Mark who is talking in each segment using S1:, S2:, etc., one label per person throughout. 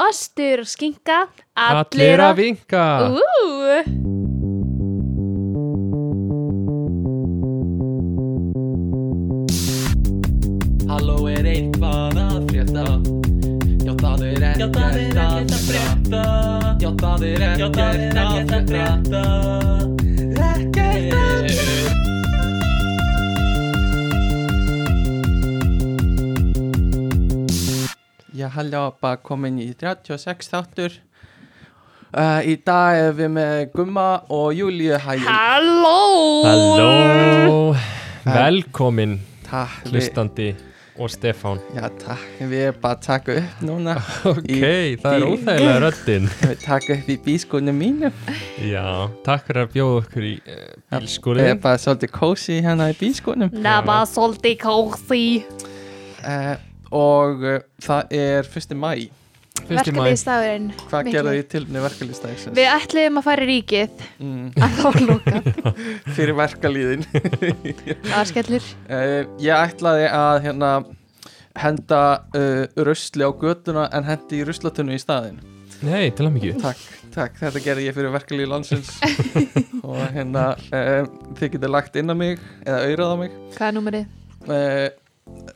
S1: Ostur og skinka
S2: Allir að vinka
S1: Ú,
S3: Halló er eitthvað að frétta Já það er ekkert að frétta Já það er ekkert að frétta Ekkert að frétta Já halló bara komin í 36 þáttur uh, Í dag erum við með Gumma og Júlíu Hægjum
S1: halló
S2: Halló Velkomin
S3: Takk við-
S2: hlustandi og Stefán
S3: Já takk, við erum bara að taka upp núna
S2: Ok,
S3: Í-
S2: það er
S3: í-
S2: óþægilega röddin
S3: Við taka upp í bískónu mínu
S2: Já, takk fyrir að bjóða okkur í uh,
S3: Við erum
S2: bílskúrin
S3: bara svolítið kósi hérna í bískónum
S1: Það var svolítið kósi
S3: uh, Og uh, það er 1. mæ
S4: Verkefniðstafurinn
S3: Hvað gerðu þið tilfni verkalýstæksins?
S4: Við ætliðum að fara í ríkið
S3: Mm,
S4: en það var lókað,
S3: fyrir verkalýðin
S4: það var skellur
S3: uh, Ég ætlaði að hérna, henda uh, rusli á götuna en hendi í ruslatunnu í staðin
S2: Nei, til að mikið
S3: Takk, takk, þetta gerði ég fyrir verkefni landsins og hérna um, þið getið lagt inn á mig eða auðrað á mig
S4: Hvað er númerið?
S3: uh,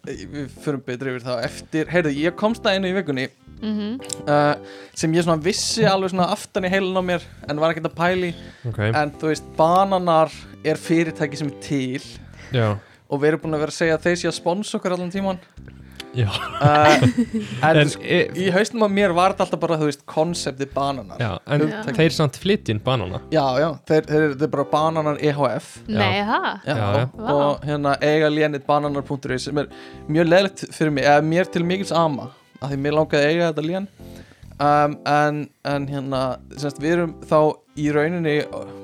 S3: við förum betri yfir það á eftir heyrðu, ég komst að einu í vikunni
S4: Mm
S2: Mhm.
S3: uh, sem ég svona vissi alveg svona aftan í heilun á mér en var ekkert að pæli
S2: Ok,
S3: en þú veist, bananar er fyrirtæki sem er til
S2: já
S3: og við erum búin að vera að segja að þeir sé að sponsa okkur allan tíman
S2: Já.
S3: uh, en,
S2: En,
S3: en
S2: e,
S3: í haustum á mér var þetta alltaf bara, þú veist, konsepti bananar
S2: já, en
S4: Já.
S2: þeir samt flytjinn banana
S3: já, já, þeir, þeir, þeir eru bara bananar E EHF
S2: Já.
S4: Nei, það?
S3: Já,
S2: Já, já.
S3: og, og hérna eiga lénitbananar.is sem er mjög leðlegt fyrir mig eða mér til mikils ama af því mér langaði að eiga þetta lén um, en, en hérna semst, við erum þá í rauninni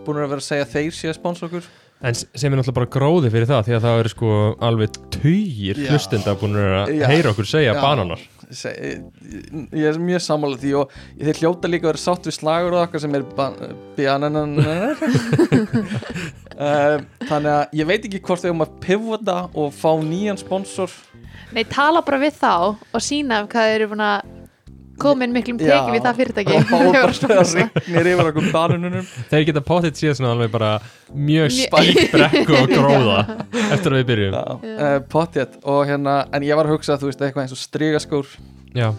S3: búin að vera að segja að þeir sé að sponsa okkur
S2: En s- sem er náttúrulega bara gróði fyrir það því að það eru sko alveg tugir
S3: Já.
S2: hlustenda búin að
S3: Já.
S2: heyra okkur segja
S3: Já.
S2: bananar
S3: Se, ég er mjög sammála því og þeir hljóta líka að vera sátt við slagur og okkar sem er ban- banananar um, þannig að ég veit ekki hvort þau um að pivota og fá nýjan sponsor
S4: Nei, tala bara við þá og sína af hvað þeir eru búin að komin miklum tekjum
S3: Já.
S4: í það fyrirtæki
S3: og fá
S4: Þeir
S3: bara
S4: voru svona-
S3: að regnir yfir okkur bananunum
S2: Þeir geta potið síðan svona alveg bara mjög
S4: Mjög-
S2: spækt brekku og gróða eftir að við byrjum
S3: Já, uh, pottjætt og hérna, en ég var að hugsa að þú veist eitthvað eins og strígaskór
S2: Já,
S3: um,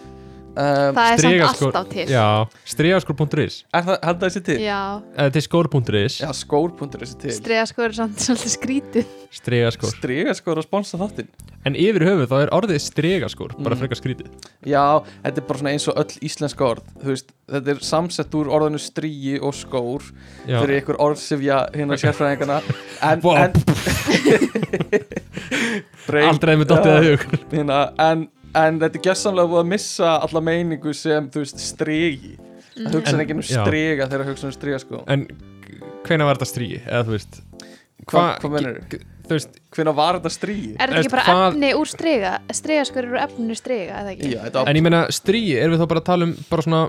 S4: Það er samt
S2: Strigaskór-
S4: alltaf til
S2: já stregaskur.is
S3: Er það, held það sé til?
S4: Já,
S2: eða til skór.is,
S3: Já, skór.is er til
S4: stregaskór er samt svolítið skrítið
S2: stregaskór
S3: Strígaskór að sponsa þáttinn
S2: En yfir höfuð þá er orðið stregaskór bara
S3: Mm.
S2: frekar skrítið
S3: Já, þetta er bara svona eins og öll íslenska orð Þú veist, þetta er samsett úr orðinu strígi og skór
S2: Já,
S3: fyrir ykkur orðsifja hérna sérfræðingana En,
S2: Vá.
S3: en Brain-
S2: aldrei með dottið að
S3: Já.
S2: hug
S3: hérna, en, en þetta er gjössamlega búið að missa alla meiningu sem, þú veist, strígi
S4: Mhm.
S3: Það hugsa
S2: En-
S3: ekki um
S2: já.
S3: stríga þegar hugsa um strígaskór
S2: En hvena var þetta strígi, eða þú veist
S3: Hvað hva mennur
S2: g- Þú veist,
S3: Hvenær var þetta strígi?
S4: Er þetta
S2: Veist,
S4: ekki bara
S2: hvað-
S4: efni úr strega? Stregaskór eru efninu strega, eða ekki?
S3: Já, þetta
S2: en ég meina strígi, erum við þá bara að tala um bara svona,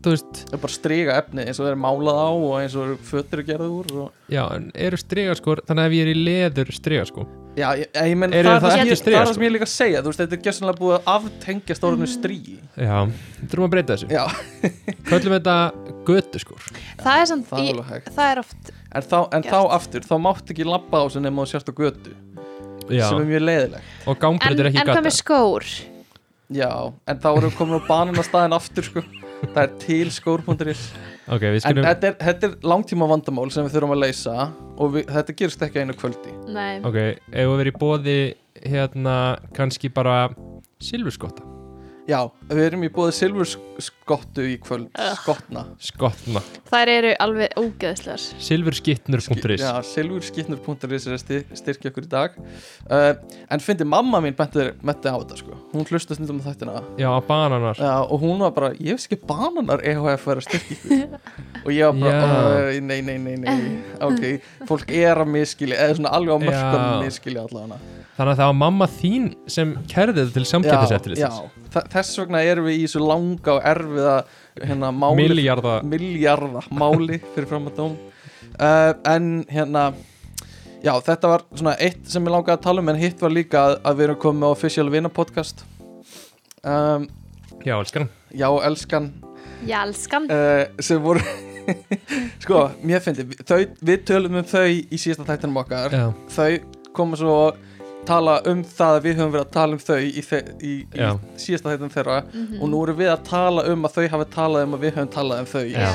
S2: þú veist
S3: er bara stríga efni eins og það er málað á og eins og fötur er gerðið úr og...
S2: Já, en eru stregaskór, þannig að ef ég er í leður stregaskór
S3: Já, ég, ég menn
S2: Eru
S3: það, er
S2: það
S3: það,
S2: ekki
S3: sem ég-
S2: stríga,
S3: það er það
S2: sko?
S3: sem ég er líka að segja Þú veist, þetta er gjössanlega búið að aftengja stórinu strígi
S2: Já, þurfum að breyta þessu
S3: Já,
S2: Köllum þetta götuskór
S4: Það er samt,
S3: það er
S4: í,
S3: alveg hægt
S4: það er oft
S3: En þá, en þá aftur, þá máttu ekki labba á þessu nema þú sérst á götu
S2: Já,
S3: sem er mjög leiðileg
S2: og
S4: En,
S2: gangbreytur er ekki
S4: en hvað
S2: gata
S4: með skór?
S3: Já, en þá erum við komin á bananastaðin aftur sko Það er til skór.is
S2: Ok, við
S3: En
S2: skulum
S3: þetta er, þetta er langtíma vandamál sem við þurfum að leysa og við, þetta gerist ekki á einu kvöldi
S4: Nei,
S2: Ok, ef við verið í bóði hérna kannski bara silfurskotta
S3: Já, við erum í bóði silfurskottu í kvöld,
S4: Ugh.
S3: skotna
S2: Skottna,
S4: þær eru alveg ógeðslegar
S2: silfurskittnur.is
S3: Já, silfurskittnur.is er að styr- styrkja okkur í dag uh, En fyndi mamma mín benti, benti á þetta sko Hún hlusta stundum á þættina
S2: Já, bananar
S3: Já, og hún var bara, ég veist ekki bananar EHF er að styrkja ykkur og ég var bara,
S2: Já.
S3: "Æ, nei, nei, nei, nei ok, fólk er að miskili eða svona alveg á mörgum
S2: Já.
S3: miskili allavega
S2: Þannig að það var mamma þín sem kærði þetta til samkjöpis
S3: já, Þa- þess vegna erum við í svo langa og erfiða hérna, máli,
S2: Miljarda
S3: miljarða máli fyrir fram að dóm uh, en hérna já, þetta var svona eitt sem ég langaði að tala um en hitt var líka að, að við erum komið með official vinna podcast um,
S2: Já, elskan
S3: Já, elskan
S1: Ég elskan
S3: uh, sem voru sko, mér fyndi þau, við tölum um þau í síðasta þættinum okkar
S2: Já,
S3: þau koma svo og tala um það að við höfum verið að tala um þau í, þe- í, í
S2: Já.
S3: síðasta þættinum þeirra og nú erum við að tala um að þau hafi talað um að við höfum talað um þau
S2: Já.
S4: Já.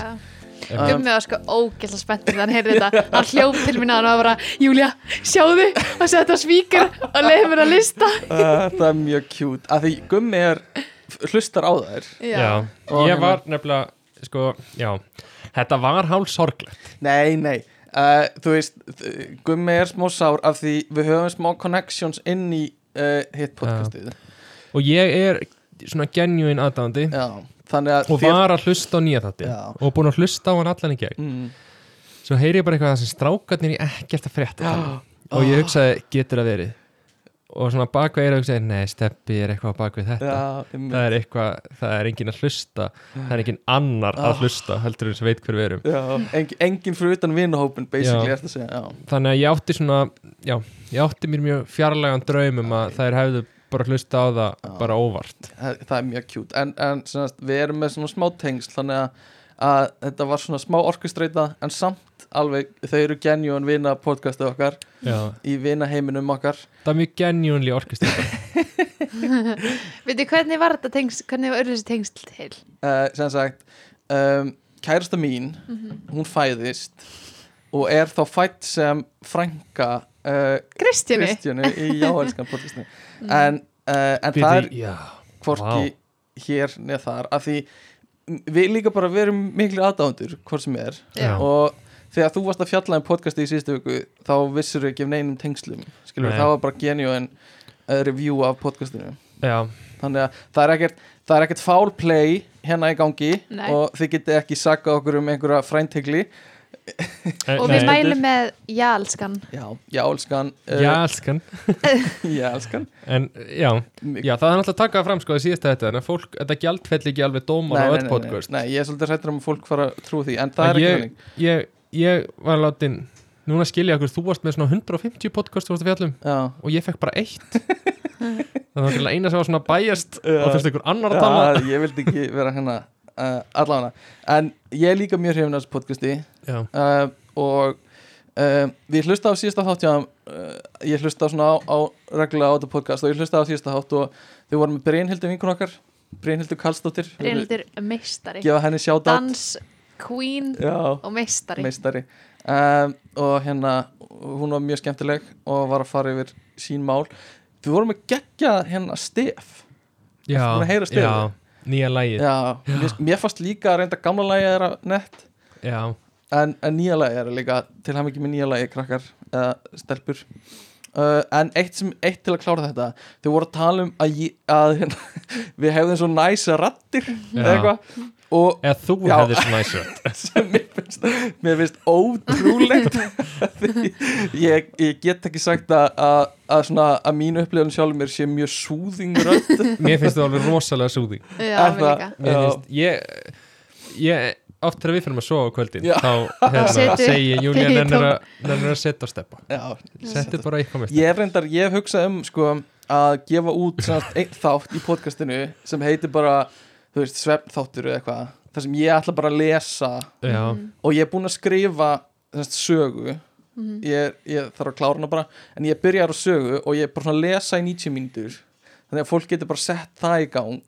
S3: Um,
S4: Gummi var sko ógæsla spennt þegar hann heyrði þetta hann hljóf til mín að hann var bara Júlia, sjáðu, hann segi þetta svíkur og leiði mér að lista
S3: Uh, það er mjög kjút að því gummi er hlustar á þær
S2: já.
S3: Og
S2: Ég
S3: hérna-
S2: var nefnilega Sko, já Þetta var hálf sorglegt
S3: nei, nei, uh, þú veist þ- gummi er smá sár af því við höfum smá connections inn í uh, hitt podcastið
S2: Og ég er svona genuine aðdándi
S3: já, þannig að
S2: Og var að hlusta á nýja þátti
S3: Já.
S2: Og búin að hlusta á hann allan í gegn
S3: mm,
S2: Svo heyri ég bara eitthvað að þessi strákarnir er ekkert að frétta Og
S3: Ah.
S2: ég hugsaði, getur það verið Og svona bakveg er að hugsaði Nei, steppi er eitthvað á bakveg þetta
S3: já, einmitt.
S2: það er eitthvað, það er engin að hlusta það er engin annar
S3: Ah.
S2: að hlusta heldur en sem veit hver við erum
S3: Já, en, enginn fyrir utan vinahópin basically
S2: Já.
S3: ertu að segja, já,
S2: þannig að ég átti svona, já, ég átti mér mjög fjarlægan draum um að þær hefðu bara hlusta á það
S3: Já.
S2: bara óvart
S3: það, það er mjög kjút en, en semast, við erum með svona smá tengsl þannig að, að þetta var svona smá orkustreita en samt alveg þau eru genjón vina podcastið okkar
S2: já.
S3: í vinaheiminum okkar
S2: það er mjög genjúnli orkust
S4: Veitu, hvernig var þetta tengsl, hvernig var þessi tengsl til?
S3: uh, sem sagt um, kærasta mín, hún fæðist og er þá fætt sem frænka uh,
S4: Kristjáni?
S3: Kristjánu í jáelskan podcastinu
S4: Mhm.
S3: en, uh, en það er
S2: já,
S3: hvorki hér neð þar af því m- við líka bara við erum miklu aðdándur hvort sem er
S2: Já.
S3: og þegar þú varst að fjalla um podcasti í síðustu viku þá vissir ekki um neinum tengslum skilur
S2: Nei.
S3: það var bara genuine uh, review af podcastinu
S2: já,
S3: þannig að það er ekkert það er ekkert foul play hérna í gangi
S4: Nei.
S3: og þið getið ekki sakað okkur um einhverja fræntegli
S2: Eh,
S4: Og
S2: nei.
S4: við mælum með jálskan
S3: já, já, elskan eh,
S2: já, elskan
S3: já, elskan
S2: en já, já, það er náttúrulega að taka það fram sko að síðasta þetta, en að fólk, þetta gjaldfell ekki alveg dómar á
S3: nei,
S2: öll
S3: nei, nei,
S2: podcast
S3: nei, ég er svolítið hrættur um að fólk fara að trú því en það er
S2: Að
S3: ekki
S2: ég-
S3: þannig
S2: ég, ég var látin núna skilja okkur, þú varst með svona 150 podcast þú varst að fjallum
S3: já,
S2: og ég fekk bara eitt þannig að það var eina sem var svona bæjast
S3: Já.
S2: og þurfti ykkur annar að tala
S3: Já, ég vildi ekki vera hérna uh, allavega, en ég er líka mjög hrifin af þessu podcasti
S2: já,
S3: uh, og uh, við hlusta á síðasta þátt hjá uh, ég hlusta svona á, á reglulega á þetta podcast og ég hlusta á síðasta þátt og þau vorum með Brynhildur vinkun okkar Brynhildur Karlsdóttir Við viljum
S4: reynildur meistari,
S3: gefa henni sjátt á
S4: dans queen og meistari
S3: meistari um, og hérna, hún var mjög skemmtileg og var að fara yfir sín mál við vorum að gegja hérna stef
S2: já,
S3: Ertu búin að heyra stefið?
S2: já, nýja lægið já.
S3: Já, mér, mér fannst líka að reynda gamla lagið er að nett en, en nýja lagi er líka til hann ekki með nýja lagi krakkar eða stelpur uh, en eitt, sem, eitt til að klára þetta þau voru að tala um að, ég, að hérna, við hefðum svo næsa rattir eða
S2: Já.
S3: eitthvað og
S2: eða þú
S3: Já.
S2: hefðir svona næs rödd.
S3: sem mér finnst, mér finnst ótrúlegt Því ég, ég get ekki sagt að, að, að, svona, að mín upplifun sjálf mér sé mjög súðing rödd
S2: mér finnst það alveg rosalega súði
S4: Já, mér
S3: Er það-
S4: líka
S2: mér
S3: Já.
S2: finnst, ég ég, oft þegar við fyrir að sofa á kvöldin
S3: Já.
S2: þá hérna,
S4: Setu-
S2: segi ég, Júlía
S4: Tekið í
S2: nennir að nennir að setja á steppa
S3: Já,
S2: setja bara eitthvað með
S3: Ég hef reyndar, ég hef hugsað um sko, að gefa út semast, einn þátt í podcastinu sem heitir bara þú veist, svefnþáttur eða eitthvað þar sem ég ætla bara að lesa
S2: steppa já,
S4: Mm.
S3: og ég er búinn að skrifa semast, sögu
S4: Mhm.
S3: ég, ég þarf að klára hana bara en ég byrjar á sögu og ég er bara svona að lesa í 90 mínútur þannig að fólk getur bara sett það í gang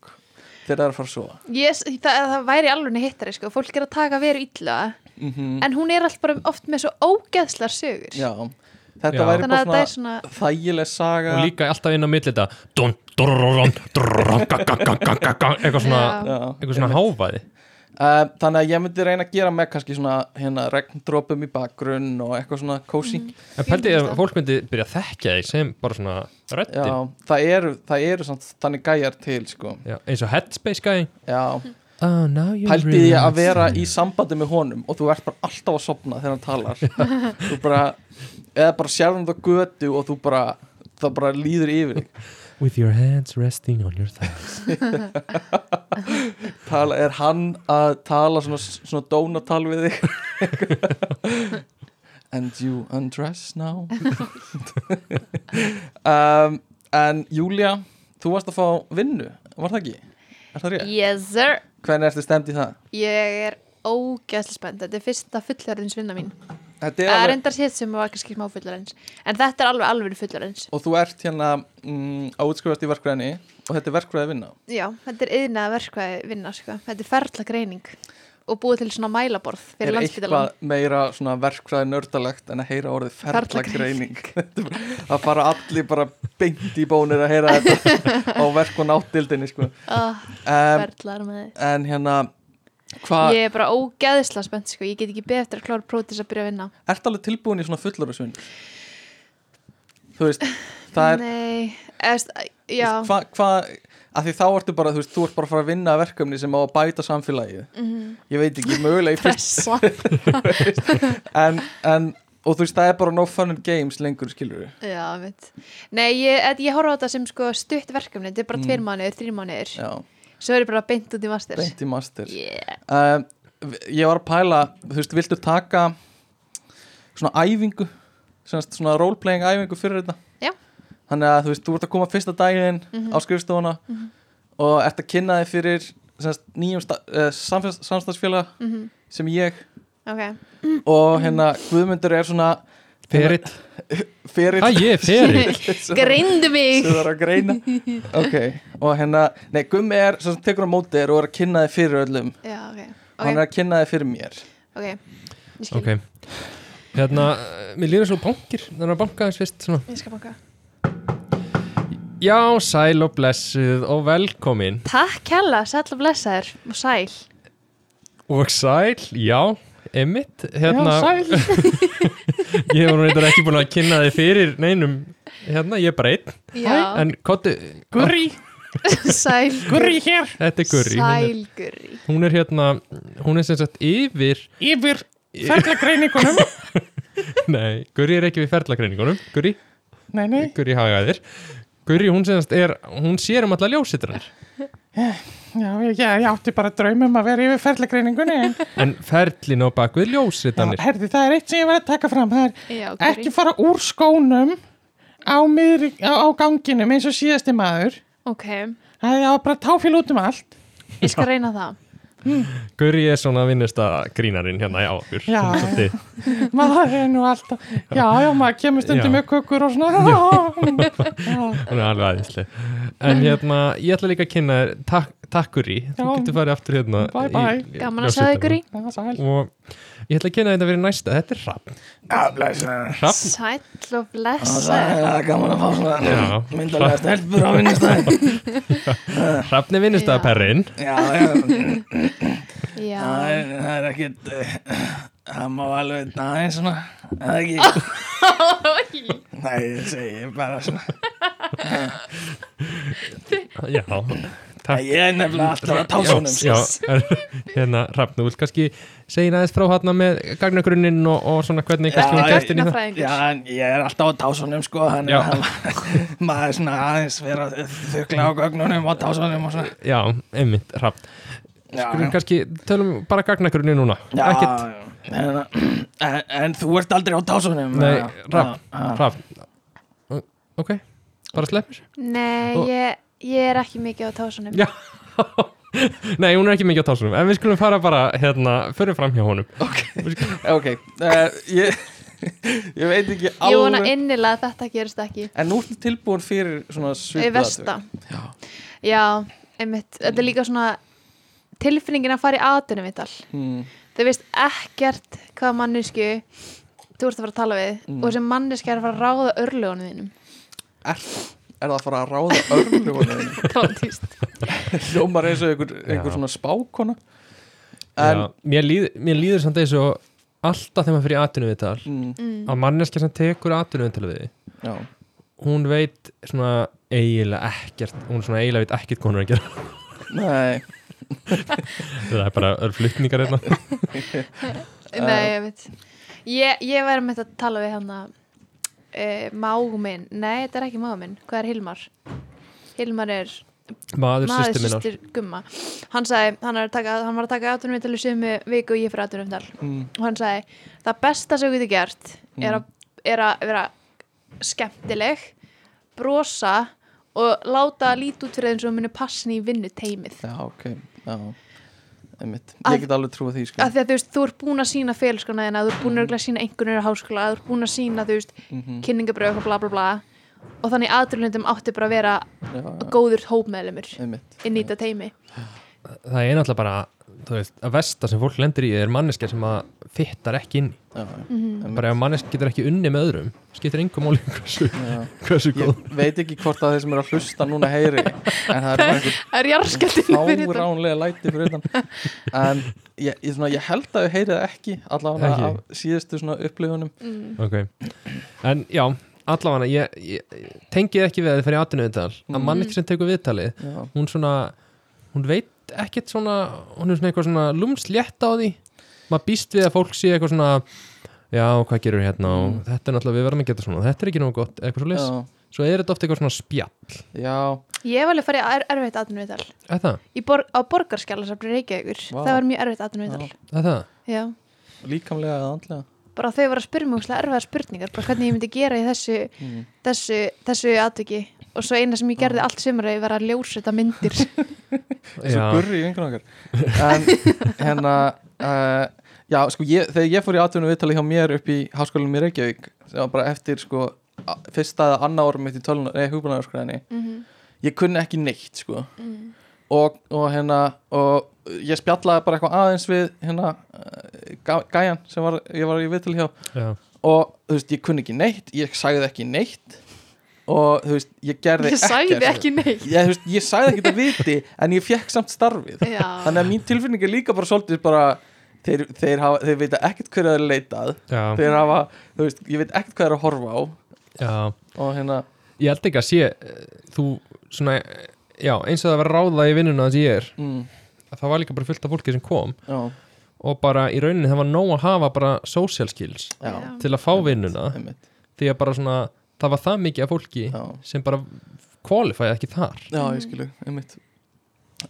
S3: þegar það er að fara að sofa
S4: yes, það, það væri alveg hittari sko. fólk er að taka veru illa
S3: mm
S4: en hún er alltaf bara oft með svo ógeðslar sögur
S3: Já, þetta
S2: Já.
S3: væri
S4: þannig
S3: bara
S4: að þetta er
S3: svona
S4: svona
S3: þægileg saga
S2: og líka alltaf inn á milli þetta dun, drururum, drururum, ga, ga, ga, ga, ga, ga, eitthvað svona
S4: já,
S3: Já.
S2: eitthvað svona hávaði
S3: Uh, þannig að ég myndi reyna að gera með kannski svona hérna regndrópum í bakgrunn og eitthvað svona kósi
S2: en pældi ég að fólk myndi byrja að þekkja þig sem bara svona röddin
S3: Já, það eru, það eru samt, þannig gæjar til sko.
S2: Já, eins og Headspace gæði
S3: Já,
S2: oh, Pældi
S3: pældi því að vera í sambandi með honum og þú ert bara alltaf að sopna þegar hann talar þú bara, eða bara sérðum það götu og þú bara, það bara líður yfir þig.
S2: With your hands resting on your thigh
S3: tala, er hann að tala svona, svona dónatal við þig and you undress now um, en Júlia þú varst að fá vinnu, var það ekki? Er það rétt?
S4: Yes sir
S3: Hvernig ertu stemd í það?
S4: Ég er ógæðslega spennt Þetta er fyrsta fullarins vinna mín
S3: Þetta er
S4: Það er
S3: alveg,
S4: endar hitt sem var kannski smá fullarins En þetta er alveg alveg fullarins
S3: og þú ert hérna mm, að útskrifast í verkfræðinni og þetta er verkfræði vinna
S4: Já, þetta er yðnað verkvæði vinna sko. Þetta er ferla greining Og búið til svona mælaborð
S3: Er
S4: Fyrir
S3: eitthvað
S4: landspítalan
S3: meira svona verkfræði nördalegt en að heyra orðið ferlagreining Það fara allir bara beint í bónir að heyra þetta á verk og náttildinni sko.
S4: oh,
S3: um,
S4: Ferlar með þið
S3: En hérna, hvað,
S4: Ég er bara ógæðslega spennt sko. Ég get ekki beðið eftir að klára prótis að byrja að vinna
S3: ertu alveg tilbúin í svona fullorðsvinn? Þú veist, það er
S4: Nei, eðst, já
S3: Þú veist, hvað hva, að því þá ertu bara, þú veist, þú ert bara að fara að vinna að verkefni sem á að bæta samfélagið
S4: Mhm.
S3: ég veit ekki, mögulega í fyrst
S4: Pressa
S3: en, en, og þú veist, það er bara no fun and games lengur, skilur við
S4: Já, veit. Nei, ég, en ég horfa á þetta sem sko stutt verkefni, þetta er bara
S3: Mm.
S4: mm. tveir mánuður, þrír mánuður,
S3: já,
S4: svo er ég bara beint út í master.
S3: beint í master
S4: Yeah.
S3: uh, ég var að pæla, þú veist, viltu taka svona æfingu semast, svona roleplaying æfingu fyrir þetta
S4: Já. Mhm.
S3: þannig að þú veist, þú ert að koma fyrsta daginn á skrifstofuna og ert að kynna þig fyrir semast, nýjum sta- eh, samfélags- samstarfsfélaga
S4: Mhm.
S3: sem ég
S4: Ok,
S3: og hérna Guðmundur er svona
S2: Ferill,
S3: fyrir
S2: hæ ég er ferill
S3: sem
S4: grindu mig!
S3: það er að greina ok, og hérna, nei, Guðm er sem sagt tekur á móti þér og er að kynna þið fyrir öllum
S4: Já, ok,
S3: og hann
S4: ok,
S3: er að kynna þið fyrir mér
S4: ok, ég skil,
S2: Ok Hérna, eh, mér líður svo bankir Þannig að banka aðeins fyrst svona
S4: ég skal banka.
S2: Já, sæl og blessuð og velkomin
S4: Takk hella, sæll og blessaður og sæl.
S2: Og sæl, já, emmitt Hérna,
S3: já, sæl
S2: ég var reyndar ekki búin að kynna þig fyrir neinum Hérna, ég er bara einn
S4: Já,
S2: En kottu,
S3: Gurri,
S4: sæl.
S3: Gurri hér
S2: þetta er Gurri hún er,
S4: Sæl, gurri.
S2: hún er hérna, hún er sem sagt yfir
S3: yfir ferlagreiningunum
S2: Nei, Gurri er ekki við ferlagreiningunum Gurri,
S3: nei, nei,
S2: Gurri hagaðir Gurri, hún sem sagt er, hún sér um alla ljósitranir
S3: já, ég, ég átti bara draumum
S5: um
S3: að vera yfir ferlagreiningunni en
S2: En ferlin á bakvið ljósitranir
S3: herði, það er eitt sem ég var að taka fram það er
S4: Já,
S5: ekki
S4: gurri.
S5: fara úr skónum á, miðri, á, á ganginum eins og síðasti maður
S4: Ok,
S5: það er bara táfél út um allt
S4: ég skal reyna það.
S2: Gurri er svona vinnustagrínarin hérna í áfyr
S5: Já,
S2: Svolítið.
S5: maður er nú alltaf já, já, maður kemur stundum
S2: Já.
S5: með kökur og svona já,
S2: hún er alveg aðeinsleg en hérna, ég ætla líka að kynna þér takk, takk Gurri, þú
S5: Já.
S2: getur farið aftur hérna
S5: Bye, bye.
S2: í- í
S4: Gaman að sjá þig, gurri.
S5: það er sæl
S2: og ég ætla að kynna þetta fyrir næsta þetta er Hrafn Hrafn,
S4: Sæll og blessaður.
S3: er gaman að fá
S2: Já.
S3: myndalega stelpur á vinnustæðin
S2: Hrafn er vinnustafperrin
S3: já, já, það
S4: Já,
S3: er, það er ekkit eh, það má alveg aðeins svona eða ekki nei, ég segi bara svona
S2: já, takk
S3: ég er nefnilega alltaf sko. að tásunum
S2: já, já, hérna Hrafn, þú vilt kannski segja aðeins frá hérna með gagnagrunnin og, og svona hvernig
S3: Já,
S2: kannski hún
S3: ég-
S2: kæst inn í það
S4: Nafnafræðingur.
S3: já, en ég er alltaf að tásunum sko, þannig
S2: Já.
S3: að ma- maður er svona aðeins vera þurrkla á gögnunum og tásunum og svona
S2: já, einmitt, Hrafn Skulum
S3: já,
S2: kannski, tölum bara gagnagrunni núna
S3: já,
S2: ekkert,
S3: en, en, en þú ert aldrei á tásunum
S2: nei,
S3: já,
S2: Hrafn,
S3: já, já.
S2: Hrafn ok, bara sleppur
S4: Nei,
S2: Og-
S4: ég, ég er ekki mikið á tásunum.
S2: Já. Nei, hún er ekki mikið á tásunum En við skulum fara bara, hérna, förum fram hjá honum
S3: ok, uh, ég ég veit ekki
S4: Ég vona
S3: alveg
S4: innilega að þetta gerist ekki
S3: en nú ertu tilbúin fyrir svona svipað
S4: Í versta
S3: Já.
S4: Já, einmitt Þetta er líka svona tilfinningin að fara í aðdunum vital
S3: hmm.
S4: Þau veist ekkert hvað mannesku þú ert að fara að tala við
S3: Mm.
S4: og þessi manneski er að fara að ráða örlögunum þínum
S3: er, er það að fara að ráða örlugunum
S4: Það var týst
S3: hljómar eins og einhver,
S2: Já.
S3: einhver svona spákona en
S2: Já, mér, líð, mér líður samt eins og Alltaf þegar maður fyrir atvinnum við tal
S3: mm,
S2: Að manneskja sem tekur atvinnum við við
S3: já,
S2: Hún veit svona eiginlega ekkert Hún svona eiginlega veit ekkert hvað hún er að gera
S3: nei
S2: Það er bara örflutningar hérna
S4: Nei, ég veit Ég, ég væri með að tala við hann að uh, mágu minn Nei, þetta er ekki mágu minn Hvað er Hilmar? Hilmar er maður
S2: Maður sýstir minnar
S4: sýstir gumma hann sagði, hann, er að taka, hann var að taka atvinnum í sumu viku og ég fyrir atvinnum
S3: mm,
S4: og hann sagði, það besta sem þú getur gert er, a, er að vera skemmtileg brosa og láta að líti út fyrir eins og muni passin í vinnu teimið
S3: já, ok já, einmitt,
S4: Að-
S3: ég get alveg trúið því sko.
S4: af því að þú veist, þú ert búin að sína félskona þina þú ert búin að sína einhvernir á háskóla þú ert búin að sína, þú veist,
S3: Mhm.
S4: kynningabröð og bla bla bla og þannig aðdurlundum átti bara að vera
S3: já, já,
S4: góður hópmeðlumur
S3: einmitt
S4: inn í þetta teimi
S2: það er náttúrulega bara þú veist, að versta sem fólk lendir í er manneskja sem að fittar ekki inn í.
S3: já, já,
S4: Mm.
S2: bara ef manneskja getur ekki unni með öðrum skiptir engum máli hversu,
S3: já.
S2: hversu góð
S3: ég veit ekki hvort að þeir sem eru að hlusta núna heyri en það er bara einhver
S4: Það er jarðskjaldinu fyrir þetta
S3: fáránlega læti fyrir utan en ég, ég, svona, ég held að þau heyrið það ekki allavega
S2: Ekki?
S3: af síðustu svona upplifunum
S4: mm.
S2: okay. en já, allavega ég, ég, ég tengi ekki við að þið fer í atvinnu viðtal að
S3: Mm.
S2: manneskja sem tekur viðtalið
S3: já,
S2: hún svona, hún veit ekkert svona, hún er svona eitthvað svona lúmslétt á því, maður býst við að fólk sé eitthvað svona, já, hvað gerur hérna og
S3: Mm.
S2: þetta er náttúrulega, við verðum að geta svona þetta er ekki nóg gott, eitthvað svo
S3: já,
S2: svo er þetta ofta eitthvað svona spjall,
S3: já,
S4: Ég hef alveg farið á er, erfitt aðdurlundal
S2: er það,
S4: bor, á borgarskjálasafni Reykjavíkur
S3: Vá.
S4: það var mjög erfitt aðdurlundal
S2: er það
S4: Já,
S3: líkamlega eða andlega
S4: bara þau var að spyrja mjög erfiðar spurningar, bara hvernig ég myndi gera í þessu
S3: mm.
S4: þessu, þessu atviki og svo eina sem ég gerði allt sumraði var að ljósa þetta myndir
S3: þessu gurri í vingunum okkar en hérna uh, já sko ég, þegar ég fór í atvinnum viðtali hjá mér upp í háskólinum í Reykjavík sem var bara eftir sko a- fyrsta eða annað árum mitt í tölunar, nei, hugbúnaðarskræðinni ég kunni ekki neitt sko
S4: Mm.
S3: og, og hérna og ég spjallaði bara eitthvað aðeins við hérna eh, gæ- gæjan sem var, ég var í viðtali hjá
S2: já,
S3: og þú veist ég kunni ekki neitt ég sagði ekki neitt og þú veist ég gerði
S4: ég sagði
S3: ekkert.
S4: ekki neitt
S3: ég, þú veist, ég sagði ekki þetta viti en ég fekk samt starfið
S4: já,
S3: þannig að mín tilfinning er líka bara svolítið bara þeir, þeir, hafa, þeir veit ekkert hverja þeir leitað
S2: já,
S3: þeir hafa, þú veist, ég veit ekkert hvað þeir eru að horfa á
S2: já
S3: og hérna,
S2: ég held ekki að sé eh, þú svona, eh, já, eins og það var ráða í vinnuna þess ég er,
S3: mm,
S2: að það var líka bara fullt af fólki sem kom
S3: já,
S2: og bara í rauninni það var nóg að hafa bara social skills
S3: já,
S2: til að fá vinnuna
S3: einmitt,
S2: því að bara svona, það var það mikið af fólki
S3: já,
S2: sem bara kvalifæði ekki þar
S3: já, ég skilu, einmitt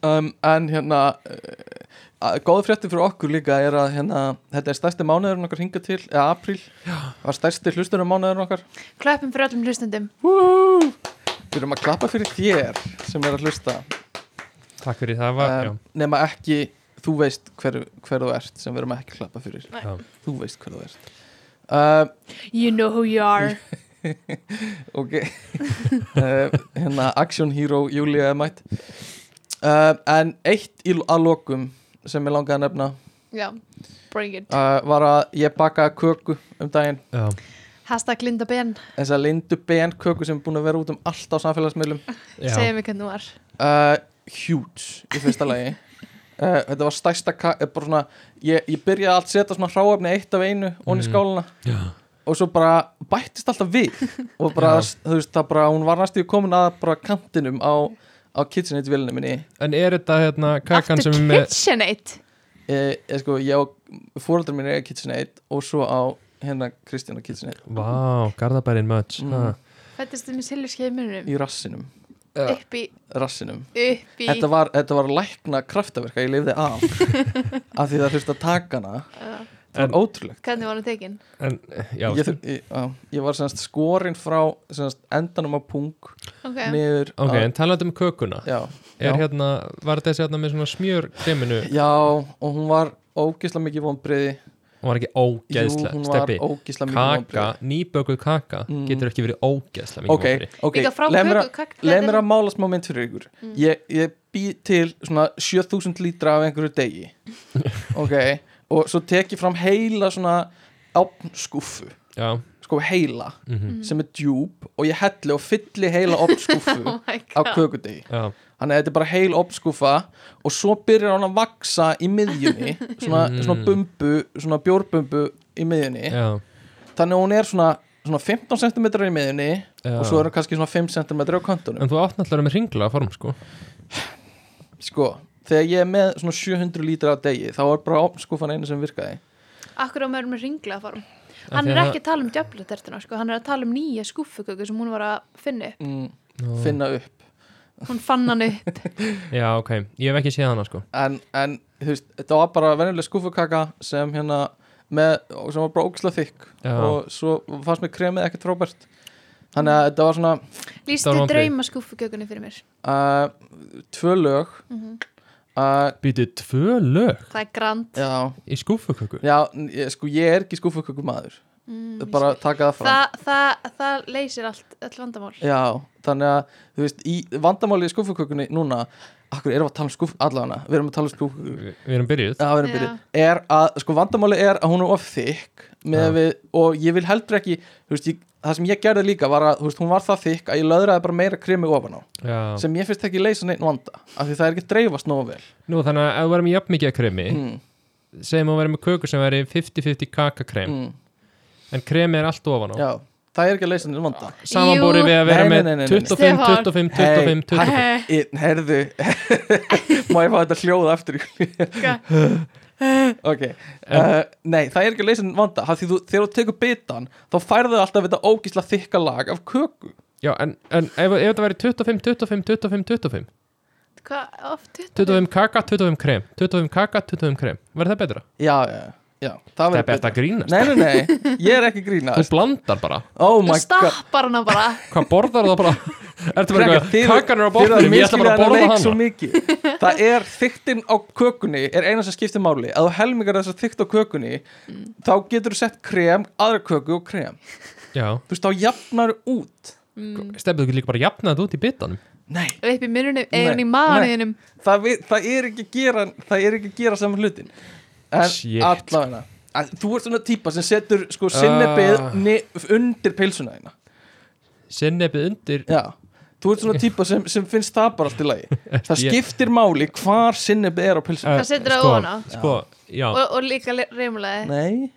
S3: um, en hérna uh, góð frétti fyrir okkur líka er að hérna, þetta er stærsti mánuðurinn okkar hingað til, eða apríl var stærsti hlustunum mánuðurinn okkar
S4: klöppum fyrir öllum hlustendum
S3: við erum að klappa fyrir þér sem er að hlusta
S2: Takk fyrir það
S3: um, nema ekki þú veist hver, hver þú ert sem við erum ekki að klappa fyrir
S4: Nei.
S2: Já.
S3: þú veist hver þú ert um,
S4: you know who you are
S3: ok um, hérna Action Hero Júlia er mætt um, en eitt í, að lokum sem ég langaði að nefna
S4: já, bring it
S3: uh, var að ég bakaði köku um daginn
S2: já.
S4: hashtag Linda Ben,
S3: þess að lindu BN köku sem er búin að vera út um allt á samfélagsmiðlum
S2: Já.
S4: segja mig hvernig þú var
S3: uh, huge í fyrsta lagi uh, þetta var stærsta ka- eh, bara svona, ég, ég byrjaði allt setja svona hráefni eitt af einu onni í
S2: Mhm.
S3: skáluna
S2: Já.
S3: og svo bara bættist alltaf við og bara, þú veist, það bara, hún var næstu komin að bara kantinum á, á KitchenAid vilinu minni
S2: En er þetta hérna kakan
S4: after
S2: sem er með
S4: KitchenAid
S3: ég, ég sko, ég og fóröldar minni er KitchenAid og svo á hérna Kristján á KitchenAid
S2: Vá, Garðabærin Möts
S3: Mm.
S2: mm.
S4: fættist þið með silfurskeiði munum
S3: í rassinum,
S4: upp í,
S3: rassinum
S4: upp í
S3: þetta var, þetta var lækna kraftaverka, ég lifði af af því það þurfti að taka hana
S4: Já.
S3: það
S2: En-
S3: var ótrúlegt
S4: hvernig var hann tekin
S2: En, eh, já,
S3: ég, þur- ég, á, ég var semst skorinn frá semst endanum á punk
S4: ok,
S3: niður
S2: ok,
S3: að,
S2: en talandi um kökuna
S3: já,
S2: Er
S3: já.
S2: hérna, var þessi hérna með svona smjör kreminu
S3: já, og hún var ógislega mikið vonbriði
S2: Hún var ekki
S3: Jú,
S2: ógeðslega,
S3: hún var
S2: steppi
S3: ógislega mikið
S2: Kaka,
S3: vonbrigði.
S2: nýbökuð kaka
S3: Mm.
S2: getur ekki verið ógeðslega mikið
S3: Ok, ok,
S4: líka frá
S3: leið mér
S4: köku
S3: að-
S4: Mm. kak-
S3: leið mér
S4: hvernig-
S3: að mála smá mynd fyrir ykkur ég, ég bý til svona 7000 lítra af einhverju degi Ok, og svo tek ég fram heila svona opnskúfu
S2: Já,
S3: sko heila,
S2: mm
S3: sem er djúb og ég helli og fylli heila opnskúfu
S4: oh my
S3: á
S4: god
S3: kökudegi
S2: já,
S3: þannig að þetta er bara heil opnskúfa og svo byrjar hann að vaksa í miðjunni svona,
S2: Mm.
S3: svona bumbu, svona bjórbumbu í miðjunni
S2: já,
S3: þannig að hún er svona, svona 15 cm í miðjunni
S2: já.
S3: og svo er hún kannski svona 5 cm á kantunum
S2: En þú átt náttúrulega með ringla form, sko
S3: sko, þegar ég er með svona 700 lítra á degi þá er bara opnskúfan einu sem virkaði
S4: akkur á mér með ringla form
S2: Af
S4: hann
S2: því
S4: er
S2: að-
S4: ekki að tala um djöflutertina sko. hann er að tala um nýja skúfuköku sem hún var að finna upp
S3: mm,
S2: Nú.
S3: finna upp
S4: hún fann hann upp
S2: Já, ok, ég hef ekki séð hana, sko
S3: en, en þú veist, þetta var bara venjuleg skúfukaka sem hérna með, og sem var bara ógislega þykk
S2: Já.
S3: og svo fannst mér kremið ekkert tróbært þannig að þetta var svona
S4: Lýstu
S2: Það var vonbrigði.
S4: drauma skúfugjökunni fyrir mér
S3: uh, tvö lög uh,
S2: Býtu tvö lög
S4: Það er grand
S3: já,
S2: í skúfuköku
S3: já, n- ég, sko ég er ekki skúfuköku maður
S4: mm, ég
S3: bara Eh,
S4: skil.
S3: taka það fram
S4: það, það, það leysir allt, allt vandamál
S3: Já, þannig að, þú veist, í vandamáli í skúfukökunni núna, akkur erum við að tala um skúf, allavega, við erum að tala um skúfukökunni
S2: Við við erum byrjuð
S3: Já, við erum
S4: Já.
S3: byrjuð, er að, sko, vandamáli er að hún er of þykk með
S2: Já.
S3: við, og ég vil heldur ekki, þú veist, ég, það sem ég gerði líka var að, þú veist, hún var það þykk að ég löðraði bara meira krimi ofan á,
S2: Já.
S3: sem ég finnst ekki leysa neitt vanda, af því það er ekki að dreifast nógu vel.
S2: Nú þannig að ef þú verðum jafn mikið að kremi
S3: Mm,
S2: segjum að þú verðum með köku sem verði 50-50 kakakrem
S3: mm,
S2: en kremi er allt ofan á
S3: já, það er ekki að leysa neitt vanda.
S2: samanbúri
S4: Jú.
S2: við að vera
S3: Nei, nei, nei,
S2: með
S3: nei, nei.
S2: 25,
S4: Stefán.
S2: 25, 25, 25
S3: Hey, herðu, má ég fá þetta hljóð aftur í
S4: Eh,
S3: Ok, uh, nei, það er ekki að leysa neinn vanda af því þú, þegar þú tekur bitan þá færðu alltaf þetta ógísla þykka lag af köku
S2: Já, en, en ef, ef þetta væri 25, 25, 25, 25
S4: Hvað oft?
S2: 25 kaka, 25 krem 25 kaka, 25 krem, verður það betra?
S3: Já, já, já, það
S2: Það
S3: verður
S2: er betra að grínast
S3: Nei, nei, nei, ég er ekki að
S2: Þú
S3: grínast
S2: blandar bara,
S3: Oh
S4: Þú
S3: my god
S4: stappar hana bara
S2: hvað borðar það bara Ertu bara
S3: Krakkar,
S2: eitthvað, kakan er á borðinum, ég ætla bara að
S3: þið
S2: borða
S3: leik svo
S2: hana
S3: mikið Það er þyktin á kökunni er eina sem skiptir máli að þú helmingar þess að þykt á kökunni þá getur þú sett krem, aðra köku og krem
S2: Já,
S3: Þú veist, þá jafnar út
S4: Mm.
S2: stefnir þú ekki líka bara að jafna þetta út í bitanum
S3: Nei,
S4: upp í minnunum,
S3: Nei,
S4: eðan í
S3: nei.
S4: maðurinum
S3: það, vi, það er ekki að gera það er ekki að gera saman hlutin en
S2: Shit.
S3: allavega að, þú ert svona típa sem setur sko sinnebið
S2: Ah.
S3: uh. undir pilsuna þína
S2: Sinnebið undir
S3: já Þú ert svona típa sem, sem finnst það bara allt í lagi Það
S2: Ég-
S3: skiptir máli hvar sinnebið er á pilsuna
S2: Eh,
S4: Það setur það
S2: sko,
S4: ofan á.
S2: Sko, já,
S4: og, og líka reymlaði
S3: Nei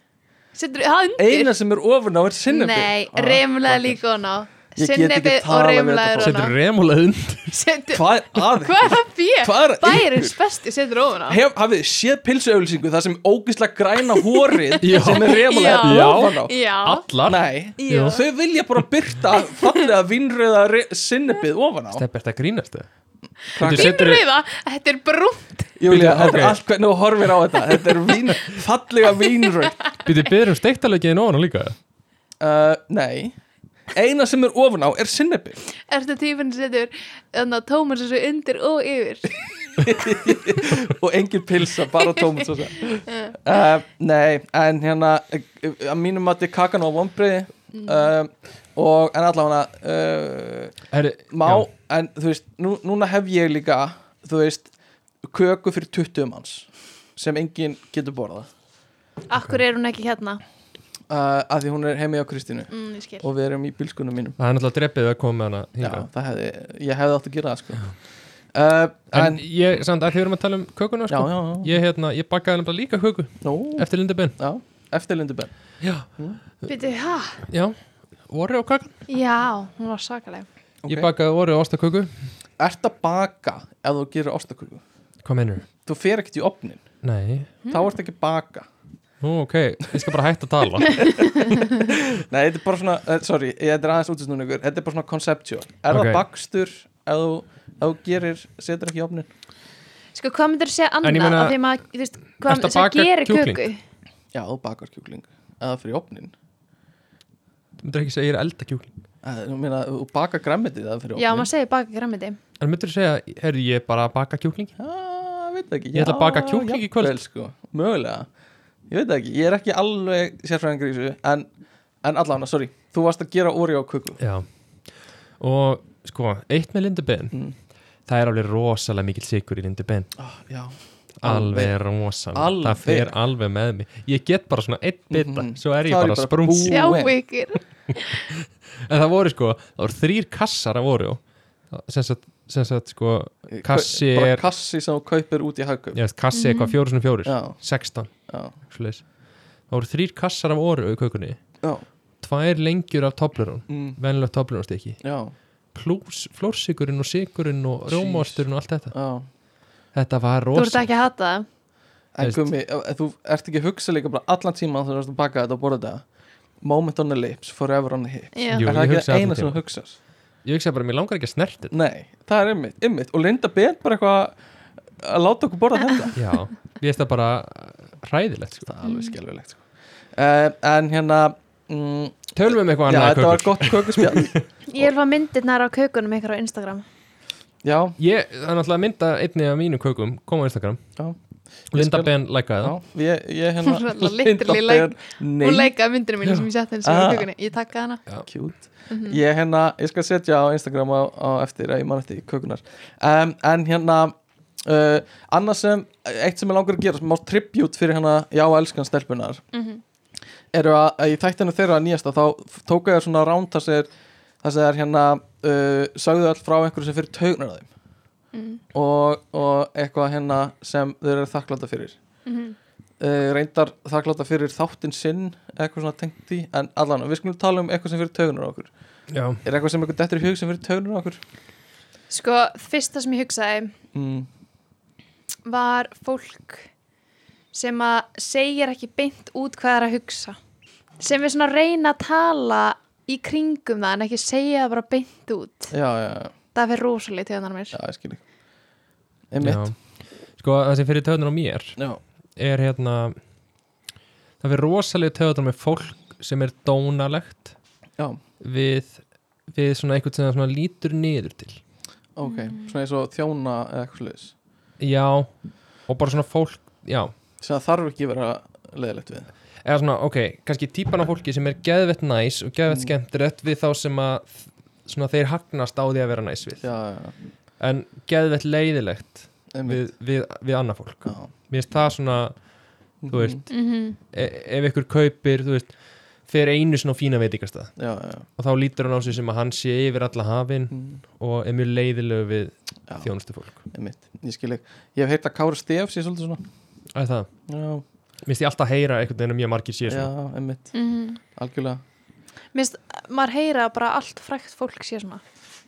S4: Setur það undir?
S3: Eina sem er ofan á er sinnebið
S4: Nei,
S3: Ah,
S4: reymlaði
S3: ok.
S4: líka hana
S3: Ég get ekki
S4: Sinnebi og
S3: talað við
S4: reymlaði
S3: þetta
S2: setur
S4: hana
S2: remulað undir
S4: Setur,
S3: Hvað er að
S4: hvað er það fyrir?
S3: Hvað er að
S4: Bærins besti setur ofan á
S3: Hef, hafið þið séð pilsuauðlýsingu það sem ógislega græna hórið
S2: Já.
S3: sem er remulega
S4: Já.
S3: ofan á
S4: Já,
S2: Allar
S3: Nei,
S4: Jú.
S3: þau vilja bara byrta fallega vinnröða re- sinnebið ofan á
S2: Stefnir þetta grínast þau
S3: Krakkar-
S2: Þú setur-
S4: rauða, þetta er brúnt
S3: Júlia,
S2: Bíddu,
S3: þetta er
S2: ok.
S3: allt hvernig þú horfir á þetta Þetta er vín, fallega vínröð
S2: Býtu byrður um steiktalegin ofan á líka
S3: uh, Nei Eina sem er ofan á er sinnebi
S4: Ertu tífinn sem setur Þannig að Tómas þessu undir og yfir
S3: Og engin pilsa, bara tómut uh, Nei, en hérna eh, Að mínum mati kakan á vombriði uh, Og en allavega uh,
S2: Herri,
S3: Má,
S2: já.
S3: en þú veist nú, Núna hef ég líka, þú veist Köku fyrir 20 manns Sem enginn getur borðað
S4: Akkur er hún ekki hérna
S3: uh, Af því hún er heimi á Kristínu
S4: mm, Ég skil
S3: Og við erum í bílskunum mínum
S2: Það er náttúrulega dreppið að koma með hana
S3: Já,
S2: hingað.
S3: það hefði, ég hefði átt að gera það sko. uh,
S2: En
S3: En,
S2: ég, samt að því við erum að tala um kökuna
S3: já,
S2: sko.
S3: já, já
S2: Ég, hérna, ég bakaði nefnilega líka köku
S3: Nú,
S2: Eftir lindabenn
S3: já, eftirlindu Ben
S2: Já,
S4: Býtu, ha?
S2: já Orri á kakan
S4: Já, hún var sakaleg
S2: Ég bakaði orri á ástaköku
S3: Ert að baka ef þú gerir ostaköku
S2: Hvað mennur?
S3: Þú fer ekkert í opnin,
S2: Nei
S3: þá
S4: Hmm.
S3: ert ekki að baka
S2: Nú, ok, ég skal bara hætta að tala Er
S3: Nei, þetta er bara svona, uh, sorry, ég þetta er aðeins útist núna ykkur Þetta er bara svona conceptual Er
S2: Ok.
S3: það bakstur ef þú, ef þú gerir, setur ekki í opnin
S4: Sko, hvað myndir þú segja
S2: En
S4: annað
S2: ég meina,
S4: af því maður, þú veist, hvað
S2: ertu að
S4: sem
S2: baka
S4: gerir
S2: kjúkling?
S4: köku
S3: Já, þú bakar kjúkling eða fyrir opnin
S2: Myndur ekki segja ég er að elda kjúkling
S3: Eh, Þú meina, þú bakar græmmetið eða fyrir opnin
S4: Já, maður segir baka græmiti
S2: En myndur segja, herri, ég er bara að baka kjúkling
S3: Já, ég veit það ekki
S2: Ég ætla að
S3: Já,
S2: baka kjúkling í kvöld.
S3: jafnvel, sko. Mögulega, ég veit það ekki Ég er ekki alveg sérfræðingur í þessu En, en allan, sorry, þú varst að gera óri á kuku
S2: Já Og sko, eitt með lindabenn
S3: Mm.
S2: Það er alveg rosalega mikill sigur í lindabenn
S3: Ah, Já,
S2: Alveg rosalega
S3: Alveg.
S2: Það fer alveg með mig Ég get bara svona einn bita
S3: Mhm.
S2: Svo er ég
S3: Þá er
S2: bara,
S3: ég bara
S2: bara sprungs
S3: búin.
S4: Já,
S3: Jú, en.
S4: ykkur
S2: En það voru sko, það voru þrýr kassar af Oreo Það- sem sagt, sem sagt sko Kassi
S3: Bara
S2: er-
S3: kassi sem þú kaupir út í hagkaup
S2: ég veist, kassi eitthvað fjóru sinni fjórir
S3: Mhm. Já,
S2: 16,
S3: já,
S2: svoleiðis Það voru þrýr kassar af Oreo í kökunni
S3: já,
S2: Tvær lengjur af Toblerone,
S3: mm,
S2: venilegt Toblerone stikki
S3: já,
S2: Plús flórsykurinn og sykurinn og
S3: Jeez.
S2: rjómaosturinn og allt þetta
S3: já
S2: Þetta var
S4: Þú ert
S2: rosa
S4: ekki að hata það
S3: En
S2: Veist.
S3: gummi, ef- ef þú ert ekki að hugsa líka bara allan tíma þegar þú ert að baka þetta og borða þetta Moment on the lips, forever on the hips
S4: Já.
S2: Jú,
S3: Er það
S2: ég
S3: ekki
S2: hugsa
S3: það
S2: allan
S3: eina sem
S2: tímann.
S3: þú hugsar?
S2: Ég hugsa bara, mér langar ekki að snerti þetta
S3: Nei, það er ymmit, ymmit Og Linda Ben bara eitthvað að láta okkur borða þetta
S2: Já, ég veist það bara hræðilegt sko.
S3: það er alveg skelvilegt sko. uh, en Eh, hérna mm,
S2: Tölum við um eitthvað
S3: Já,
S2: annað
S3: þetta var gott kökuspjall
S4: Ég vil fá myndirnar af kökunum ykkur á Instagram
S3: Já,
S2: Ég, það er náttúrulega að mynda einni af mínum kökum, kom á Instagram
S3: Já.
S2: Linda
S3: Ég skal-
S2: Ben lækaði
S3: já,
S2: það
S3: ég, ég
S4: Hún er
S3: hérna
S4: alltaf literally like-
S3: Nei,
S4: Hún leikaði myndinu mínu sem ég sett henni sem
S3: Ah.
S4: ah. kökunni Ég takkaði hana Mhm,
S3: cute
S4: Mm.
S3: Ég hérna, ég skal setja á Instagram á, á eftir að ég man eftir kökunar um, En hérna uh, Annars sem, eitt sem ég langar að gera sem má tribute fyrir hérna Já, elskan stelpunar
S4: mhm,
S3: eru að, að í þættinu þeirra nýjasta þá f- tóku þér svona ránt þar sem þar sem þær hérna uh, sagðu all frá einhverju sem fyrir taugunar á þeim
S4: Mm.
S3: og, og eitthvað hérna sem þau eru þakklanda fyrir
S4: mhm.
S3: uh, reyndar þakklanda fyrir þáttinn sinn eitthvað svona tengt því en allan, við skulum tala um eitthvað sem fyrir taugunar á okkur
S2: Já,
S3: er eitthvað sem eitthvað dettur í hug sem fyrir taugunar á okkur
S4: Sko, fyrsta sem ég hugsaði
S3: mm.
S4: var fólk sem að segir ekki beint út hvað það er að hugsa sem við svona reyna að tala í kringum það en ekki segja það bara beint út
S3: já, já, já,
S4: það fyrir rosalega tegunar mér
S3: já, ég skil ekki einmitt,
S2: já. Sko, það sem fyrir töðunar á mér
S3: já,
S2: er hérna Það fyrir rosalega töðunar með fólk sem er dónalegt
S3: já.
S2: við, við svona einhvern sem það svona lítur niður til
S3: ok svona eins og þjóna eða eitthvað slags
S2: Já, og bara svona fólk, já
S3: sem það þarf ekki að vera leðilegt við
S2: eða svona, ok, kannski típan af fólki sem er geðvett næs og
S3: Mm.
S2: geðvett skemmtilegt við þá sem að svona, þeir hagnast á því að vera næs við
S3: já, já, já,
S2: en geðvett leiðilegt
S3: einmitt
S2: við, við, við annað fólk
S3: Já. Mhm.
S2: mér finnst það svona, þú veist
S4: mm -hmm.
S2: e ef ykkur kaupir, þú veist fer einu svona á fína veitingastað
S3: já, já,
S2: og þá lítur hann á sig sem að hann sé yfir alla hafin og er mjög leiðilegu við
S3: Já.
S2: þjónustu fólk
S3: einmitt, ég skil ekki ég hef heyrt að Kári Stef sé svolítið svona
S2: Það er það,
S3: já,
S2: mér finnst ég alltaf heyra einhvern veginn að mjög margir sé
S3: já,
S2: svona
S3: einmitt,
S4: Mm -hmm.
S3: algjörlega
S4: Mist, maður heyra að bara allt frækt fólk sé svona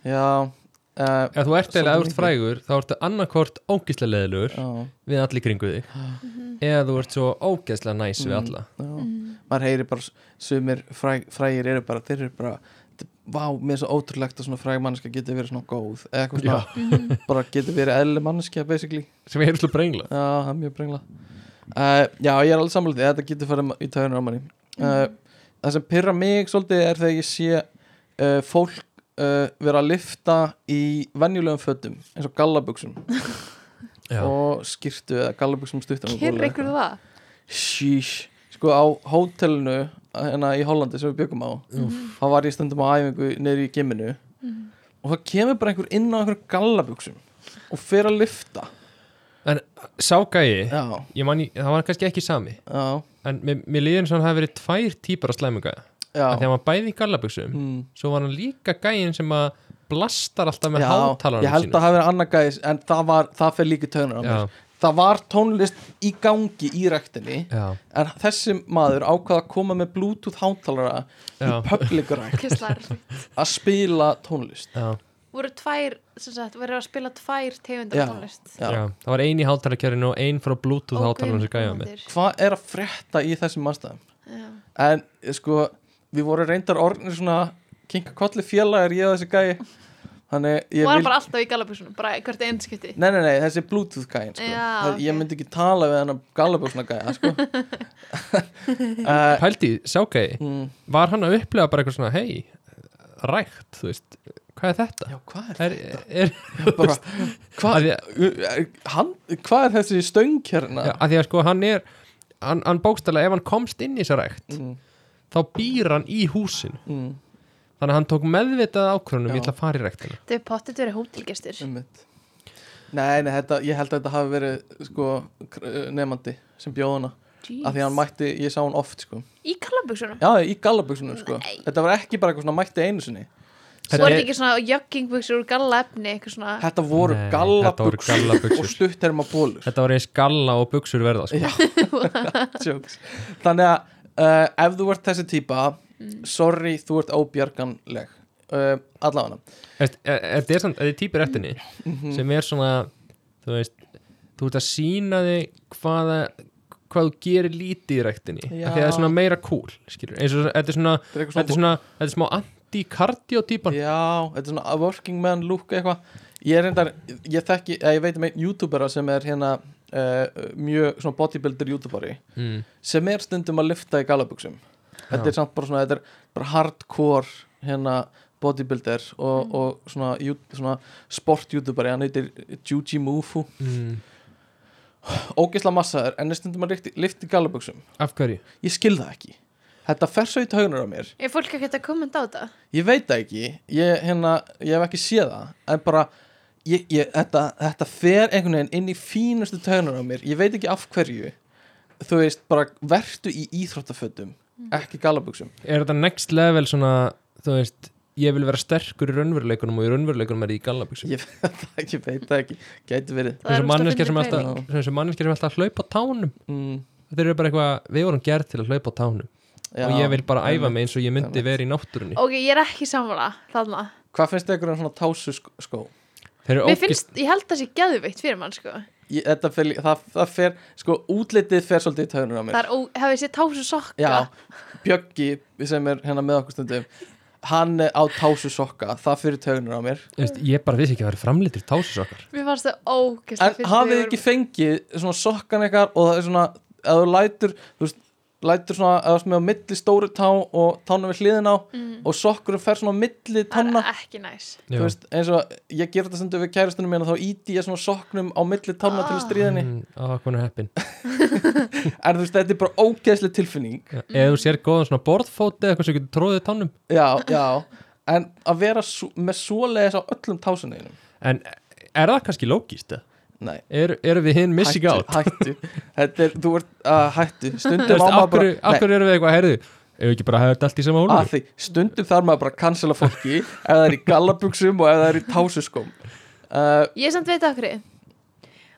S3: já, uh,
S2: Ef þú ert
S3: Svolítið
S2: eða ef þú ert
S3: mikið.
S2: frægur, þá ertu annarkort ógislega leiðilegur
S3: já,
S2: við allir kringu þig eða þú ert svo ógeðslega næs við
S3: Mm.
S2: alla
S3: já maður heyri bara, s- sumir fræ, frægir eru bara, þeir eru bara d- vá, mér er svo ótrúlegt að svona fræg mannskja geti verið svona góð, eða eitthvað
S2: Já.
S3: svona
S4: Mhm.
S3: bara geti verið eðli mannskja, basically
S2: sem er slúið brengla
S3: já, það er mjög brengla uh, já, ég er alveg samlega því, þetta getur farið ma- í tæðunar á manni uh,
S2: Mm.
S3: það sem pyrra mig svolítið er þegar ég sé uh, fólk uh, vera að lifta í venjulegum fötum eins og gallabuxum
S2: já,
S3: og skýrtu eða gallabuxum stuttan
S4: Kyrra ykkur það
S3: Sheesh. sko á hótelinu hérna í Hollandi sem við byggum á þá var ég stundum á æfingu neyri í giminu
S4: Mhm,
S3: og það kemur bara einhver inn á einhver gallabuxum og fer að lifta
S2: ságægi
S3: já,
S2: ég man, ég- það var kannski ekki sami
S3: já,
S2: en mér, mér líður eins og hann hafi verið tvær típar af slæmunga
S3: já
S2: þegar hann var bæði í gallabuxum
S3: Mm.
S2: svo var hann líka gægin sem að blastar alltaf með
S3: Já, ég
S2: hátalarnum
S3: held að það hafi verið annað gæðis en það, var, það fer líka tönar á
S2: Já.
S3: mér það var tónlist í gangi í ræktinni
S2: já,
S3: en þessi maður ákvað að koma með bluetooth hátalara í
S2: Já.
S3: public rækt
S4: Kistlar.
S3: að spila tónlist
S2: já,
S4: voru tvær, sem sagt, voru að spila tvær tegundar
S3: Já.
S4: tónlist
S2: já.
S3: Já.
S2: það var ein í hátalarkjörinu og ein frá bluetooth
S4: Ó,
S2: okay, hátalarnum sem gæja með
S4: guðmundur.
S3: hvað er að frétta í þessum aðstæðum
S4: Já.
S3: en eh, sko við vorum reyndar orðnir svona kinka kolli félagar ég og þessi gæi þannig ég
S4: og var
S3: vil
S4: vil... bara alltaf í galabúsunum bara hvert einskipti
S3: nei, nei, nei, þessi bluetooth gæin sko.
S4: Já,
S3: Það- ég
S4: ok.
S3: myndi ekki tala við hennar gallabjóksna gæja sko. uh,
S2: pældi, ságægi,
S3: mm,
S2: var hann að upplega bara eitthvað svona, hei, rækt þú veist, hvað er þetta?
S3: já, hvað er
S2: Er, er,
S3: bara, hva,
S2: Að
S3: hann, hvað er þessi stöng hérna?
S2: Já, að því að sko hann er hann, hann bókstælega ef hann komst inn í þessa rækt
S3: Mm,
S2: þá býr hann í húsin
S3: mm,
S2: þannig að hann tók meðvitað ákvörunum
S3: Já.
S2: ég ætla að fara í ræktina
S4: þau pottit verið hótelgestur
S3: einmitt. Nei, nei þetta, ég held að þetta hafi verið sko, kr- nefandi sem bjóðuna
S4: Jeez.
S3: af því að hann mætti, ég sá hann oft sko.
S4: í galabúsunum
S3: Já, í gallabuksunum sko. Þetta var ekki bara eitthvað svona mætti einu sinni
S4: Svo er
S2: Þetta er-
S4: þetta ekki svona joggingbuxur úr galla efni, eitthvað svona
S3: Þetta voru
S2: Nei, þetta voru
S3: gallabuxur
S2: gallabuxur.
S3: og stutterma bólur
S2: þetta var eins galla og buksur verða sko.
S3: sko, Jokes. Þannig að uh, ef þú ert þessi típa sorry, þú ert óbjörganleg uh, allavega
S2: Veist, e- e- þetta er samt, þetta er típur eftinni
S3: Mhm.
S2: sem er svona þú veist, þú ert að sína þig hvaða, hvað þú gerir lítið í ræktinni,
S3: Já.
S2: af því að það er svona meira cool skilur, eins og þetta er svona
S3: Þetta er eitthvað
S2: þetta er svona, þetta er smá anti-cardio típan
S3: Já, þetta er svona a working man look eitthvað Ég er reyndar, ég þekki, eða ég veit um einn youtubera sem er hérna uh, mjög svona bodybuilder youtuberi
S2: mm.
S3: sem er stundum að lifta í gallabuxum þetta
S2: Já.
S3: er samt bara svona, þetta er bara hardcore hérna bodybuilder og, og svona, jú- svona sport-youtuberi, hann heitir Juji Mufu,
S2: mm.
S3: ógisla massaður en er stundum að lyfti, lyfti galaböksum
S2: Af hverju?
S3: ég skil það ekki, þetta fer svo í taugunar á mér,
S4: Er fólk ekkert að kommenta á þetta?
S3: ég veit það ekki ég, hérna, ég hef ekki séð það en bara, ég, ég, þetta, þetta fer einhvern veginn inn í fínustu taugunar á mér, ég veit ekki af hverju þú veist, bara vertu í íþróttafötum ekki galaböksum
S2: Er þetta next level svona, þú veist ég vil vera sterkur í raunveruleikunum og í raunveruleikunum er ég í gallabuxum
S3: ég veit það ekki, veit það ekki, gæti verið
S4: Það
S2: þessu
S4: er
S2: manneskja sem,
S4: óslega
S2: alltaf-
S3: fyndin
S2: þessi manneskja sem alltaf hlaupa á tánum
S3: mm,
S2: þeir eru bara eitthvað, við vorum gerð til að hlaupa á tánum
S3: já,
S2: og ég vil bara æfa
S3: einmitt.
S2: mig eins og ég myndi
S3: einmitt.
S2: vera í náttúrunni
S4: Ok, ég er ekki sammála þarna.
S3: hvað finnst þið ykkur um svona tásu sk- skó
S2: þeir
S4: Mér
S2: eru ógist,
S4: finnst, ég held það sé geðveikt fyrir mann, sko.
S3: ég, þetta fer, lí- það, það fer, sko útlitið fer svolítið í taugunum á mér
S4: Það er, ó, hefur séð tásu sokka.
S3: Já, Bjöggi sem er hérna með okkur stundum hann er á tásu sokka, það fyrir taugunum á mér
S2: veist, ég bara vissi ekki að það eru framlítir tásusokkar
S4: Mér fannst það ógæslega
S3: en hafið þið ekki fengið svona sokkan eitthvað og það er svona að þú lætur, þú veist lætur svona, að þú veist með á milli stóru tá og tánum við hliðin á og sokkurum fer svona á milli
S4: Mm. Það
S3: tanna
S4: er ekki næs.
S3: þú veist, eins og ég ger þetta stundum við kærastunum minna þá íti ég svona sokknum á milli tanna til að stríðinni
S2: Mm, á konar heppin
S3: en þú veist, þetta er bara ógeðslega tilfinning
S2: Já, eða þú sér góðan svona borðfót eða eitthvað sem getur tróðið tánum
S3: já, já en að vera svo, með svoleiðis á öllum tásuneinum
S2: en er það kannski lógist?
S3: nei,
S2: Er, eru við hinn missing
S3: hættu,
S2: out?
S3: hættu þetta er, þú ert að hættu
S2: Þú
S3: stundum
S2: veist,
S3: á
S2: af
S3: maður
S2: hverju, af
S3: nei,
S2: hverju eru við eitthvað, heyrðu ef við ekki bara hefði þetta allt í sama
S3: að
S2: hólum
S3: því, stundum þarf maður bara að cancela fólki ef það er í gallabuxum og ef það er í tásuskóm uh,
S4: Ég samt veit okkur.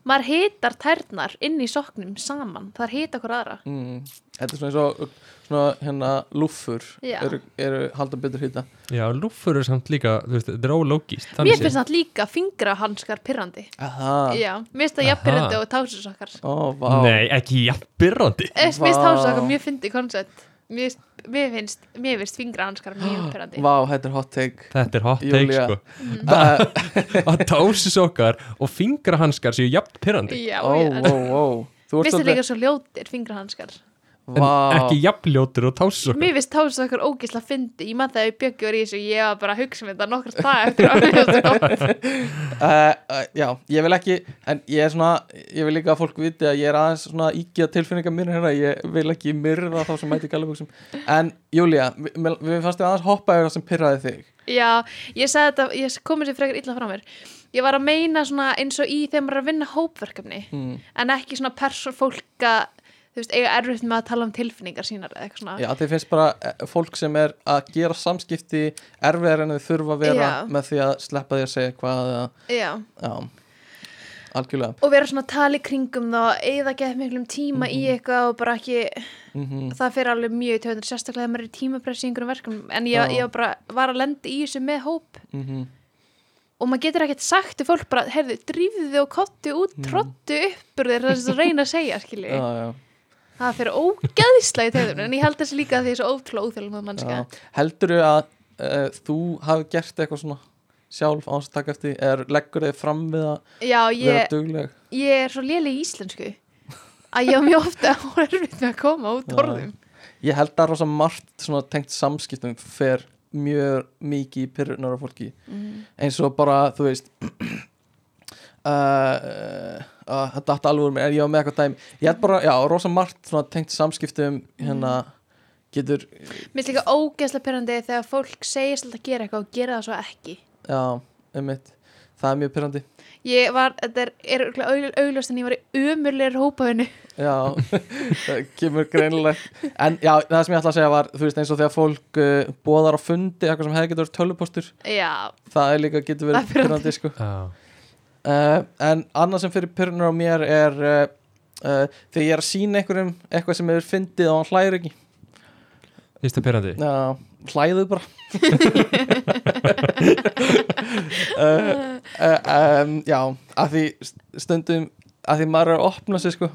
S4: Maður hitar tærnar inn í sokknum saman. Það er hita okkur aðra.
S3: mm, þetta er svona eins og svona hérna lúffur
S4: Já.
S3: eru, eru halda betur hýta
S2: Já, lúffur er samt líka, þú veist, þetta er ólógist
S4: Mér finnst það líka fingrahanskar pirrandi.
S3: aha,
S4: Já, mér finnst það
S2: Aha.
S4: jafnpirrandi og tásusokkar.
S3: ó, vá
S2: Nei, ekki jafnbyrrandi
S4: Mér finnst
S3: Vá.
S4: tásusokkar mjög fyndi koncept. Mér finnst- mér finnst, mér finnst fingrahanskar mjög pirrandi.
S3: vá, þetta er hot take
S2: Þetta er hot take,
S3: Júlía.
S2: sko
S3: uh,
S2: Að tásusokkar og fingrahanskar séu jafnbyrrandi
S4: Já,
S3: ó,
S4: ég
S3: ó, ó þú
S4: Mér finnst það
S3: ert svolítið
S4: líka svo ljótir fingrahanskar
S2: En ekki jafnljótur og tásusokkar
S4: Mér finnst tásu okkur ógisla fyndi Ég man það að ég bjöggi var í þessu Ég var bara að hugsa mér þetta nokkra dag eftir að mér finnst það gott.
S3: Uh, uh, já, ég vil ekki en ég er svona, ég vil líka að fólk viti að ég er aðeins svona íkja tilfinninga mér hérna, ég vil ekki myrða þá sem mæti gallaböksum, en Júlia við, við fannst við aðeins hoppa yfir það sem pyrraði þig
S4: Já, ég sagði þetta Ég komið sér frekar illa frá mér Ég var að meina svona eins og í þegar maður er að vinna hópverkefni
S3: mm.
S4: En ekki svona persón fólk að Þú veist, eiga erfitt með að tala um tilfinningar sínar eða eitthvað svona
S3: Já, þið finnst bara eh, fólk sem er að gera samskipti erfiðar en þau þurfa að vera
S4: Já.
S3: með því að sleppa því að segja hvað eða,
S4: Já.
S3: já, algjörlega
S4: Og vera svona að tala í kringum þá Eða geða miklum tíma í
S3: Hmm.
S4: eitthvað og bara ekki
S3: mm
S4: það fyrir alveg mjög í tjóðunir sérstaklega þegar maður er í tímapressi í einhverjum verkefnum en ég,
S3: Já.
S4: ég var bara var að lenda í þessu með hóp
S3: -hmm.
S4: og maður getur ekkert sagt til fólk bara heyrðu, drífðu þið og kottu út, trottu upp úr þér það er svo að reyna að segja, skilji
S3: Mm. Já, já
S4: það fyrir ógeðislega í tjóðunir en ég held þessi líka að því ég er svo ótrúlega óþjóðlega mannska
S3: Já. Heldurðu að uh, þú hafi gert eitthvað svona sjálf án þess að taka eftir eða leggur þig fram við að
S4: já,
S3: vera
S4: ég,
S3: dugleg
S4: ég er svo léleg í íslensku að ég á mjög ofta og erfitt með að koma út
S3: Já.
S4: orðum
S3: Ég held að rosa margt svona tengt samskiptum fer mjög mikið í pyrrunar á fólki eins og bara, þú veist uh, uh, þetta datt alveg úr mér, en ég var með eitthvað dæmi ég held bara, já, rosa margt svona tengt samskiptum hérna
S4: Mm.
S3: getur,
S4: mér er líka ógeðslega pyrrandi þegar fólk segist alltaf að gera eitthvað og gera það svo ekki
S3: já, um mitt það er mjög pyrrandi
S4: ég var, þetta er, er auðlust en ég var í ömurleir hópaðinu
S3: Já, það kemur greinilegt En já, það sem ég ætla að segja var Þú veist eins og þegar fólk uh, bóðar á fundi Eitthvað sem hefði getur verið tölvupostur
S4: já,
S3: Það er líka getur verið
S4: Það er pirrandi.
S3: pyrrandi sko.
S2: Já,
S3: uh, En annað sem fyrir pyrrunar á mér er uh, uh, Þegar ég er að sína einhverjum Eitthvað sem hefur fyndið og hann hlæðir ekki
S2: finnst það pyrrandi
S3: Já, hlæðu bara uh, uh, um, Já, að því stundum Að því maður er að opna sig sko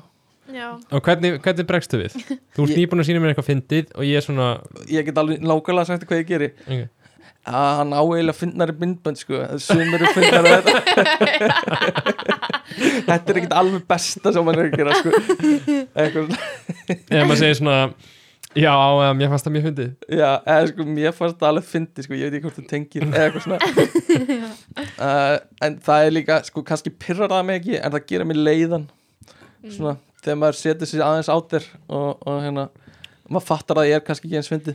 S4: já
S2: Og hvernig, hvernig bregstu við? Þú ert
S3: Ég-
S2: nýbúin að sína mér eitthvað fyndið og ég er svona
S3: Ég get alveg nákvæmlega sagt hvað ég geri
S2: okay.
S3: að hann á eiginlega fyndnari myndbönd sko, sum eru fyndnari en þetta þetta er ekkert alveg besta sem hann er að gera sko. eitthvað svona
S2: Ef maður segir svona Já, um, mér fannst það mjög fyndið
S3: Já, eða sko, mér fannst það alveg fyndi sko, ég veit ekki hvort þú tengir eða eitthvað svona uh, En það er líka, sko, kannski pyrrar það mig ekki en það gera mig leiðan
S4: Mm.
S3: svona, þegar maður setur sér aðeins á þér og, og hérna, maður fattar að ég er kannski ekki eins fyndi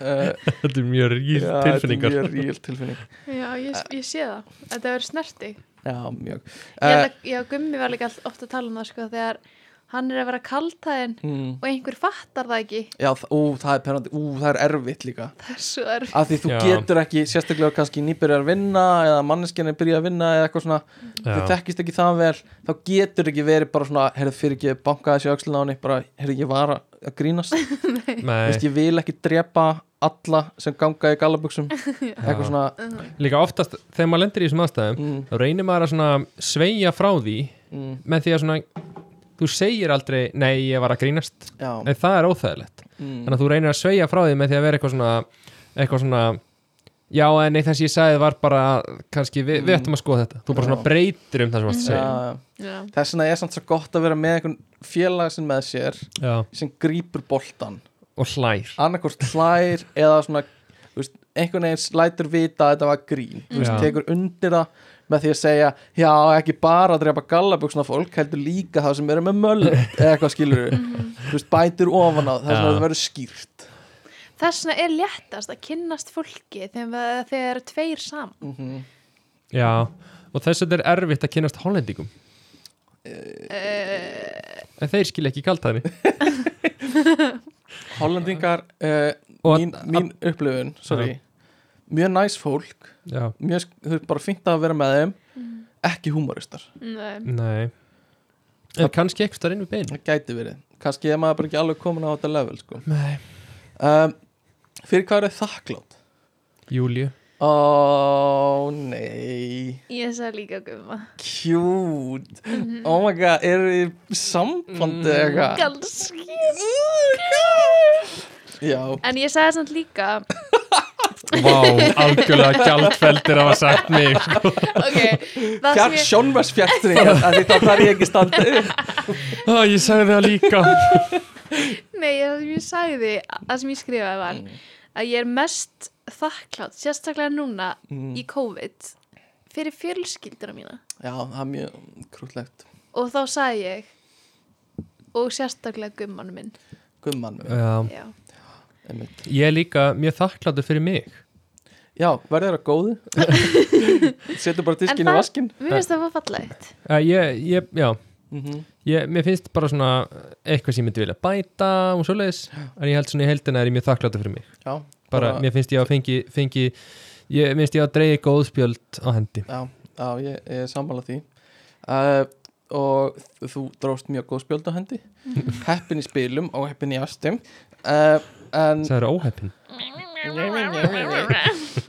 S3: uh,
S2: Þetta er mjög ríð tilfinningar
S3: Mjög ríl tilfinning
S4: Já, ég, ég sé það. Þetta verður snerting.
S3: Já, mjög
S4: Ég held
S3: uh,
S4: að, já, Gummi var líka all- oft að tala um það, sko, þegar hann er að vera kaltæðin
S3: mm,
S4: og einhver fattar það ekki.
S3: Já, þa- ú, það er penandi, ú, það er erfitt líka
S4: Það er svo erf.
S3: af því þú
S2: Já.
S3: getur ekki, sérstaklega kannski nýbyrjar að vinna eða manneskjarnir byrja að vinna eða eitthvað svona þú
S2: Já,
S3: þekkist ekki það vel þá getur ekki verið bara svona heyrðu fyrir ekki bankaði þessi öxlun á henni bara heyrðu ég var að- að grínast Vist,
S2: nei,
S3: ég vil ekki drepa alla sem ganga í gallabuxum eitthvað
S2: Já. Uh.
S3: svona
S2: líka oftast þegar maður lendir í þessum aðstæðum
S3: mm,
S2: þá reynir maður að svona sveigja frá því
S3: mm,
S2: með því að svona þú segir aldrei, nei, ég var að grínast
S3: já,
S2: en það er óþægilegt
S3: mm,
S2: þannig að þú reynir að sveigja frá því með því að vera eitthvað svona eitthvað svona já, en nei, þess ég sagði var bara kannski, við, við
S3: Mm.
S2: ættum að skoða þetta þú bara
S3: Já.
S2: svona breytir um það sem varst að
S3: já,
S2: segja
S3: já.
S4: Já.
S3: þess vegna er samt svo gott að vera með einhvern félagsin með sér
S2: já.
S3: sem grípur boltan
S2: og hlær
S3: annarkvort hlær eða svona þú veist, einhvern veginn lætur vita að þetta var grín Þú veist,
S2: Já.
S3: tekur undir það með því að segja já ekki bara að drepa gallabuxna fólk heldur líka það sem eru með möll eða eitthvað skilur veist, bætir ofan á það þess að
S2: Mhm. Já.
S3: það verður skýrt
S4: Þess vegna er léttast að kynnast fólki þegar þeir eru tveir saman.
S3: mm
S2: já. og þess að þetta er erfitt að kynast hollendingum
S4: Eh,
S2: en þeir skilja ekki kalt þaðni
S3: Hollendingar, uh,
S2: Og-
S3: mín, mín upplifun sorry,
S2: Já.
S3: mjög næs fólk
S2: já,
S3: mjög, þau er bara fínt að vera með þeim ekki húmoristar,
S4: Nei.
S2: nei en kannski eitthvað starf inn við bein
S3: það gæti verið kannski er maður bara ekki alveg komin á þetta level sko.
S2: nei,
S3: um, fyrir hvað eru þakklátt?
S2: Júliu
S3: Ó, nei
S4: Ég sagði líka Gumma.
S3: Cute Oh my god, eru þið í sambandi eða eitthvað?
S4: Ganski.
S3: Já,
S4: En ég sagði samt líka,
S2: Vá, algjörlega gjaldfeldir hafa sagt mig sko.
S4: ok, það sem
S3: fjart,
S4: ég...
S3: sjónvers fjartring Því þá þarf ég ekki standa upp.
S2: ah, Ég sagði það líka
S4: Nei, það sem ég sagði, það sem ég skrifaði var að ég er mest þakklátt, sérstaklega núna
S3: Mm.
S4: í COVID, fyrir fjölskylduna mína.
S3: Já, það er mjög krútlegt
S4: Og þá sagði ég, og sérstaklega gummanum minn.
S3: Gumman minn,
S2: Já,
S4: Já.
S3: einmitt.
S2: Ég er líka mjög þakkláttur fyrir mig
S3: Já, verður það góðu Setur bara
S4: En
S3: diskinn í
S4: það-
S3: vaskinn
S4: Mér finnst það var fallegt.
S2: uh, ég, ég, Já,
S3: mm
S2: ég, mér finnst bara svona eitthvað sem ég myndi vilja bæta og svoleiðis, en ég held svona í heldina er ég mjög þakkláttur fyrir mig
S3: Já,
S2: bara, mér finnst ég að fengi, fengi ég mér finnst ég að dreigi góðspjöld á hendi
S3: Já, já ég, ég er sammála því uh, og þú dróst mjög góð spjöld á hendi heppin í spilum og heppin í ástum uh, en
S2: Það eru óheppin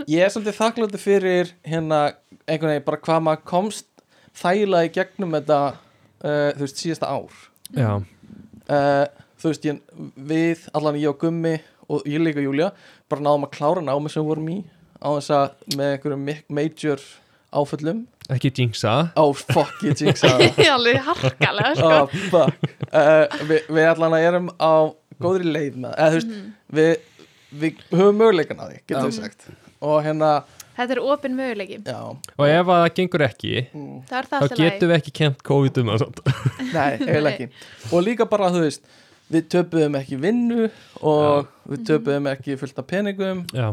S3: ég er svolítið þakkláttur fyrir hérna einhvern veginn bara hvað maður komst þægilega í gegnum þetta uh, þú veist síðasta ár
S2: Já,
S3: uh, þú veist ég, við allan ég og Gummi og ég líka Júlia bara náðum að klára námi sem við vorum í á þess að með einhverjum mi- major áföllum
S2: ekki jinxa
S3: á oh, fuck ég jinxaði
S4: Ég
S3: það.
S4: er alveg harkalega, sko.
S3: oh, fuck uh, vi, Við allan að erum á góðri leið með eða, þú veist, við, við höfum möguleikan að því, getum við sagt og hérna,
S4: Þetta er opin möguleiki.
S3: já
S2: og ef að það gengur ekki
S4: Það er það
S2: þá
S4: alltaf
S2: getum við ekki kent COVID um það samt.
S3: Nei, eiginlega ekki Og líka bara, þú veist, við töpuðum ekki vinnu og við töpuðum ekki fullt af peningum
S2: Já,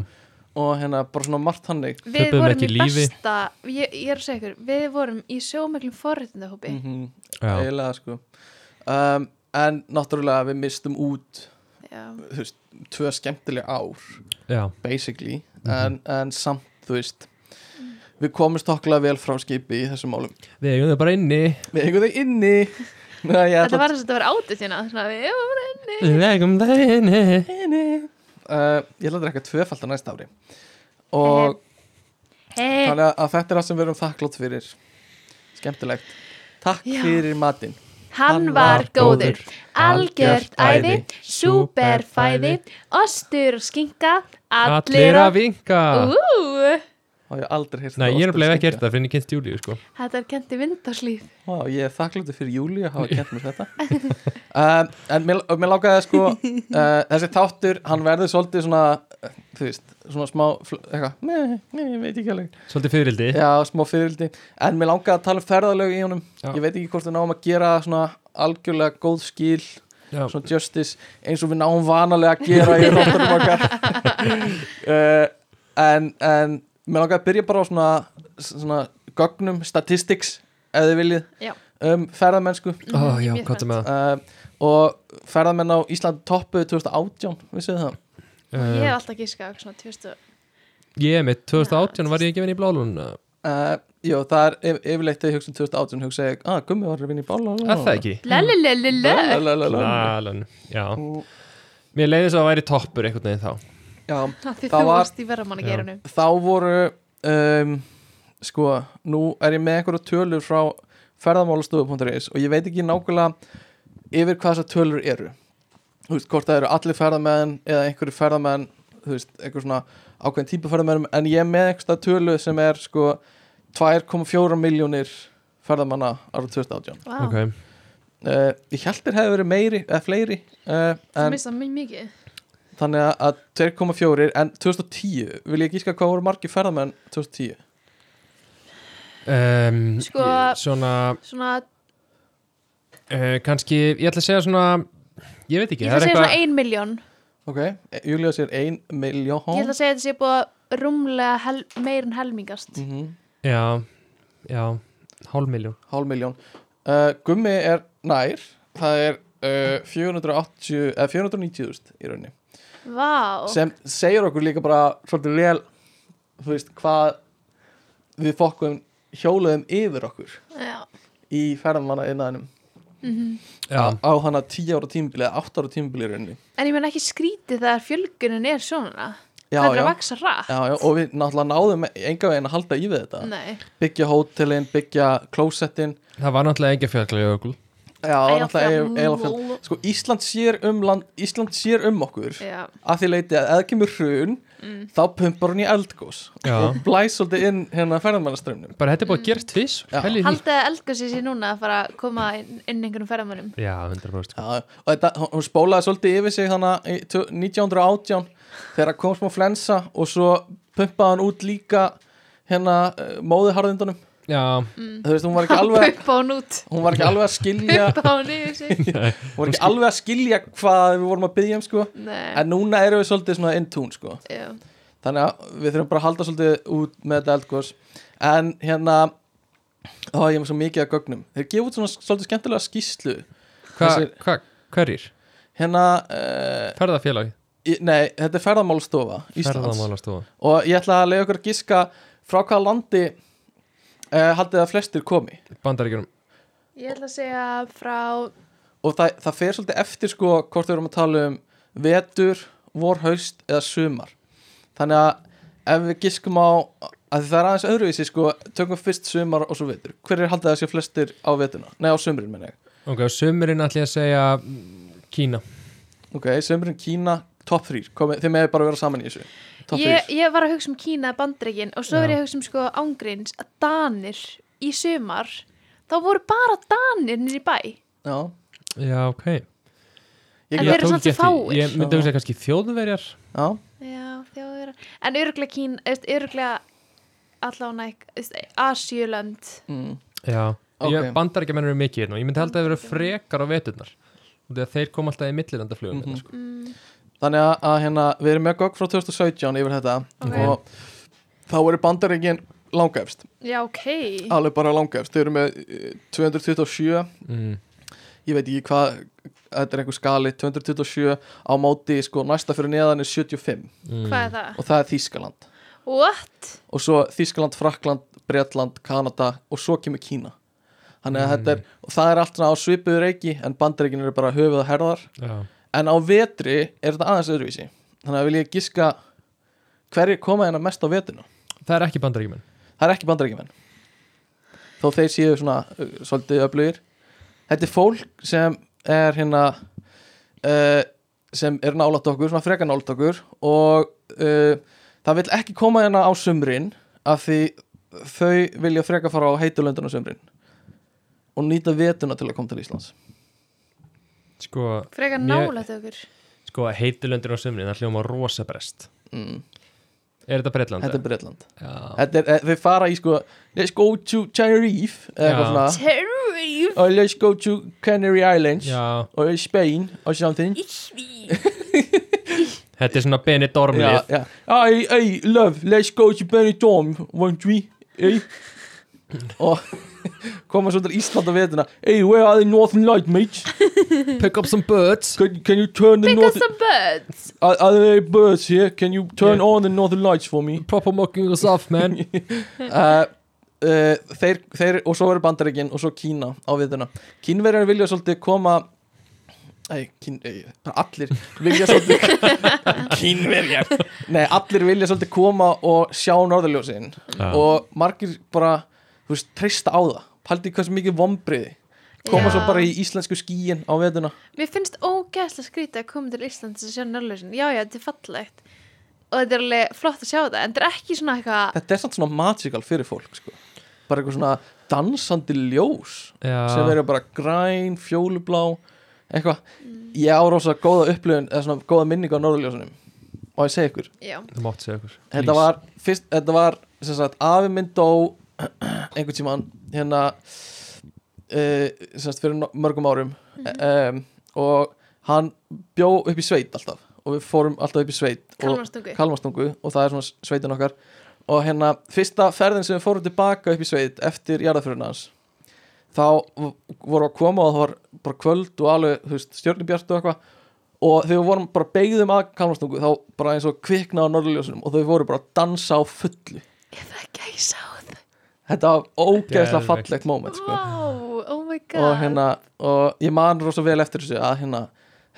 S3: og hérna, bara svona margt hannig
S4: Við
S2: töpuðum
S4: vorum
S2: ekki
S4: í
S2: lífi.
S4: besta, ég, ég er að segja ykkur, við vorum í sjómeglum forréttindahópi.
S2: Mhm.
S3: mm -hmm.
S2: já,
S3: eiginlega, sko um, En náttúrulega við mistum út
S4: Já.
S3: þú veist, tvö skemmtileg ár
S2: já,
S3: basically
S2: Mhm.
S3: en, en samt, þú veist við komumst okkulega vel frá skipi í þessum málum
S2: við eigum það bara inni
S3: við eigum þau inni Næ,
S4: Þetta
S3: ég ætla
S4: var eins og þetta var átið þína, svona við vorum inni.
S2: við eigum það inni
S3: um inni uh, ég ætla að drekka tvöfald á næsta ári og
S4: Eh, Hey.
S3: þannig að þetta er það sem við erum þakklátt fyrir skemmtilegt takk
S4: Já.
S3: fyrir matinn
S4: Hann var góður, algjört æði, superfæði, ostur og skinka, allir að
S2: vinka
S4: Ú,
S3: og ég hef aldrei heyrt
S2: Nei, ég er nefnilega ekki hert það fyrir en ég kynst Júlíu sko.
S4: Þetta er kent í vindarslíf.
S3: Vá, ég er þakkláttur fyrir Júli að hafa kent mér þetta um, En mér, og mér lákaði sko uh, Þessi þáttur, hann verður svolítið svona uh, Þú veist, svona smá fl- Eitthvað, nei, nei, ég veit ekki alveg
S2: Svolítið fyririldi
S3: Já, smá fyririldi En mér langaði að tala um ferðalög í honum
S2: Já.
S3: Ég veit ekki hvort við náum að gera svona algjörlega góð skil
S2: Já.
S3: Svona justice eins og við náum vanalega að gera í róttanum okkar uh, En, en Mér langaði að byrja bara á svona, svona Gögnum, statistics Ef þið viljið
S4: Já.
S3: um ferðamennsku
S2: Ó, já,
S4: Mjög
S2: hvað er með
S3: uh, og ferðamenn á Ísland toppuðu 2018, vissið þið það?
S2: það?
S4: Ég hef
S2: Uh,
S4: alltaf gískað á svona 2000.
S2: Ég mitt, 2018 var ég ekki venni í blálun
S3: Uh, jú, það er yf yfirleitt þegar ég hugsa um 2018 hugsa ég, að ah, gummi var að vinna í bála
S2: Er það ekki?
S3: Hmm.
S4: Lelelelele.
S3: ekki?
S2: Blálun, já Mér leiði svo að væri toppur einhvern veginn þá
S3: Já,
S4: Því þú
S3: Það var-
S4: varst í verðamannageirinum.
S3: þá voru um, sko, nú er ég með einhverja tölur frá ferðamálastofu.is og ég veit ekki nákvæmlega yfir hvað þessar tölur eru þú veist, hvort það eru allir ferðamenn eða einhverju ferðamenn þú veist, einhver svona ákveðin típa ferðamenn en ég er með einhverja tölu sem er sko 2,4 miljónir ferðamanna ára 2018
S4: Vá,
S2: okay.
S3: uh, ég held þér hefði verið meiri eða fleiri uh,
S4: þú
S3: en
S4: mistað mjög mikið.
S3: þannig að 2,4 en 2010, vil ég gíska hvað voru margir ferðamenn 2010
S2: um,
S4: Sko-
S2: Svona,
S4: Svona,
S2: uh, kannski Ég ætla að segja svona Ég veit ekki,
S4: ég ætla að
S2: það er
S4: segja svona
S2: eitthvað
S4: 1 miljón.
S3: Ok, Júlia sér ein miljón
S4: Ég ætla að segja að þetta sé búið að rúmlega hel, meir en helmingast.
S3: mm -hmm.
S2: Já, já, hálfmiljón
S3: Hálf miljón uh, Gummi er nær Það er uh, 480 eða 490.000 í rauninni
S4: Vá.
S3: sem segir okkur líka bara svolítið vel þú veist hvað við fokkum hjóluðum yfir okkur
S4: Já. Mhm.
S3: í ferðamanna innaðinum
S2: Já,
S3: á hana 10 ára tímbili eða 8 ára tímbili í rauninni
S4: En ég menn ekki skrítið þegar fjölgunin er svona.
S3: Já,
S4: það er
S3: já.
S4: að vaksa rætt.
S3: Já, já, og við náttúrulega náðum enga veginn að halda í við þetta
S4: Nei.
S3: byggja hótelin, byggja klósettin
S2: það var náttúrulega ekki að fjalla jökul
S3: Já, náttúrulega
S4: Eyjafjall-
S3: eiginlega Sko, Ísland sér um, land, Ísland sér um okkur
S4: Já.
S3: að því leiti að eða kemur hrun þá pumpar hún í eldgós
S2: Já.
S3: og blæs svolítið inn hérna ferðarmannaströmmnum
S2: Bara þetta er búið að gera tvís
S3: Já.
S4: Haldið að eldgössi sé núna að fara að koma inn, inn einhvernum ferðamönnum.
S2: Já, 100% sko.
S3: og þetta, hún- hún spólaði svolítið yfir sig þannig í tö- 1918 þegar kom smá flensa og svo pumpaði hann út líka hérna móðuharðindunum
S4: Mm.
S2: Já,
S3: þú veist, hún var ekki alveg
S4: Pumpa hún út.
S3: hún var ekki alveg að skilja
S4: Pumpa hún yfir sig.
S3: hún var ekki alveg að skilja hvað við vorum að byggja um sko
S4: Nei.
S3: en núna erum við svolítið svona in tune sko
S4: Já.
S3: þannig að við þurfum bara að halda svolítið út með þetta eldgós en hérna þá er ég með svo mikið að gögnum þeir gefa út svona svolítið skemmtilega skýslu
S2: hvað,
S3: Þessi-
S2: hvað, hverjir?
S3: hérna, uh,
S2: Ferðafélag,
S3: nei, þetta er ferðamálstofa Íslands
S2: ferðamálastofa
S3: og ég ætla að leiða okkur að giska frá hvaða landi uh, haldið að flestir komi
S2: Bandaríkjum,
S4: Ég ætla að segja frá...
S3: og það, það fer svolítið eftir sko hvort við erum að tala um vetur, vor, haust eða sumar þannig að ef við giskum á að það er aðeins öðruvísi sko tökum við fyrst sumar og svo vetur hver er haldið að sé flestir á vetuna? Nei á sumrin menn ég
S2: ok, sömurinn ætla ég að segja mm, Kína
S3: ok, sumrin Kína, top 3 Komi, þið meði bara vera saman í þessu top 3
S4: Ég, ég var að hugsa um Kína, bandreikin og svo
S2: Já.
S4: verið ég að hugsa um sko ángríns að Danir í sumar þá voru bara Danir nýri bæ.
S3: já,
S2: Já, ok
S3: Ég-
S4: en
S2: Ég
S4: þeir eru
S2: tók
S4: samt
S2: ekki
S4: svo
S2: eftir-
S4: fáir.
S2: Ég myndi að segja kannski þjóðverjar
S3: já,
S4: Já, þjóðverðar. En öruglega Kín, öruglega allan ekki, Asjölönd.
S3: mm,
S2: Já,
S3: Ok.
S2: okay. bandaríkjum eru mikið hérna og Ég myndi halda að það eru frekar á veturnar Þegar þeir kom alltaf í millilandaflugum
S3: Mhm.
S2: mm sko.
S3: þannig að, að hérna, við erum með gogg frá 2017 yfir þetta
S4: Ok.
S3: og þá eru bandaríkin langæfst,
S4: Já, ok.
S3: alveg bara langæfst þau eru með eh, 227
S2: mm.
S3: ég veit ekki hvað þetta er einhver skali, 227 á móti sko næsta fyrir neðan er 75
S2: mm.
S4: Hvað er það?
S3: og það er Þískaland
S4: What?
S3: og svo Þískaland, Frakland, Bretland, Kanada og svo kemur Kína þannig að þetta er, og það er allt svona á svipuðu reiki en bandaríkin eru bara höfuð að herðar
S2: Já,
S3: en á vetri er þetta aðeins öðruvísi þannig að vil ég giska hverju koma hérna mest á vetrinu
S2: það er ekki bandaríkjum
S3: það er ekki bandaríkjumenn þó þeir séu svona uh, svolítið öflugir þetta er fólk sem er hérna uh, sem er nálat okkur, svona frekar nálat okkur og uh, það vil ekki koma hérna á sumrin af því þau vilja freka fara á heitulöndun á sömrin og nýta vetuna til að koma til Íslands
S2: Sko,
S4: Frekar
S2: Mér-
S4: nálægt okkur
S2: sko heitilöndur á sömrin, það hljóma rosa brest
S3: mm.
S2: Er þetta Bretland?
S3: Þetta er Bretland
S2: Já,
S3: þetta er, Þau fara í sko Let's go to Tenerife eða
S2: Já.
S3: eitthvað svona
S1: Terry
S3: or let's go to Canary Islands
S2: já
S3: or Spain or something
S2: Þetta er svona Benidorm
S3: yeah,
S2: lið
S3: yeah. I, I love, let's go to Benidorm won't we hey. og koma svo til Ísland á vetuna hey, where are the northern light mates
S2: Pick up some birds
S3: can, can you turn the
S1: Pick up
S3: northern
S1: some birds
S3: are, are there any birds here can you turn
S2: Yeah.
S3: on the northern lights for me
S2: Proper mocking us off, man
S3: uh, uh, þeir, þeir og svo eru bandaríkin og svo Kína á viðuna Kínverjar vilja svolítið koma Æ, kín, æ, allir vilja svolítið Kínverjar Nei, allir vilja svolítið koma og sjá norðurljósin
S2: Já.
S3: og margir bara, þú veist, treysta á það Paldið hversu mikið vombriði koma
S4: Já.
S3: svo bara í íslensku skíin á viðuna
S4: Mér finnst ógæslega skrítið að koma til Íslands og sjá nörlösin. Já, já, þetta er fallegt. Og þetta er alveg flott að sjá þetta, en þetta er ekki svona eitthvað,
S3: Þetta er samt svona magical fyrir fólk sko. bara eitthvað svona dansandi ljós sem
S2: Já,
S3: eru bara græn, fjólublá eitthvað, ég á rosa góða upplifun eða svona góða minningu á norðurljósunum og ég segi ykkur,
S4: já,
S2: það mátt segja ykkur
S3: þetta var, fyrst, þetta var sem sagt, afi minn dó einhvern tímann hérna uh, sem sagt, fyrir no- mörgum árum um, og hann bjó upp í sveit alltaf og við fórum alltaf upp í sveit og,
S4: kalmarstungu.
S3: Kalmarstungu og það er svona sveitin okkar og hérna fyrsta ferðin sem við fórum tilbaka upp í sveit eftir jarðaföruna hans þá v- vorum við að koma og það var bara kvöld og alveg þú veist, stjörnubjart og eitthvað og þegar við vorum bara beigðum að Kalmarstungu þá bara eins og kvikna á norðurljósunum og þau voru bara að dansa á fullu
S4: Ég það gæsa á það.
S3: þetta var ógeðslega
S2: Geðveikt.
S3: fallegt moment sko.
S4: Vá, oh my god.
S3: og hérna og ég man rosa vel eftir þessu að hérna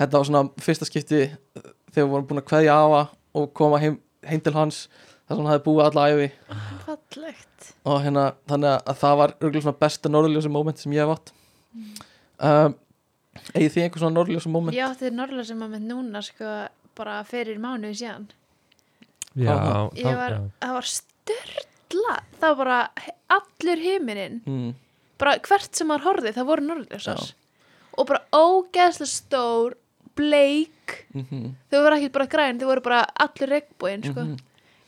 S3: þetta var svona fyrsta skipti uh, þegar við vorum búin að kveðja afa og koma heim, heim til hans þar sem hann hafði búið alla æfi
S4: Fallegt.
S3: og hérna þannig að það var örgulega svona besta norðljósa moment sem ég hef átt um, eigið þið einhver svona norðljósa moment?
S4: Mm. Ég átti nörlösin moment núna, sko, bara fyrir mánuði síðan.
S2: Já,
S3: Aha.
S2: það-
S4: Ég var,
S2: já.
S4: það var störla, það var bara he- allur himininn,
S3: Mm,
S4: bara hvert sem maður horfið, það voru nörlösar.
S3: Já.
S4: Og bara ógæslega stór, bleik,
S3: mm
S4: þau voru ekki bara græn, þau voru bara allir regnbúinn sko.
S3: Mhm.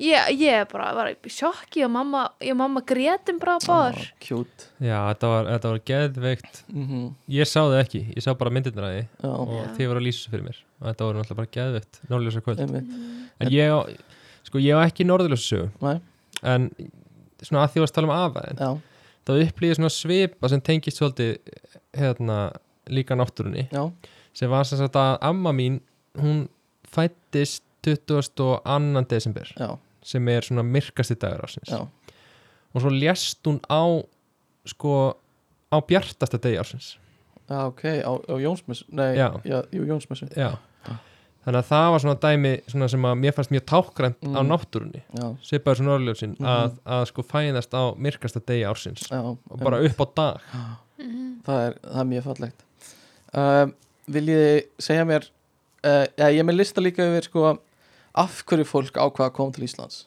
S4: ég, ég bara var í sjokki og mamma, ég og mamma grétum bara bár
S3: Ah,
S4: oh.
S3: cute
S2: já, þetta var, þetta var geðveikt
S3: mm
S2: Ég sá það ekki, ég sá bara myndirnar að því
S3: já,
S2: og þið voru að lýsa þessu fyrir mér og þetta voru náttúrulega bara geðveikt, norðljósa kvöld
S3: einmitt
S4: Mm.
S2: en ég á, sko ég á ekki norðljósa sög
S3: Nei,
S2: en svona að því varst að tala um afaðin
S3: já,
S2: þá upplýði svona svipa sem tengist svolítið hérna líka náttúrunni
S3: já,
S2: sem var sem sagt að amma mín hún fættist 22. desember
S3: já,
S2: sem er svona myrkasti dagur ásins
S3: já,
S2: og svo lést hún á sko á bjartasta degi ásins
S3: já, ok, á, á Jónsmessu, nei,
S2: Já.
S3: já, jú, Jónsmessu,
S2: já þannig að það var svona dæmi svona sem að mér fannst mjög tákrænt
S3: Mm.
S2: á náttúrunni
S3: já,
S2: svipaður svona orðljósin
S3: Mhm.
S2: að, að sko fæðast á myrkasta degi ársins
S3: já,
S2: og bara upp á dag
S3: það er, það er mjög fallegt um, Viljið þið segja mér uh, já, ég er með lista líka yfir sko, af hverju fólk ákvað að koma til Íslands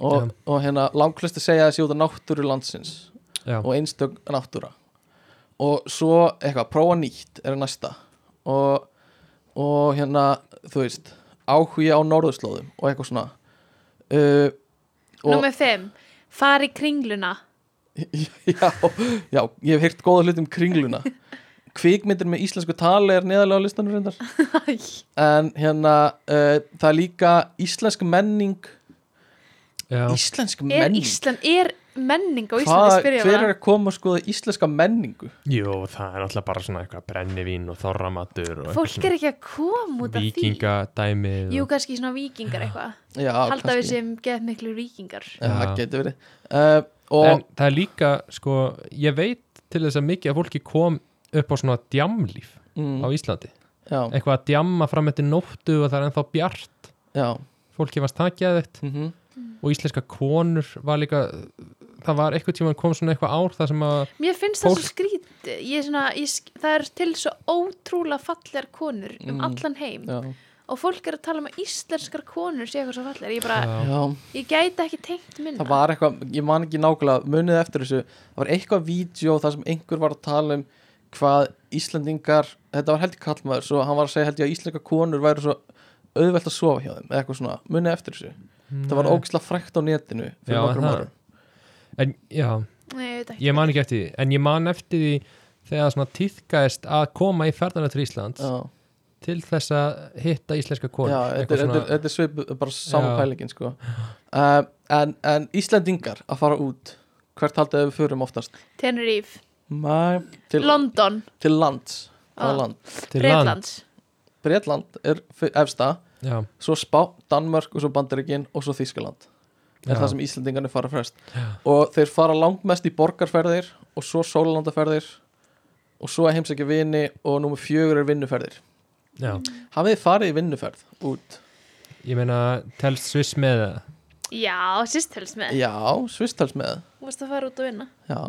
S3: og,
S2: Já.
S3: og hérna langklust að segja þessi út af náttúru landsins
S2: já,
S3: og einstök náttúra og svo eitthvað, prófa nýtt er næsta og, og hérna, þú veist áhugi á norðurslóðum og eitthvað svona uh, og,
S4: nummer 5, fari kringluna
S3: já, já, ég hef heyrt góða hluti um kringluna kvikmyndir með íslensku tali er neðalega á listanum reyndar
S4: Æ.
S3: en hérna, uh, það er líka íslensk menning
S2: já.
S3: íslensk
S4: er
S3: menning
S4: Ísland, er menning á Íslandi
S3: Hvað,
S4: spyrja
S3: hver er
S4: það
S3: að koma að skoða íslenska menningu
S2: Jú, það er alltaf bara svona eitthvað brennivín og þorramatur og
S4: fólk er ekki að koma út af því
S2: vikingadæmi
S4: jú, kannski svona vikingar eitthvað
S3: já,
S4: halda við
S3: kannski.
S4: sem geð miklu vikingar
S3: Já,
S2: Já.
S3: það getur verið uh, og
S2: en það er líka, sko ég veit til þess að mikið að fólki kom upp á svona djamlíf á
S3: mm,
S2: Íslandi,
S3: já,
S2: eitthvað að djamma fram eftir nóttu og það er ennþá bjart
S3: já
S2: fólki varst það geðveikt
S3: mm
S2: og íslenska konur var líka það var eitthvað tíma kom svona eitthvað ár það sem að
S4: mér finnst það
S2: Fólk-
S4: svo skrítið ég er svona, ég, sk- það er til svo ótrúlega fallegar konur um
S3: Mm.
S4: allan heim
S3: já,
S4: og fólk er að tala um að íslenskar konur sé eitthvað svo fallir ég, bara,
S2: Já.
S3: Já,
S4: ég gæti ekki tengt minna
S3: það var eitthvað, ég man ekki nákvæmlega munið eftir þessu, það var eitthvað vídeo þar sem einhver var að tala um hvað Íslandingar, þetta var heldur kallmaður svo hann var að segja heldur að Íslandingar konur væri svo auðvelt að sofa hjá þeim eða eitthvað svona, munið eftir þessu það var ógislega frækt á netinu fyrir
S2: Mm. Já,
S3: nokkrum
S2: það.
S3: árum
S2: En já,
S4: Nei, ég veit ekki.
S2: ég man ekki eftir því En ég man eftir því þegar svona týðkaðist að koma í ferðana til Íslands
S3: Já,
S2: til þess að hitta íslenska konur
S3: já þetta,
S2: Eitthvað
S3: er, þetta, er,
S2: svona-
S3: þetta er svip bara saman
S2: Já.
S3: pælingin sko uh, en, en Íslandingar að fara út hvert haldið við förum oftast
S4: Tenerife,
S3: Mæ, til,
S4: London,
S3: til lands
S4: Ah.
S3: hvaða land?
S2: til land.
S4: Breitlands
S3: Bretland er fyr- efsta
S2: Já,
S3: svo Spá, Danmörk og svo Bandaríkin og svo Þískaland er
S2: Já.
S3: það sem Íslandingarnir fara frest og þeir fara langmest í borgarferðir og svo sólalandaferðir og svo að heimsækja vini og númer fjögur er vinnuferðir
S2: já,
S3: hafið þið farið í vinnuferð út?
S2: ég meina telst sviss með það
S4: Já, sýst helst með
S3: Já, svistals með
S4: Þú varst að fara út og vinna
S3: Já,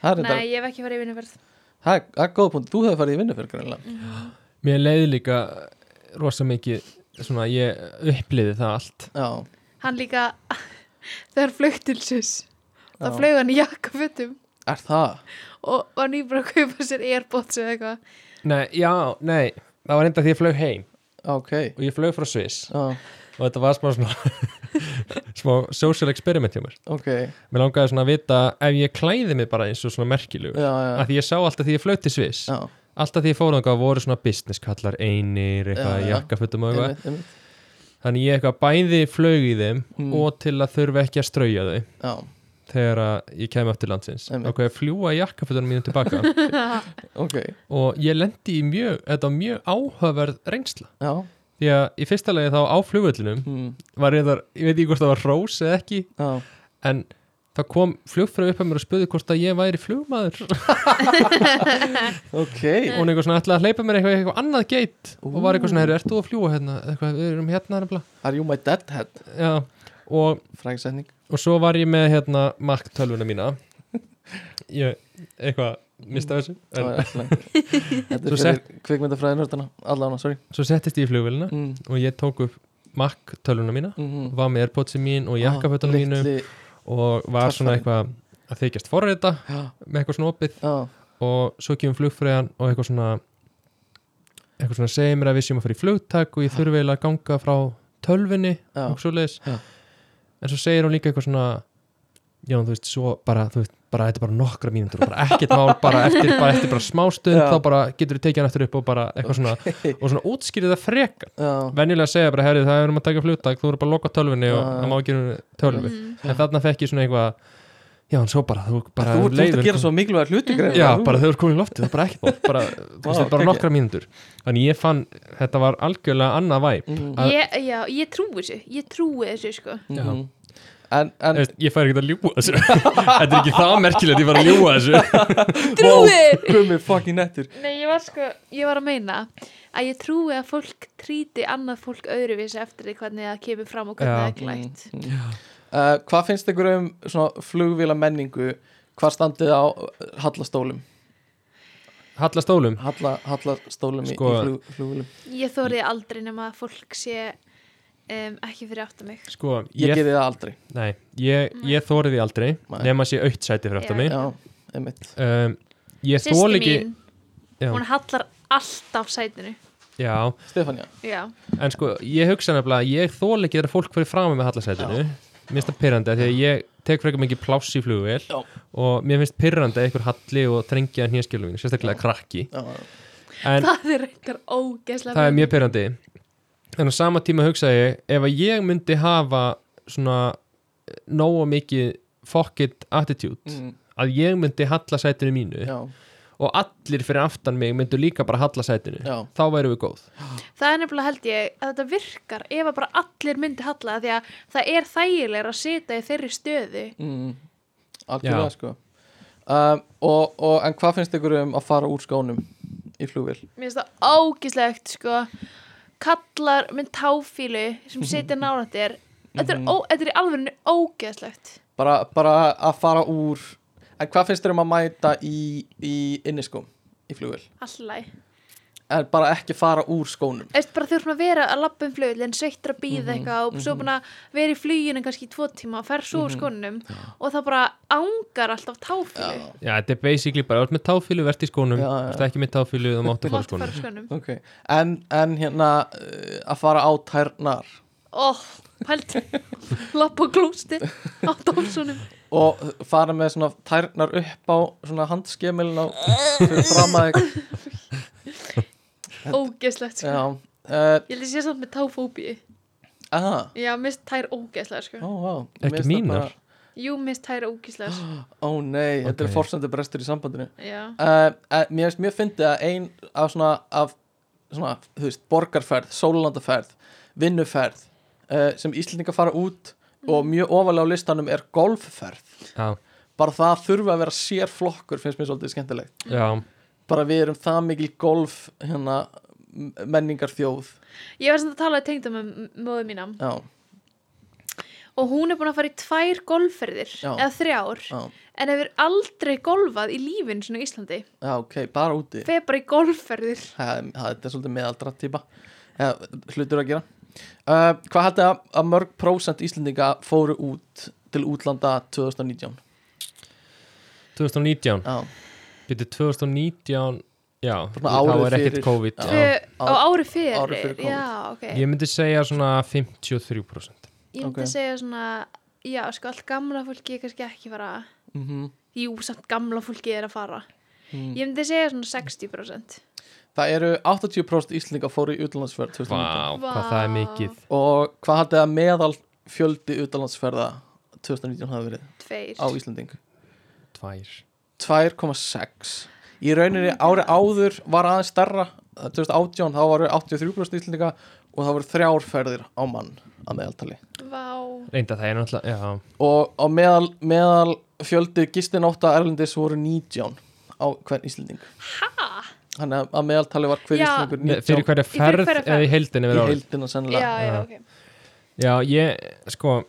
S3: það er,
S4: Nei,
S3: þetta,
S4: ég hef ekki farið í vinnuferð
S3: það er, það er góð punkt þú hefur farið í vinnuferð greinlega
S2: Mér leiði líka rosa mikið svona ég uppliði það allt
S3: Já,
S4: Hann líka, þegar flög til sýs
S3: Já.
S4: Það flög hann í jakkafutum
S3: er það?
S4: og var nýbúin að kaupa sér airpods eða eitthvað
S2: Nei, já, nei, það var enda því ég flög heim
S3: Ok Já,
S2: og ég flög frá Sviss og þetta var smá svona smá social experiment hjá mér
S3: ok
S2: Mér langaði svona að vita ef ég klæði mig bara eins og svona merkilegur
S3: Já, já,
S2: að því ég sá alltaf því ég flög til Sviss
S3: já
S2: alltaf því ég fór þangað voru svona business kallar einir, eitthvað
S3: Já, já.
S2: jakkafutum og eitthvað
S3: einmitt, einmitt.
S2: þannig ég eitthvað bæði flög í þeim
S3: Mm.
S2: og til að þurfa ekki að strauja þau
S3: Já,
S2: þegar að ég kemur aftur landsins
S3: Einmitt.
S2: ákveði að fljúa jakkafutunum mínum tilbaka
S3: ok
S2: og ég lendi í mjög, þetta var mjög áhugaverð reynsla
S3: Já,
S2: því að í fyrsta lagi þá á flugvöllunum
S3: mm,
S2: var reyndar, ég veit ekki hvort það var rós eða ekki
S3: já
S2: en það kom flugfröð upp að mér og spöði hvort að ég væri flugmaður og
S3: Ok,
S2: hún eitthvað svona ætlaði að hleypa mér eitthvað, eitthvað annað geit og var eitthvað svona, "Heyrðu, ert þú að fljúa hérna eitthvað, við erum hérna nefnilega
S3: are you my deadhead?
S2: Já, og,
S3: Frægsetning
S2: og svo var ég með hérna Mac 12 mína ég eitthvað mista þessu
S3: Það
S2: en,
S3: var allt í lagi. Þetta
S2: Svo
S3: er fyrir kvikmyndafræðinörðana Allána, sorry
S2: settist ég í flugvélina
S3: mm,
S2: og ég tók upp Mac 12 mína
S3: mm -hmm.
S2: var með airpodsin mín
S3: Ah,
S2: og jakkafötunum mínum og var svona
S3: Töffarinn.
S2: eitthvað að þykjast forrita
S3: Já,
S2: með eitthvað svona opið
S3: já,
S2: og svo kemur flugfræðan og eitthvað svona eitthvað svona segir mér að við séum að fara í flugtak og ég þurfi eiginlega að ganga frá tölvinni
S3: já
S2: og svo leiðis
S3: Já.
S2: en svo segir hún líka eitthvað svona já þú veist svo bara þú veist bara þetta er bara nokkra mínútur og bara ekkert mál bara eftir bara, eftir bara smástund
S3: Já.
S2: þá bara getur þú tekið hann eftir upp og bara eitthvað svona og svona útskýrið það freka
S3: Já,
S2: venjulega segja bara, herrið, það erum að taka flugtak þú eru bara að loka tölvinni og
S3: Já, já.
S2: það má ekki vera tölvi en þarna fekk ég svona eitthvað já, en svo bara, þú bara
S3: þú ert út að
S2: leifir-
S3: gera svo mikilvæg hluti greið
S2: já, bara þau eru komin í loftið, það er bara ekkert mál, bara, þú veist, þetta er
S3: geggjað.
S2: bara nokkra mínútur þannig ég fann, þetta var algjörlega annað væp
S3: mm,
S2: Að-
S4: ég, Já, ég trúi þessu, ég trúi þessu sko
S2: Já.
S3: mm. En, en
S2: Þú veist, ég fær ekkert að ljúa þessu þetta er ekki það merkilegt, ég fær að ljúa þessu
S4: Trúi!
S3: Gumi fucking nettur
S4: Nei, ég var sko, ég var að meina að ég trúi að fólk tríti annað fólk öðruvísi eftir því hvernig það kemur fram og hvernig
S2: Já.
S4: það er glætt.
S3: uh, Hvað finnst ykkur um svona flugvila menningu Hvað standið á uh, hallastólum
S2: halla stólum
S3: Halla, Hallastólum í,
S2: Sko-
S3: í flug, flugvilum
S4: Ég þóriði aldrei nema að fólk sé um, ekki fyrir átt að mig.
S2: sko,
S3: Ég
S2: ég,
S3: gerði það aldrei
S2: nei, ég, ég þóri því aldrei
S3: Nei.
S2: nema sé aukt sæti fyrir aftur
S4: Já.
S2: mig
S3: Já, einmitt
S2: um, ég
S4: Sýsti
S2: þóli ekki
S4: mín,
S2: Já.
S4: hún hallar alltaf sætinu.
S2: já,
S3: Stefania
S4: Já,
S2: En sko, ég hugsa nefnilega að ég þóla ekki þegar fólk fyrir fram með hallasætinu Mér finnst það pyrrandi að því að ég tek frekar mikið pláss í flugvél
S3: Já.
S2: og mér finnst pyrrandi að einhver halli og þrengja hnýskjölu mínu, sérstaklega krakki
S3: Já,
S2: En
S4: það er reyndar ógeðslega
S2: það er
S4: fyndið.
S2: mjög pyrrandi En á sama tíma hugsa ég, ef að ég myndi hafa svona eh, nógu mikið fuck it attitude
S3: mm,
S2: að ég myndi halla sætinu mínu
S3: já,
S2: og allir fyrir aftan mig myndu líka bara halla sætinu
S3: Já.
S2: þá væru við góð
S4: Það er nefnilega held ég að þetta virkar ef að bara allir myndi halla því að það er þægilegur að sita í þeirri stöðu.
S3: mm,
S2: Já.
S3: Algjörlega sko um, og, og, En hvað finnst ykkur um að fara úr skónum Í flugvél
S4: Mér finnst það ógeðslegt sko. Kallar með táfílu sem sitja náláttir. Þetta er,
S2: Mhm.
S4: ó, þetta er í alveg ógeðslegt.
S3: bara, bara að fara úr En hvað finnst ykkur um að mæta í, í inniskóm Í flugvél
S4: Alltaf.
S3: en bara ekki fara úr skónum
S4: Eftir bara þurfum að vera að labba um flugulinn, sveittur að
S3: Mhm,
S4: býða eitthvað og svo búin að vera í fluginu kannski í tvo tíma og fer
S3: Mhm,
S4: svo úr skónum og það bara ángar alltaf táfílu.
S3: Já,
S2: Já, þetta er basically bara, þú ert með táfílu, verðt í skónum
S3: Já, já.
S2: Þetta ekki með táfílu, þú máttu
S4: Þú
S2: fara
S4: mátt
S2: í skónum
S4: fara úr skónum.
S3: ok en, en hérna uh, að fara á tærnar
S4: Ó, pældi, labba og glústi á dósunum.
S3: og fara með svona tærnar upp á svona handskemilin á fyrir fram að
S4: Ógeðslegt, sko.
S3: já, uh,
S4: Ég held að ég sé samt með táfóbíu.
S3: aha
S4: Já, mist tær ógeðslega sko.
S3: ó, vá,
S2: Ekki
S3: mér finnst það
S2: mínar?
S3: bara-
S4: Jú, mist tær ógeðslega sko.
S3: ó nei, þetta
S2: Ok.
S3: er forsendur brestur í sambandinu
S4: Já.
S3: uh, uh, mér finnst mjög fyndið að ein af svona, af svona þú veist, borgarferð, sólulandaferð vinnuferð uh, sem Íslendingar fara út og mjög ofalega á listanum er golfferð
S2: Já,
S3: bara það að þurfa að vera sér flokkur finnst mér svolítið skemmtilegt
S2: já,
S3: bara við erum það mikil golf hérna, menningar þjóð
S4: Ég var sem að tala í tengdum með móðu mína
S3: já,
S4: og hún er búin að fara í tvær golfferðir
S3: Já.
S4: eða þrjár
S3: já,
S4: en hefur aldrei golfað í lífin svona í Íslandi.
S3: já, ok, bara úti
S4: Feð bara í golfferðir.
S3: það það- þetta er svolítið meðaldra típa eða, hlutur að gera uh, hvað haldið að, að mörg prósent Íslendinga fóru út til útlanda 2019
S2: 2019
S3: já
S2: Býttu 2019, já
S3: Svona
S2: Þá
S3: árið
S2: er ekkert
S3: fyrir.
S2: COVID
S4: Tvö,
S2: já.
S4: á ári fyrir.
S3: ári fyrir Covid.
S4: Já, ok.
S2: Ég myndi segja svona 53%
S4: Ég myndi
S3: ok.
S4: segja svona, já, sko, allt gamla fólki er kannski ekki fara.
S3: mm
S4: Jú, samt gamla fólki er að fara.
S3: Mm.
S4: Ég myndi segja svona 60%.
S3: Það eru 80% Íslendinga fóru í utlandsferð 2019
S2: Vá, hvað það er mikið
S3: og hvað haldið að meðal fjöldi utlandsferða 2019 hafi verið
S4: Tveir.
S3: á Íslending?
S2: Tvær
S3: 2,6 Í rauninni ári áður var aðeins starra 2018 þá varu 83% Íslendinga og það voru þrjár ferðir á mann að meðaltali
S4: Vá.
S2: Reynda það er náttúrulega, já
S3: og á meðal, meðal fjöldi gistinótta erlendis voru 19 á hvern Íslending Hæ? Þannig að- að meðaltali var hver
S4: Já.
S3: Íslendingur
S2: Ne- Fyrir
S3: 19
S2: hverja
S4: Í fyrir
S2: ferð
S4: hverja
S2: eða í
S4: ferð.
S2: heildinni
S3: í
S2: verið árið
S3: heildina
S4: Já,
S3: sennilega
S4: já,
S2: Já.
S4: ok.
S2: Já, ég, sko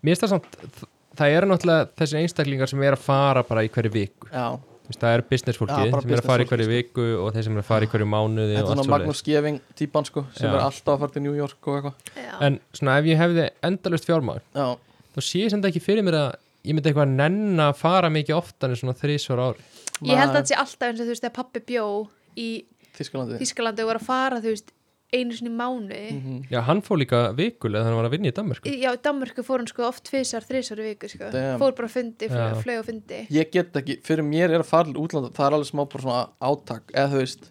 S2: Mér finnst það samt, þ- það eru náttúrulega þessi einstaklingar sem er að fara bara í hverju viku
S3: Já.
S2: Þú veist, Það eru businessfólki
S3: Já, bara
S2: sem er að fara í
S3: businessfólkið,
S2: hverju viku og þeir sem er að fara í hverju
S3: Þetta
S2: mánuði og
S3: er
S2: allt
S3: svona
S2: svo
S3: Magnús Geving típan sko sem
S2: Já.
S3: er alltaf að fara til New York og eitthvað
S4: Já.
S2: En svona ef ég hefði endalust fjármál
S3: Já,
S2: þá sé ég sem þetta ekki fyrir mér að ég myndi eitthvað nenn að fara mikið oftar en svona þrísvar ári
S4: Ég held að þetta sé alltaf eins og þú veist þegar pappi bjó í
S3: Þískalandi
S4: Þískalandi og var að fara þú veist einu sinni í mánu
S3: Mm.
S2: Já, hann fór líka vikulega þannig að hann var að vinna í Danmarku
S4: Já, í Danmörku fór hann sko oft tvisar, þrisar í viku sko
S3: Damn.
S4: Fór bara á fundi, flög,
S2: Já.
S4: flög á fundi
S3: Ég get ekki, fyrir mér er að fara til útlanda það er alveg smá bara svona átak eða þú veist,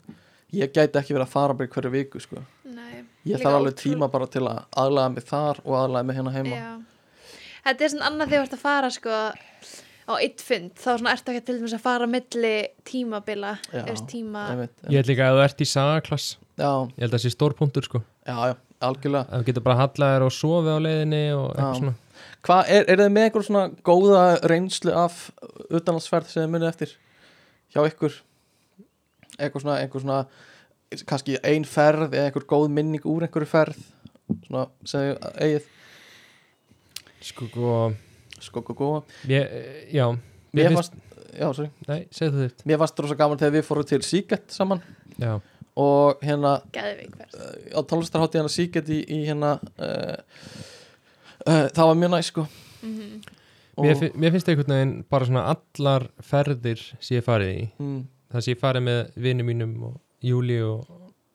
S3: ég gæti ekki verið að fara bara í hverju viku sko,
S4: Nei,
S3: ég
S4: líka
S3: þarf alveg
S4: ótrú-
S3: tíma bara til að aðlaga mig þar og aðlaga mig hérna heima
S4: Já. Þetta er svona annað þegar þú ert að fara sko á eitt fund þá svona ertu ekki til dæmis að fara á milli tímabila
S3: Já,
S4: eða tíma
S3: einmitt,
S2: Ég held líka að þú ert í sagaklass
S3: Já,
S2: ég held að það sé stórpunktur sko
S3: já, já, algjörlega
S2: að þú getur bara hallað þér og sofi á leiðinni og eitthvað
S3: Já.
S2: svona
S3: Hvað, er, er þið með einhver svona góða reynslu af utanlandsferð sem þið munið eftir hjá ykkur eitthvað svona, einhver svona kannski ein ferð eða einhver góð minning úr einhverju ferð svona sem þið eigið
S2: Sko, og
S3: sko, sko, sko
S2: ég, já
S3: Mér
S2: finnst-
S3: fannst, já, sorry
S2: Nei, segðu þú þitt
S3: Mér fannst rosa gaman þegar við fórum til Seagate saman
S2: Já,
S3: og hérna
S4: Geðveik verð
S3: eh, á tónlistarhátti hérna Seagate í, í hérna uh, uh, það var mjög næ sko og,
S2: mér, fin- mér finnst einhvern veginn bara svona allar ferðir sem ég hef farið í
S3: mm,
S2: það sem ég hef farið með vinum mínum og Júli og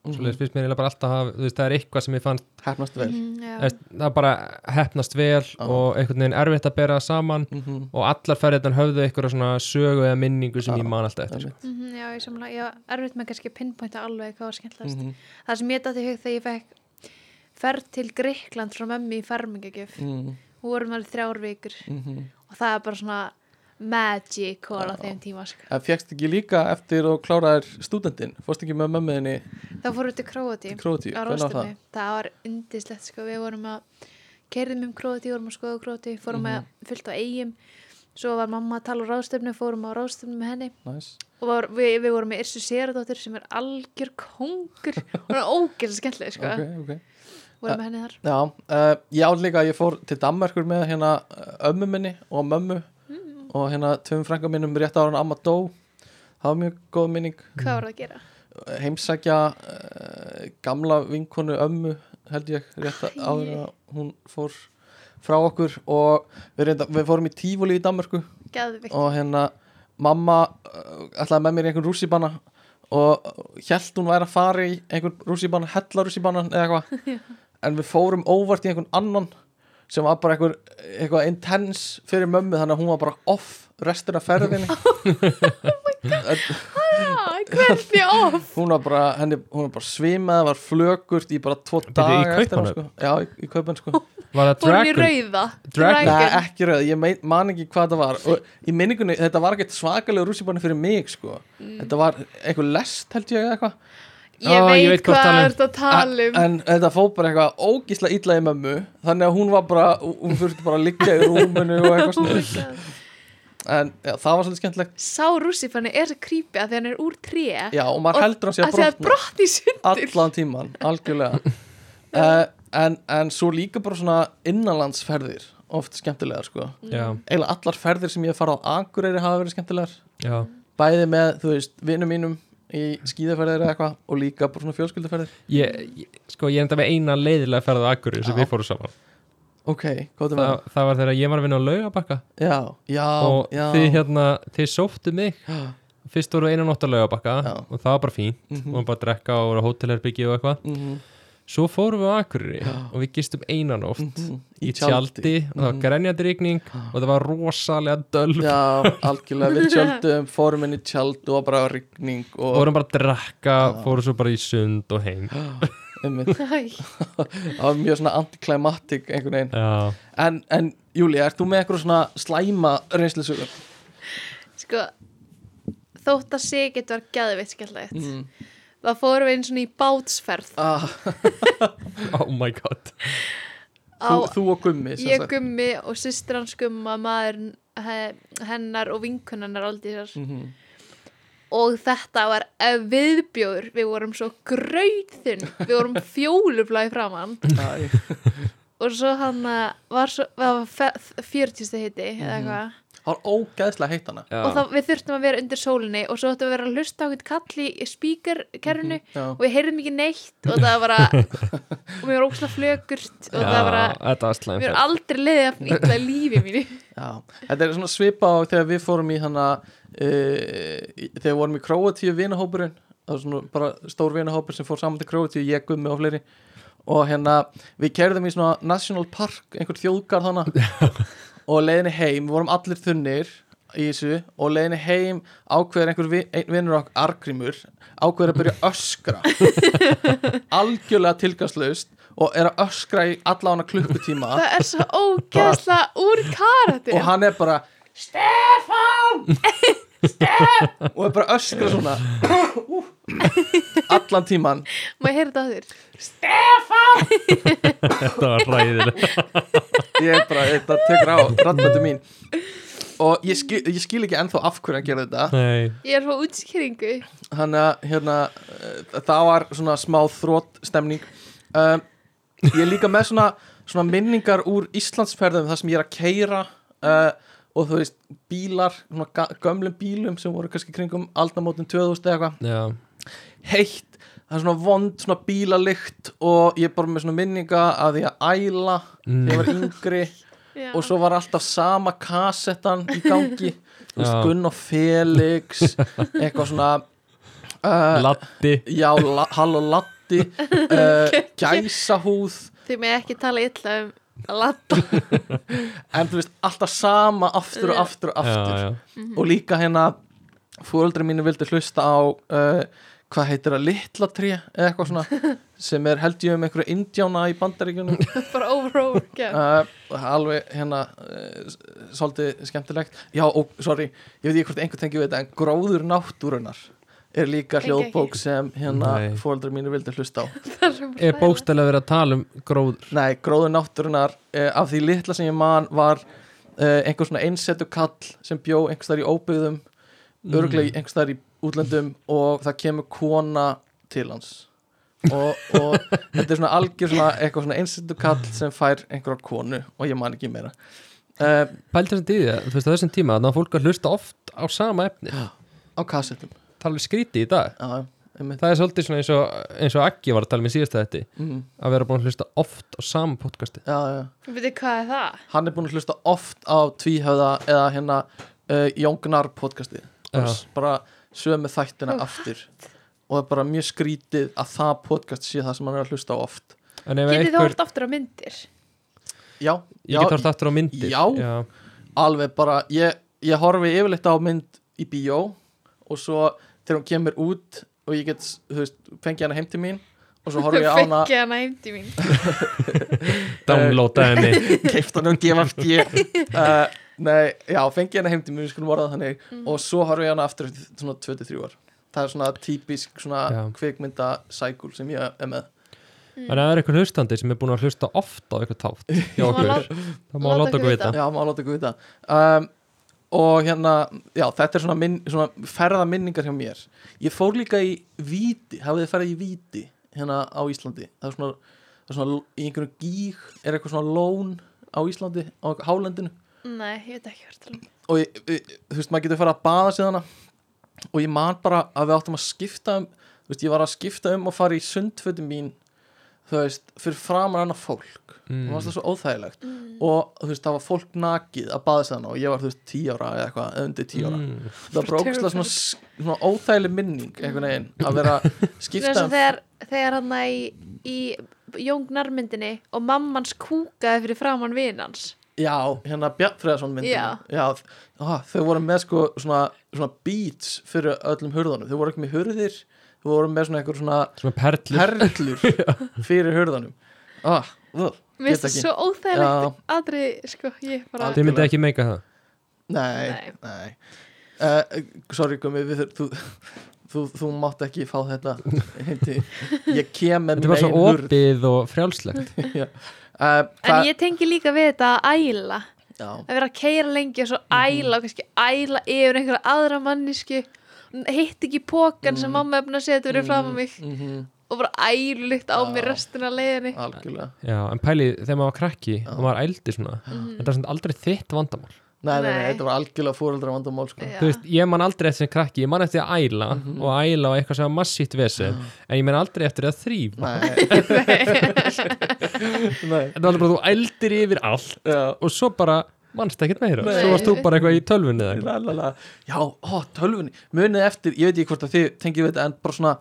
S3: Mhm.
S2: svoleiðis finnst mér eiginlega bara alltaf að hafa, þú veist, það er eitthvað sem ég fannst
S3: hefnast vel
S4: Mm, já.
S2: Þú veist, það bara hefnast vel og einhvern veginn erfitt að bera það saman
S3: mm -hmm.
S2: og allar ferðirnar höfðu einhverja svona sögu eða minningu sem ég man alltaf eftir sko.
S4: Mhm, Já, ég samla, já, erfitt með kannski að pinpointa alveg hvað var skemmtilegast.
S3: Mhm.
S4: Það sem ég dætti hug þegar ég fekk ferð til Greikland frá mömmu í fermingagjöf.
S3: mm
S4: Hún vorum alveg þrjár vikur
S3: -hmm.
S4: og það er bara svona magic og á þeim tíma. Sko.
S3: En fjækst Eh, ekki líka eftir og kláraðir stúdendin fórst ekki með mömmuðinni
S4: Þá fórum við til Króati
S3: til Króti
S4: á Róstemi. Það var undislegt, sko. Við vorum að kerðum um Króati, vorum að skoða Króati, fórum að fyllt á eigum. Svo var mamma að tala á ráðstöfnu, fórum á ráðstöfnu með henni
S3: Næs
S4: og var, við, við vorum með Irsu Séradóttir sem er algjör kongur og hún er ógjörð skemmtileg sko.
S3: Ok, ok
S4: vorum með henni þar
S3: Já, uh, já líka að ég fór til Danmarkur með hérna eh, ömmu minni og mömmu og hérna tveim frænga mínum rétt ára en amma dó það var mjög góð minning
S4: hvað var það að gera?
S3: heimsækja uh, gamla vinkonu ömmu held ég rétt að- áður en að hún fór frá okkur og við, reynda, við fórum í tífúli í Danmörku
S4: Geðvikt.
S3: og hérna mamma uh, ætlaði með mér í einhvern rússibanna og hjælt hún væri að fara í einhvern rússibanna, hella rússibanna eða eitthvað en við fórum óvart í einhvern annan sem var bara einhver, eitthvað intense fyrir mömmu þannig að hún var bara off restina af ferðinni
S4: Hvernig of?
S3: hún var bara, henni, hún var bara svimað var flökurt í bara tvo
S2: Bíddu, í
S3: daga eftir hana,
S2: Kaupmannahöfn?
S3: sko. já, í, í kaupan sko
S2: Var það
S4: Fórum í
S2: dragon?
S4: rauða.
S2: Dragon.
S3: Nei,
S4: Dragon.
S3: ekki rauð, ég mein, man ekki hvað það var og í minningunni, þetta var ekkert svakalega rússibanni fyrir mig sko þetta var einhver lest held ég eða eitthvað
S4: Ég
S2: Ó,
S4: veit,
S2: ég veit hvað
S4: hvað
S2: talað
S4: þú
S2: um.
S4: ert að tala um.
S3: en þetta fóð bara eitthvað ógísla illa í mömmu þannig að hún var bara, hún þurfti bara að liggja í rúminu og
S4: Oh
S3: eitthvað svona en já, það var svolítið skemmtilegt
S4: Sá rússifanni er svo creepy að því hann er úr tré.
S3: já, og maður
S4: Og-
S3: heldur hann sé
S4: Að því
S3: að
S4: að
S3: brotna
S4: brotni sundur.
S3: allan tíman, algjörlega uh, en, en svo líka bara svona innanlandsferðir oft skemmtilegar sko
S2: Já,
S3: eiginlega allar ferðir sem ég hef farið á Akureyri hafa verið skemmtilegar
S2: já
S3: bæði með, þú veist, vinnum mínum í skíðaferðir eða eitthvað og líka bara svona fjölskyldaferðir
S2: ég, ég, Sko, ég er enda með eina leiðilega ferð á Akureyri sem
S3: Já.
S2: við fórum saman
S3: ok, hvað er með
S2: það, það var þegar ég var að vinna á laugabakka
S3: já, já,
S2: og
S3: já,
S2: þið hérna, þið sóftu mig
S3: Já.
S2: fyrst voru einan ótt að laugabakka
S3: Já.
S2: og það var bara fínt, mm -hmm. og bara að drekka og voru á hótelherbyggi og eitthvað
S3: Mhm.
S2: svo fórum við á Akureyri og við gistum einan oft í
S3: Mhm. Í
S2: tjaldi,
S3: tjaldi. Mhm.
S2: og það var grenjandi rigning og það var rosalega dölf
S3: já, algjörlega við tjöldum, fórum inn í tjald og bara rigning
S2: og
S3: og
S2: vorum bara að drekka, fórum svo bara í sund og heim
S3: einmitt,
S4: Æ,
S3: það var mjög svona antiklimatik einhvern veginn,
S2: Já,
S3: en, en Júlia, ert þú með eitthvað svona slæma reynslisögur?
S4: Sko, þótt að sé getur verið geðvikt skemmtilegt.
S3: Mm.
S4: Þá fórum við einn svona í bátsferð.
S3: Ah,
S2: oh my god
S3: þú,
S4: Á-
S3: þú og Gummi sem
S4: ég
S3: sagt.
S4: gummi og systir hans gumma maður hennar og vinkunnar aldísar
S3: Mhm.
S4: og þetta var eh, viðbjóður við vorum svo grauðinn við vorum fjólublæði framann
S3: Æ,
S4: og svo hann eh, var, svo, var 40 hiti
S3: Mhm.
S4: eða eitthvað
S3: það var ógeðslega heitt hana
S2: Já.
S4: og þá við þurftum að vera undir sólinni og svo ættum við að vera að hlusta á eitthvað kalli í spíkerkerfinu
S3: já,
S4: og við heyrðum ekki neitt og það var bara og mér var óksla flögurt og það var bara
S2: þetta var slæm
S4: mér er
S2: ferð.
S4: aldrei leiðið að illa í lífi mínu
S3: já. þetta er svona svipa á þegar við fórum í hana uh, þegar við vorum í Króatíu vinahópurinn það var svona bara stór vinahópur sem fór saman til Króatíu ég, Gummi og fleiri og hérna við kerðum í svona National Park einhver þjóðgarð hana og leiðinni heim, við vorum allir þunnir í þessu og leiðinni heim ákveður einhver vi, ein, vinnur okkur argrimur ákveður að byrja að öskra algjörlega tilgangslaust og er að öskra í alla hana klukkutíma
S4: það er svo ógeðslega úr karatir
S3: og hann er bara Stefán Stefán og er bara að öskra svona Ú, allan tíman
S4: maður heyrði það á þér
S2: Þetta var ræðilega
S3: ég er bara, þetta tekur á rannmöndu mín og ég skil, ég skil ekki ennþá af hverju hann gerði þetta
S2: Nei,
S4: ég er fóð útskýringu
S3: hann að hérna, eh, það var svona smá þrótt stemning um, ég er líka með svona, svona minningar úr Íslandsferðum þar sem ég er að keira uh, og þú veist bílar, svona ga- gömlum bílum sem voru kannski kringum aldamótin 2000 eða eitthvað
S2: já,
S3: heitt það er svona vond, svona bílalikt og ég er bara með svona minninga að því að æla þegar ég var
S2: Mm.
S3: yngri
S4: Já.
S3: og svo var alltaf sama kassettan í gangi Þú veist,
S2: Já.
S3: Gunn og Felix eitthvað svona uh,
S2: laddi
S3: já, la, Hall og Latti uh, Gæsahúð
S4: því maður ekki tala illa um að latta
S3: en þú veist, alltaf sama aftur og aftur og aftur
S2: já, já.
S3: og líka hérna fóröldri mínu vildi hlusta á uh, hvað heitir það, litla tré eða eitthvað svona sem er held ég um einhverja indjána í bandaríkjunum
S4: bara over og over again
S3: uh, alveg hérna uh, s- svolítið skemmtilegt já, og sorry, ég veit ekki hvort einhver tengi við þetta en gróður náttúrunar er líka
S4: Tengi
S3: hljóðbók sem hérna
S2: Nei.
S3: fóröldri mínu vildi hlusta á
S4: það er svo
S2: Er bókstælega verið að tala um gróður
S3: Nei, gróður náttúrunar uh, af því litla sem ég man var uh, einhver svona einsettu kall sem bjó einhvers þar í óbyggðum örglega mm. einhvers þar í útlöndum og það kemur kona til hans og, og þetta er svona algjör svona eitthvað svona einsettu kall sem fær einhverja konu og ég man ekki meira uh,
S2: Pældi þessum tíði, þú veist á þessum tíma þannig að fólk að hlusta oft á sama efni
S3: á kassettum
S2: tala við skríti í dag
S3: Já, einmitt.
S2: það er svolítið svona eins og, eins og Aggi var að tala um með síðast þetta
S3: Mhm.
S2: að vera búin að hlusta oft á sama podcasti
S3: já, já.
S4: Veitir, hvað er það?
S3: hann er búin að hlusta oft á tvíhöfða eða hérna uh, Jóngnar podcasti bara,
S2: Já.
S3: bara sömu þættina aftur og það er bara mjög skrítið að það podcast sé það sem hann er að hlusta á oft
S2: en
S4: Getið
S2: ef
S4: þú
S2: einhver,
S4: hort aftur á myndir?
S3: já,
S2: ég get hort aftur á myndir
S3: Já. alveg bara ég, ég horfi yfirleitt á mynd í bíó og svo þegar hún kemur út og ég get, þú veist, fengi hana heim til mín og svo horfi ég á hana
S4: Fekki hana heimdi mín
S2: downloada henni
S3: keift hann um DFFG uh, Nei, já, fengi hana heim til mér, við skulum orða það þannig og svo horfum ég hana aftur eftir svona 23 ár Það er svona típisk svona
S2: Já.
S3: kvikmynda sækul sem ég er með
S2: en ef það er einhver hlustandi sem er búin að hlusta oft á eitthvað tátt hjá
S4: má
S2: okkur
S4: lát-
S2: það má láta okkur vita
S3: Já, maður láta ykkur vita um, Og hérna, já, þetta er svona, minn, svona ferða minningar hjá mér Ég fór líka í Víti, hafið þið ferðið í Víti hérna á Íslandi Það er svona, það er svona í einhverjum gíg er eitthvað svona lón á Íslandi á hálendinu
S4: Nei, ég veit ekki hvort það
S3: og ég, ég, þú veist, maður getur farið að baða síðan og ég man bara að við áttum að skipta um þú veist, ég var að skipta um og fara í sundfötum mín þú veist, fyrir framan annað fólk
S2: Mm.
S3: það var alltaf svo óþægilegt
S4: Mm.
S3: og þú veist, það var fólk nakið að baða síðan og ég var, þú veist, tí ára eða eitthvað, eða undir tí ára
S2: Mm.
S3: það var bara ógustlega svona, svona óþægileg minning einhvern veginn, að vera að
S4: er
S3: skipta um
S4: svo þegar, þegar hann í, í jóngnarmyndinni og mammans kúkaði fyrir framann vinans
S3: já, hérna Bjarnfriðarsson myndina
S4: Já.
S3: já á, þau voru með sko svona, svona beats fyrir öllum hurðunum, þau voru ekki með hurðir þau voru með svona einhver svona
S2: svona perlur
S3: perlur fyrir hurðanum ah, uh,
S4: Mér finnst
S3: Get
S4: það
S3: ekki.
S4: svo óþægilegt aðri, sko, ég bara
S2: þið myndi ekki meika það
S3: nei, nei. Uh, sorry Gumi við, þur- þú, þú, þú mátt ekki fá þetta heimti. ég kem með
S2: þetta var svo
S3: hurð
S2: opið og frjálslegt
S3: Já. uh,
S4: En
S3: það,
S4: ég tengi líka við þetta að æla
S3: já,
S4: að vera að keira lengi og svo
S3: Mhm.
S4: æla og kannski æla yfir einhverja aðra mannisku hitt ekki pókan
S3: Mhm.
S4: sem mamma efna að segja þetta verið fram á mig
S3: mm
S4: og bara ælulikt á
S3: Já.
S4: mér restina af leiðinni
S3: algjörlega
S2: já, en pælið þegar maður var krakki og maður ældi svona
S3: Mhm.
S2: en það er svona aldrei þitt vandamál
S3: nei, nei, nei,
S4: Nei.
S3: þetta var algjörlega fóreldra vandamál sko.
S4: Já.
S2: þú veist, ég man aldrei eftir sem krakki ég man eftir að æla
S3: Mhm.
S2: og æla og eitthvað sem var massítt vesið en ég man aldrei eftir að þrýf
S3: nei, nei
S2: þetta var aldrei bara þú ældir yfir allt
S3: já
S2: og svo bara mannst ekkert meira
S3: Nei.
S2: svo varst þú bara eitthvað í tölvunni eða eitthvað
S3: La, la, la. Já, ó, tölvunni Munið eftir, ég veit ekki hvort að þið tengið við þetta en bara svona,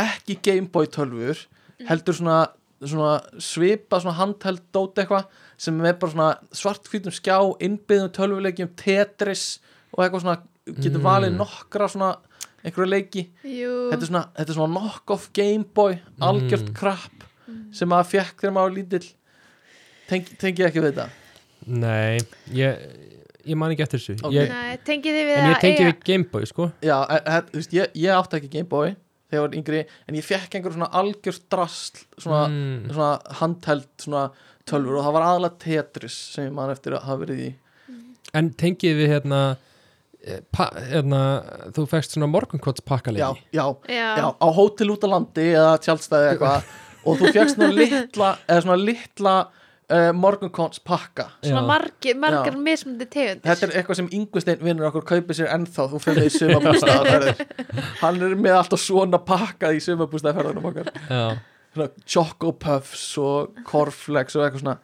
S3: ekki Gameboy tölvur heldur svona, svona svipa, svona handheld dót eitthvað sem er bara svona svartkvítum skjá innbyðum tölvuleikjum, Tetris og eitthvað svona, getur
S2: Mm.
S3: valið nokkra svona, einhverja leiki
S4: Jú,
S3: þetta er svona, þetta er svona knock-off Gameboy algjört
S2: Mm.
S3: krapp sem maður fekk þegar maður var lítill Tengi, tengið ekki við þetta
S2: nei, ég, ég man ekki eftir þessu
S3: Ok.
S2: ég,
S4: nei, tengið þið við
S2: en ég
S4: að
S2: tengi
S4: eiga
S2: við Gameboy sko
S3: Já, e- e- þú veist, ég, ég átti ekki Gameboy þegar ég var yngri, en ég fekk einhver svona algjör drasl, svona,
S2: Mm.
S3: svona handheld, svona tölfur og það var aðalega Tetris sem ég man eftir að hafa verið í
S2: En tengið við hérna, eh, pa, hérna þú fækst svona morgunkots
S3: já,
S2: pakkalegi
S3: já,
S4: Já,
S3: já, á hótel út á landi eða tjálstæði eitthvað og þú fjekkst svona litla, eða svona litla uh, morgunkons pakka
S4: svona
S2: Já.
S4: margir, margar
S3: Já.
S4: mismundi tegundir
S3: Þetta er eitthvað sem yngvisteinn vinnur okkur kaupið sér ennþá, þú fyrir í sumabústaðaferðir Hann er með alltaf svona pakkað í sumabústaðaferðunum okkar
S2: Já.
S3: svona Choco Puffs og Corflex og eitthvað svona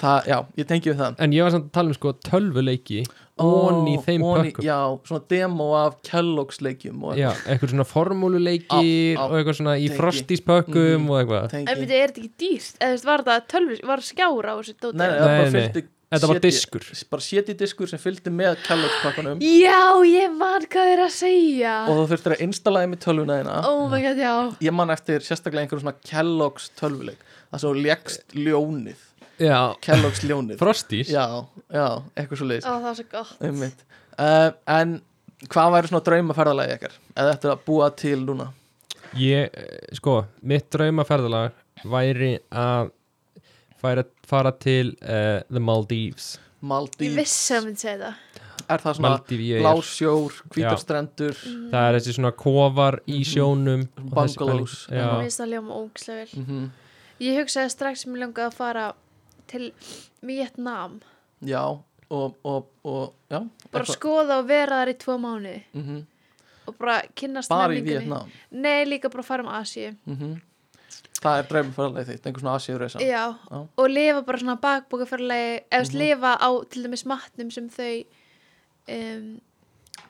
S3: það, já, ég tengi við það
S2: En ég var samt að tala um sko tölvuleiki Ón í þeim
S3: Oní-
S2: pökkum
S3: já, svona demo af Kellogg's leikjum og
S2: Já, eitthvað svona formúluleiki
S3: Á- á-
S2: og eitthvað svona í
S3: tengi.
S2: frostis pökkum
S3: Mhm.
S2: og eitthvað
S3: tengi
S4: En byrju, er þetta ekki dýrt? Eða þú veist, var það tölvis, var skjára á þessu dóti?
S3: nei, nei, það bara
S2: Nei, nei.
S3: fylgdi
S2: Þetta var
S3: CD
S2: diskur
S3: bara séti diskur sem fylgdi með Kellogg's pakkanum
S4: Já, ég man hvað þið er að segja
S3: og þú þurftir að installaði með tölvuna þína
S4: Oh my god, já
S3: ég man eftir sérstaklega einhverjum svona Kellogg's tölvuleik það svo legst ljónið
S2: Já,
S3: Kellogg's ljónið
S2: frostis
S3: já, já, eitthvað svo leiðis
S4: Ó, það var svo gott
S3: einmitt uh, en hvað væri svona draumaferðalagi ekkert eða þetta að búa til núna
S2: Ég, eh, sko, mitt draumaferðalag væri að færa, fara til uh, The Maldives
S4: Ég
S3: Maldív,
S4: vissi að myndi segja það
S3: er það svona
S2: Maldiv, ég er
S3: blásjór, hvítarstrendur
S2: Það er þessi svona kofar í sjónum og þessi
S3: Mhm. Bungalows.
S2: pæling. Já.
S4: Mér finnst það ljóma ógislega vel
S3: mm -hmm.
S4: Ég hugsaði strax sem ég langaði að fara til Vietnam
S3: já og, og, og já,
S4: sko- bara skoða og vera þar í tvo mánu
S3: mm -hmm.
S4: og bara kynnast
S3: bara í
S4: menningunni.
S3: Vietnam
S4: Nei, líka bara fara um Asíu.
S3: mm það er dreifum faralega þitt einhver svona asíurreisa
S4: Já,
S3: Já.
S4: og lifa bara svona bakbókaferlegi, eða mm
S3: Mhm.
S4: lifa á til dæmis matnum sem þau um,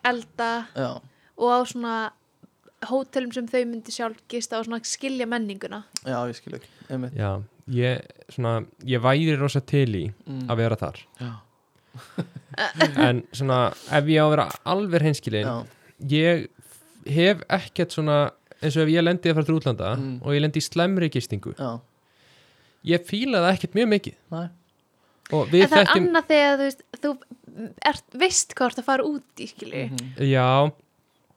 S4: elda
S3: já,
S4: og á svona hótelum sem þau myndi sjálf gista og svona skilja menninguna.
S3: já, ég skil ekki einmitt
S2: Já, ég, svona, ég væri rosa til í
S3: mm.
S2: að vera þar
S3: já,
S2: en svona, ef ég á að vera alveg hreinskilin
S3: já,
S2: ég hef ekkert svona eins og ef ég lendi að fara til útlanda
S3: Mm.
S2: og ég lendi í slemri gistingu
S3: já,
S2: ég fíla það ekkert mjög mikið
S3: næ
S2: og við
S4: en það er
S2: þekkjum
S4: annað þegar þú, veist, þú ert, veist hvað þú ert að fara út í, skilju.
S3: Mhm.
S2: já,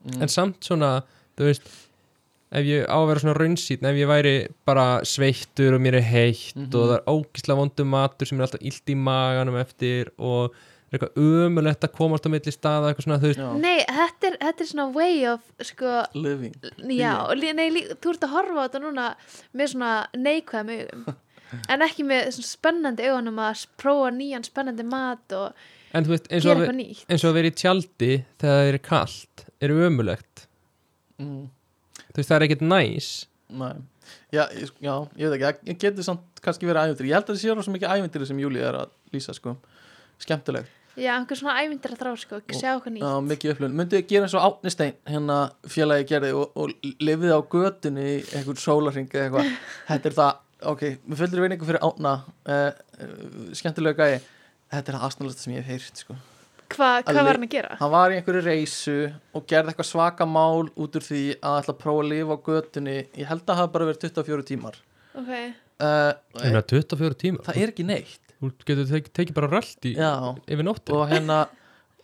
S3: Mm.
S2: en samt svona þú veist ef ég á að vera svona raunsýtn ef ég væri bara sveittur og mér er heitt
S3: Mhm.
S2: og það er ógislega vondum matur sem er alltaf illt í maganum eftir og er eitthvað ömulegt að komast á milli staða eitthvað svona þú veist
S3: já,
S4: Nei, þetta er, þetta er svona way of, sko,
S3: living
S4: Já, og lí- nei, lí, þú ert að horfa á þetta núna með svona neikvæðum augum en ekki með svona spennandi augunum að s- prófa nýjan spennandi mat og
S2: en þú veist eins
S4: gera
S2: og, að,
S4: eitthvað
S2: ve-
S4: nýtt
S2: eins og að vera í tjaldi þegar það er kalt er ömulegt
S3: mm.
S2: þú veist það er ekkert næs
S3: Nei, já, ég, já, ég veit ekki, það getur samt kannski verið æventir, ég held að það sé rosa mikið æventir sem Júli er að lýsa, sko, skemmtilegt
S4: Já, einhver svona ævindir að þrá sko,
S3: Og-
S4: sjá eitthvað nýtt
S3: Já, mikið upplun, myndið þið gera eins og Átnistein hérna félagi gerði og, og lifið á götunni í einhvern sólarring eða eitthvað, þetta er það, ok við fylgir veginn fyrir Átna uh, skemmtilega gæi, þetta er það aðsnalegasta sem ég hef heyrt, sko
S4: Hva, Hvað
S3: Alli-
S4: var hann að gera?
S3: hann var í einhverju reysu og gerði eitthvað svaka mál út úr því að ætla að prófa að lifa á götunni ég held að það hafi bara verið 24 tímar
S4: Ok,
S3: uh,
S2: Ég meina, 24 tíma,
S3: það er ekki neitt
S2: þú getur tek, tekið bara rölt í,
S3: Já,
S2: yfir nóttu
S3: og hérna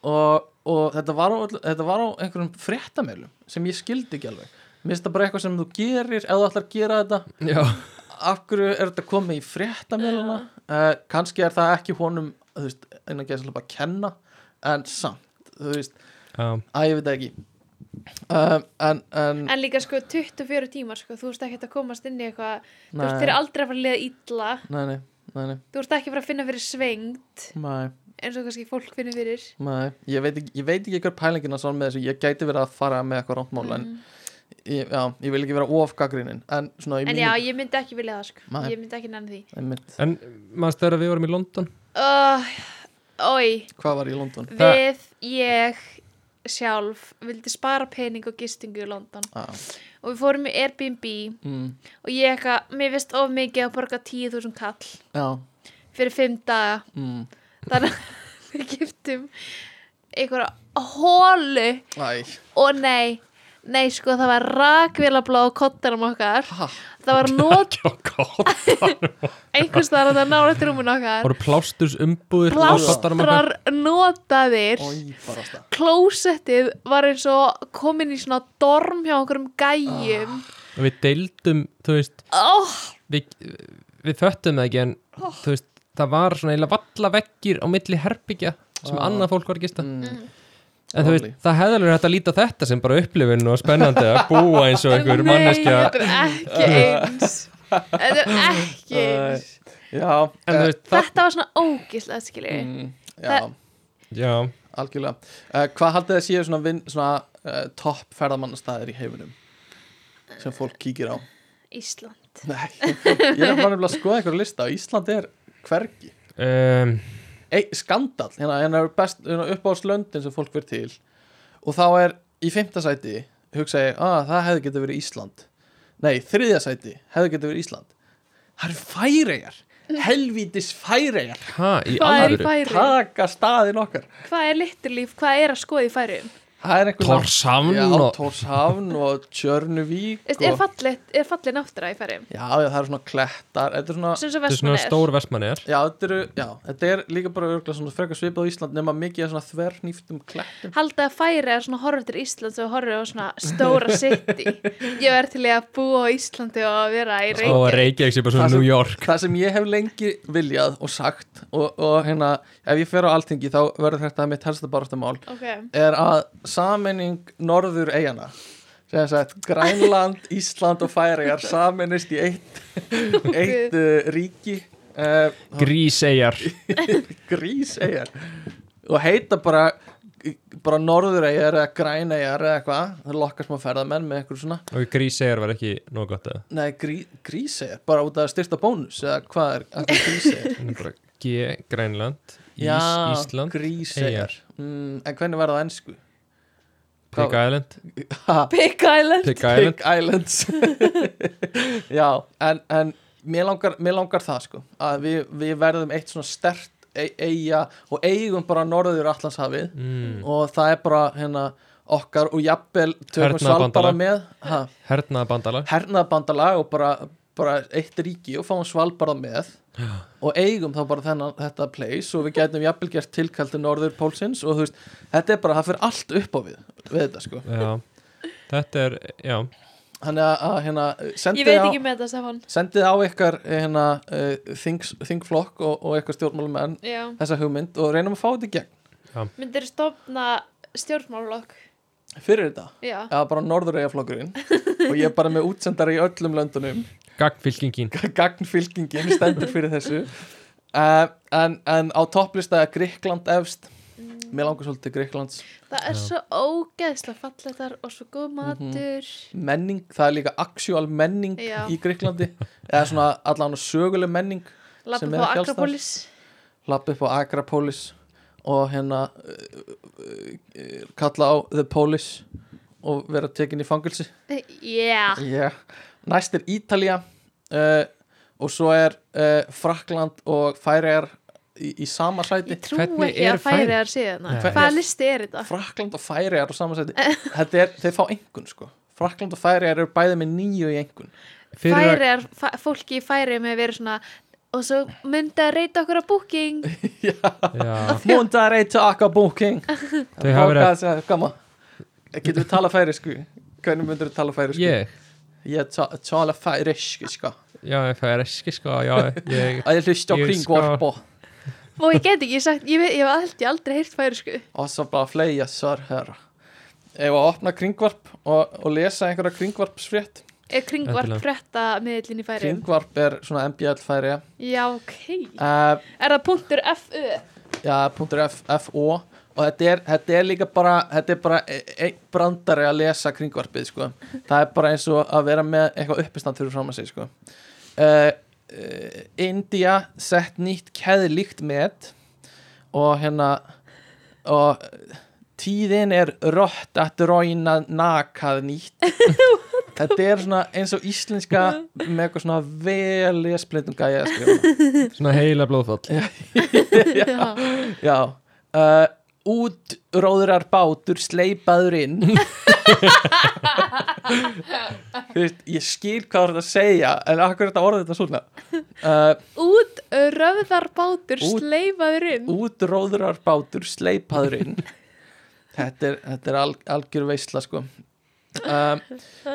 S3: og, og þetta, var á, öll- þetta var á einhverjum fréttameilum sem ég skildi ekki alveg Mér finnst það bara eitthvað sem þú gerir ef þú ætlar að gera þetta,
S2: já,
S3: af hverju er þetta komið í fréttameiluna uh, kannski er það ekki honum þú veist, innan geða svolítið bara að kenna en samt, þú veist,
S2: já,
S3: að ég veit það ekki uh, en, en
S4: en líka sko 24 tímar sko, þú ert ekki að komast inn í eitthvað Þú ert fyrir
S3: nei,
S4: aldrei að fara að liða illa
S3: nei, nei, nei, nei,
S4: Þú ert ekki að fara að finna fyrir svengd
S3: nei
S4: eins og kannski fólk finnir fyrir
S3: Nei, ég veit ekki, ég veit ekki hver pælingina svo með þessu, ég gæti verið að fara með eitthvað rámt mál
S4: Mm.
S3: en ég, já, ég vil ekki vera ofgagrinnin en svona í
S4: En
S3: mínu
S4: já, ég myndi ekki vilja það sko
S3: Nei.
S4: Ég myndi ekki nenni því
S3: Einmitt.
S2: en maður stöður að við vorum í London
S4: oh, Ói
S3: Hvað var í London?
S2: Það-
S4: Við, ég sjálf vildi spara pening og gistingu í London
S3: Ah,
S4: og við fórum í Airbnb
S3: mm,
S4: og ég eitthvað, mér veist of mikið að borga 10.000 kall
S3: já,
S4: fyrir 5 daga
S3: mm,
S4: þannig að við giftum einhverja hólu
S3: æ,
S4: og nei, nei sko það var rakvélablá á kottanum okkar
S3: ha,
S4: það var nót
S2: Já, gott
S4: einhvers þar að það nála til rúmun okkar
S2: voru plásturs umbúðir
S4: plástrar notaðir
S3: oi, barasta
S4: klósettið var eins og komin í svona dorm hjá einhverjum gæjum
S2: og við deildum þú veist,
S4: oh,
S2: við, við föttum það ekki en
S3: Oh.
S2: þú veist, það var svona eiginlega valla veggir á milli herbyggja sem
S3: Ah.
S2: annað fólk var að gista
S3: mm,
S2: en þú veist,
S3: Óli.
S2: það hefði alveg hægt að líta á þetta sem bara upplifun og spennandi að búa eins og einhver manneskja
S4: þetta er ekki eins þetta er ekki eins
S3: Já,
S2: en þú veist, það,
S4: þetta var svona ógislega skilji mm.
S3: mm, já,
S4: Það-
S2: já
S3: algjörlega uh, Hvað haldið þið séu svona, vin, svona uh, topp ferðamannastæðir í heiminum sem fólk kíkir á
S4: Ísland
S3: Nei, ég er bara nefnilega að skoða eitthvað lista og Ísland er hvergi
S2: um,
S3: Ei, skandal, hérna, hérna er best hérna, uppáðslöndin sem fólk verð til og þá er í fimmta sæti hugsa ég, að það hefði getið verið Ísland nei, þriðja sæti hefði getið verið Ísland það eru færegar helvítis færegar
S2: hæ, í
S4: hvað er í
S2: alvöru
S4: færum?
S3: taka staðin okkar
S4: hvað er litterlíf? hvað er að skoða í færum?
S3: það er einhver
S2: Torshamn
S3: já,
S2: og
S3: Tórshavn og Tjörnuvík
S4: Veist, er
S2: Sko.
S3: og,
S4: fallið, er fallið náttúra í færum?
S3: já, já, það eru svona klettar þetta er svona
S4: sem svo
S2: þetta er svona
S4: vestmann er
S2: stór vestmannir
S3: Já þetta, eru, já, þetta er líka bara örgulega svona frekar svipað á Ísland nema mikið af svona þvernýftum klettum
S4: haldið að færi er svona horfður til Ísland sem horfður á svona stóra city ég er til í að búa á Íslandi og að vera í
S2: og
S4: Reykjavík
S2: Reykjavík sem bara
S3: Það
S2: svona
S3: sem-
S2: New York
S3: Það sem ég hef lengi viljað og sagt og, og hérna, ef ég fer á alþingi þá verður þetta mitt helsta baráttamál
S4: okay.
S3: er að sammenning norður eigana sem sagt Grænland, Ísland og Færegar samennist í eitt, eitt uh, ríki uh,
S2: Gríseyjar
S3: grís eigar og heita bara bara norðureyjar eða græneyjar eða eitthvað það lokkar smá ferðamenn með eitthvað svona
S2: Og grísegar var ekki nóg gott að
S3: nei, grí, gríseyjar, bara út að styrta bónus eða hvað er, að hvað er gríseyjar
S2: Hún er bara G, Grænland, Ís,
S3: já,
S2: Ísland,
S3: gríseyjar
S2: eyjar.
S3: mm, en hvernig var það á ensku?
S2: Pig Island
S3: Ha,
S1: Big Island
S2: Pig Island
S3: Pig Islands já, en, en mér, langar, mér langar það sko að við, við verðum eitt svona stert e eiga og eigum bara norður Allandshafið
S2: mm.
S3: og það er bara hérna okkar og jafnvel tökum Svalbara
S2: Hernaðarbandalag.
S3: með ha,
S2: Hernaða bandala
S3: hernaðbandalag og bara, bara eitt ríki og fáum Svalbara með og eigum þá bara þennan, þetta place og við gætum jafnvel gert tilkall til norður pólsins og þú veist, þetta er bara, það fyrir allt upp á við við þetta sko,
S2: Já Þetta er, já
S3: hann er að hérna sendi
S4: Ég veit
S3: á-
S4: ekki með þetta, Stefan
S3: sendið á ykkar eh, hérna, uh, þings, þingflokk og, og ykkar stjórnmálumenn
S4: Já,
S3: þessa hugmynd og reynum að fá þetta í gegn
S4: myndir stofna stjórnmálokk
S3: fyrir þetta
S4: Já,
S3: eða bara norðureyjaflokkurinn og ég er bara með útsendara í öllum löndunum
S2: Gagnfylkingin
S3: gagnfylkingin stendur fyrir þessu uh, en, en á topplista er Gríkland efst mér langar svolítið til Gríklands
S4: Mm, það er
S2: Já. Mhm.
S4: svo ógeðslega falletar og svo góð matur
S3: menning, það er líka actual menning
S4: Já.
S3: í Gríklandi eða svona allan söguleg menning Sem
S4: Lappa på
S3: er ekki alls
S4: Akropolis
S3: lappa upp á Agrapolis og hérna uh, uh, uh, kalla á The Police og vera tekin í fangilsi
S4: Eh, Yeah
S3: yeah. næst er Ítalía uh, og svo er uh, Frakland og Færiðar í, í sama sæti
S4: Ég trú
S2: Hvernig
S4: ekki
S2: eru
S4: að færi þar síðan
S2: Nei.
S4: Hvaða listi er þetta?
S3: Frakland og Færiðar á sama sæti Þetta er, þeir fá engun sko Frakland og Færiðar eru bæði með nýju í engun
S2: að-
S4: Færiðar, fæ, fólki í færiðum hefur verið svona og svo myndi að reyta okkur á booking
S2: Já
S3: Mondarei til Akabóking
S2: Þau hafa verið
S3: Gama Getum við tala færi sko Hvernig myndir við tala færi sko
S2: Ég
S3: Ég ta tala færisk sko
S2: Já, það er ekki sko Já, ég
S3: að ég hlusti á
S2: Ég
S3: kringvarp og,
S4: og ég get ekki sagt, ég, veit- ég hef aldrei, aldrei heyrt færisku
S3: og svo bara fleja svar herra ef að opna kringvarp og, og lesa einhverja kringvarpsfrétt
S4: er kringvarp
S2: Endilega.
S4: fretta miðlinn í færiðum
S3: kringvarp er svona mbl færi uh,
S4: Já, ok
S3: ja,
S4: Er það punktur FU?
S3: punktur F, .fo og þetta er, þetta er líka bara þetta er bara e- einn brandari að lesa kringvarpið sko það er bara eins og að vera með eitthvað uppistand fyrir fram að sig sko uh, uh, India sett nýtt keðlíkt met og hérna og tíðin er rött að ræna nakað nýtt þetta er svona eins og íslenska með eitthvað svona vel lesblindum gæja sko. að skrifa
S2: Svona heila blóðfall
S3: já, já. Uh, útróðrar bátur sleipaður inn Þú veist, ég skil hvað þú ert að segja en akkur þetta orðið þetta svona uh,
S4: Út röðarbátur
S3: Út-
S4: sleifaður um. inn
S3: útróðrar bátur sleipaður inn þetta er, þetta er al, algjör veisla sko um,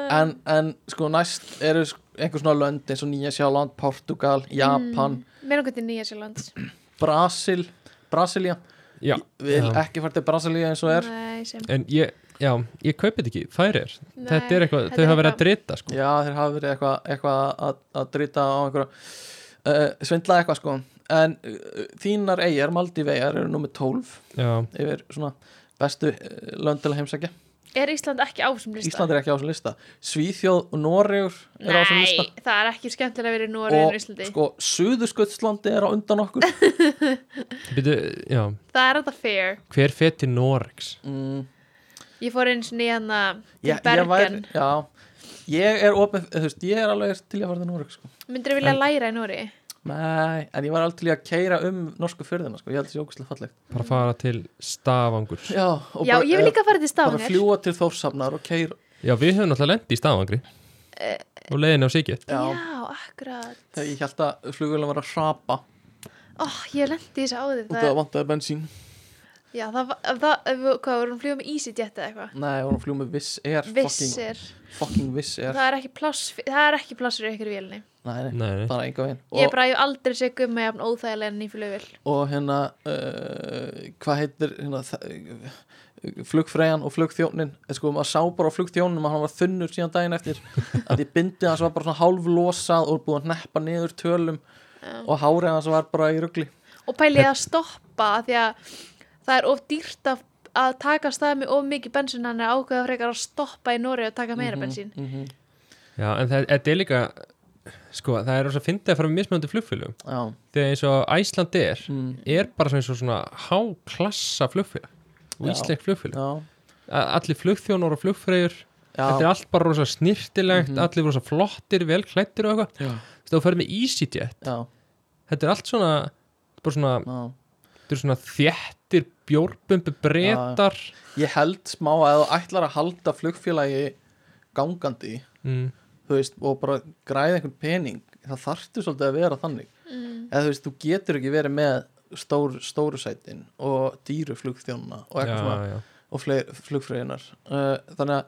S3: en, en sko næst eru sk- einhver svona lönd eins og Nýja Sjáland, Portugal, Japan
S4: Mér langar til um Nýja Sjölands
S3: Brasil Brasilia,
S2: Já
S3: vil
S2: Já.
S3: ekki fara til Brasilia eins og er
S4: Nei, sem
S2: En ég, já, ég kaupi þetta ekki Færir
S4: Nei,
S2: Þetta er eitthvað,
S4: þetta
S2: þau
S4: er
S2: hafa
S4: eitthvað-
S2: verið að drita sko
S3: Já, þeir hafa verið eitthvað eitthva að, að drita á einhverja uh, svindla eitthvað sko en uh, þínar eigjar, Maldíveigjar eru nummer 12
S2: Já,
S3: yfir svona bestu uh, löndil heimsækja
S4: Er Ísland ekki á þessum lista?
S3: Ísland er ekki á þessum lista Svíþjóð og Noregur er á þessum lista
S4: Nei, það er ekki skemmtilega að vera í Nóri en Íslandi
S3: sko, Suðurskutslandi er á undan okkur
S2: byrju, já
S4: Það er þetta fair
S2: Hver fer til Noregs?
S3: mm,
S4: Ég fór eins og nýjan að til
S3: ég, ég,
S4: Bergen
S3: væri, já, ég er opið, eh, þú veist, ég er alveg til í að fara til Noreg sko.
S4: Myndirðu vilja læra í Nóri?
S3: Nei, en ég var alveg til í að keira um norsku fyrðina, sko, ég held þessi ógustlega fallegt
S4: Mm.
S2: Bara fara til Stavangur
S3: Já, og
S4: Já,
S3: bara- eh,
S4: ég vil líka fara til
S3: bara
S4: Stavanger
S3: fljúa til Þórshafnar og keira
S2: Já, við höfum náttúrulega lendi í Stavangri
S4: Eh,
S2: Og leiðin á Sigget
S3: Já,
S4: Já, akkurat
S3: þegar ég held að flugvélum var að hrapa
S4: Ó, ég lendi í þessu áður
S3: út af
S4: það,
S3: að vantaði bensín
S4: Já, það, var- það, það hvað, vorum fljóð með EasyJet eða eitthvað
S3: Nei, hún fljú með Viss Air fucking,
S4: Vissir,
S3: fucking Viss Air
S4: það er ekki pláss fyr- það er ekki pláss fyrir ykkur í vélni
S3: Nei, nei,
S2: Nei, nei
S3: bara enga veginn
S4: Ég
S3: og,
S4: bara hef aldrei sé gumma jafn óþægilega enn í flugvél
S3: og hérna, uh, hvað heitir hérna, þa- flugfreyjan og flugþjónin Eh, sko, maður sá bara á flugþjóninum að hann var þunnur síðan daginn eftir að ég bindi hans var bara svona hálflosað og búið að neppa niður tölum og hárið hans var bara í rugli
S4: Og pælið að stoppa af því að það er of dýrt að að taka stað með of mikið bensin hann er ákveða frekar að stoppa í Nóri og taka
S3: Mhm.
S4: meira bensín
S2: Já, en það þetta er líka sko, það er rosa að fyndið að fara með mismöndi flugfélugum
S3: já,
S2: þegar eins og Æsland er
S3: Mm.
S2: er bara svona eins og svona háklassa flugfélag og
S3: Já.
S2: íslensk flugfélag
S3: já,
S2: A- allir flugþjónar og flugfreyjur þetta
S3: já,
S2: er
S3: Mhm.
S2: allt bara rosa snirtilegt allir rosa flottir, vel klættir og eitthvað
S3: já,
S2: Þú veist, þú ferð með EasyJet
S3: já,
S2: þetta er allt svona, bara svona,
S3: já.
S2: þetta er svona þjættir bjórbumbu breytar
S3: ég held smá að þú ætlar að halda flugfélagi gangandi
S2: mm.
S3: þú veist, og bara græða einhvern pening það þarftu svolítið að vera þannig eða þú veist, þú getur ekki verið með stór, stóru sætin og dýru flugþjónuna og
S2: já,
S3: eitthvað svona
S2: já.
S3: og fleir, flugfröðinar uh, þannig að,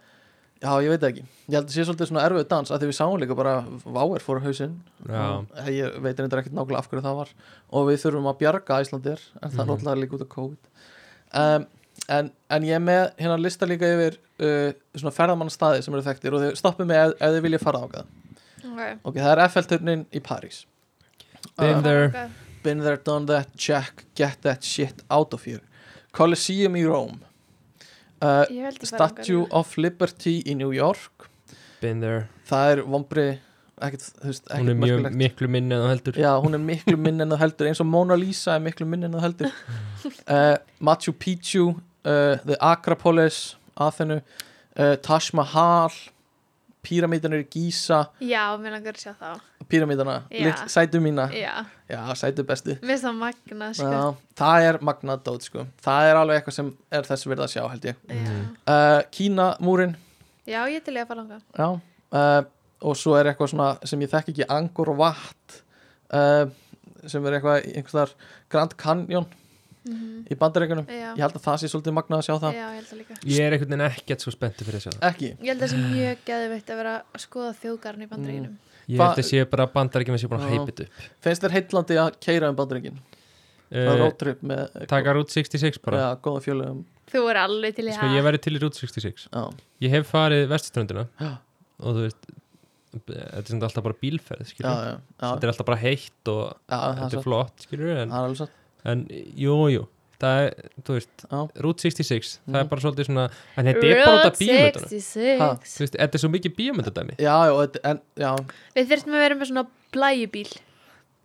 S3: já ég veit það ekki ég held að sé svolítið svona erfið dans að því við sáum líka bara váer fór á hausinn
S2: Já.
S3: Eh, ég veit reyndar ekkert nákvæmlega af hverju það var og við þurfum að bjarga Íslandir en það er
S2: Mhm.
S3: náttúrulega líka út af COVID um, en, en ég er með hérna lista líka yfir uh, svona ferðamannstaði sem eru þekktir og þau stoppum mig ef, ef þau vilja fara ákað
S4: okay.
S3: ok, það er Eiffelturnin í París Uh,
S2: Been there.
S4: Okay.
S3: Been there, done that, check, get that shit out of here Colosseum í Rome uh,
S4: Ég held að fara
S3: Statue of Liberty í New York
S2: been there,
S3: það er vombri ekkert, þú veist, ekkert
S2: hún er mjög
S3: merkilegt.
S2: miklu minni en það heldur
S3: Já, hún er miklu minn en þú heldur eins og Mona Lisa er miklu minn en þú heldur uh, Machu Picchu uh, The Acropolis Athenu, uh, Taj Mahal Píramídanur í Gísa
S4: Já, mér langar að sjá þá
S3: Píramídana,
S4: Já.
S3: lit- sætu mína
S4: Já,
S3: Já, sætu bestu
S4: mér finnst það magna sko.
S3: Já, það er magnadót sko Það er alveg eitthvað sem er þess verið að sjá held ég
S4: Já.
S3: uh, Kína múrin
S4: Já, ég til ég að fara langa
S3: Já, uh, og svo er eitthvað svona sem ég þekki ekki, Angkor Vat uh, sem er eitthvað einhverstar Grand Canyon í bandaríkunum.
S4: Mhm. Já,
S3: Ég held að það sé svolítið magnað að sjá það.
S4: Já, ég held að líka
S2: ég er einhvern veginn ekkert svo spenntið fyrir þess að
S3: Ekki.
S4: Ég held að það sé mjög geðveitt að vera að skoða þjóðgarn
S2: Mm.
S4: í bandaríkinum
S2: ég
S3: Hva-
S2: held að sé bara bandar ekki með sér búin að
S3: Já.
S2: heipið upp
S3: Finnst þér heitlandi að keira um bandaríkin? Það er
S2: uh,
S3: roadtrip með
S2: taka Route 66 bara
S3: ja, góða fjölugum.
S4: Þú er alveg til í
S2: sko
S4: það
S2: ég væri til í Route 66
S3: Já,
S2: ég hef farið vestströndina
S3: Já.
S2: og þú veist þetta er samt alltaf bara bílferð
S3: já,
S2: skilur
S3: já. já,
S2: þetta er alltaf bara heitt og
S3: já það er
S2: þetta er
S3: satt.
S2: flott skilur en
S3: Það er alveg satt.
S2: en jú, jú það er, þú veist,
S3: Já.
S2: Route 66 það er
S3: Mhm.
S2: bara svolítið svona, en þetta er bara út af bíómyndunum
S3: Ha.
S4: 66
S2: þú veist, þetta er svo mikið bíómyndadæmi
S3: Já, já, þetta- en, já.
S4: Við þurftum að vera með svona blæjubíl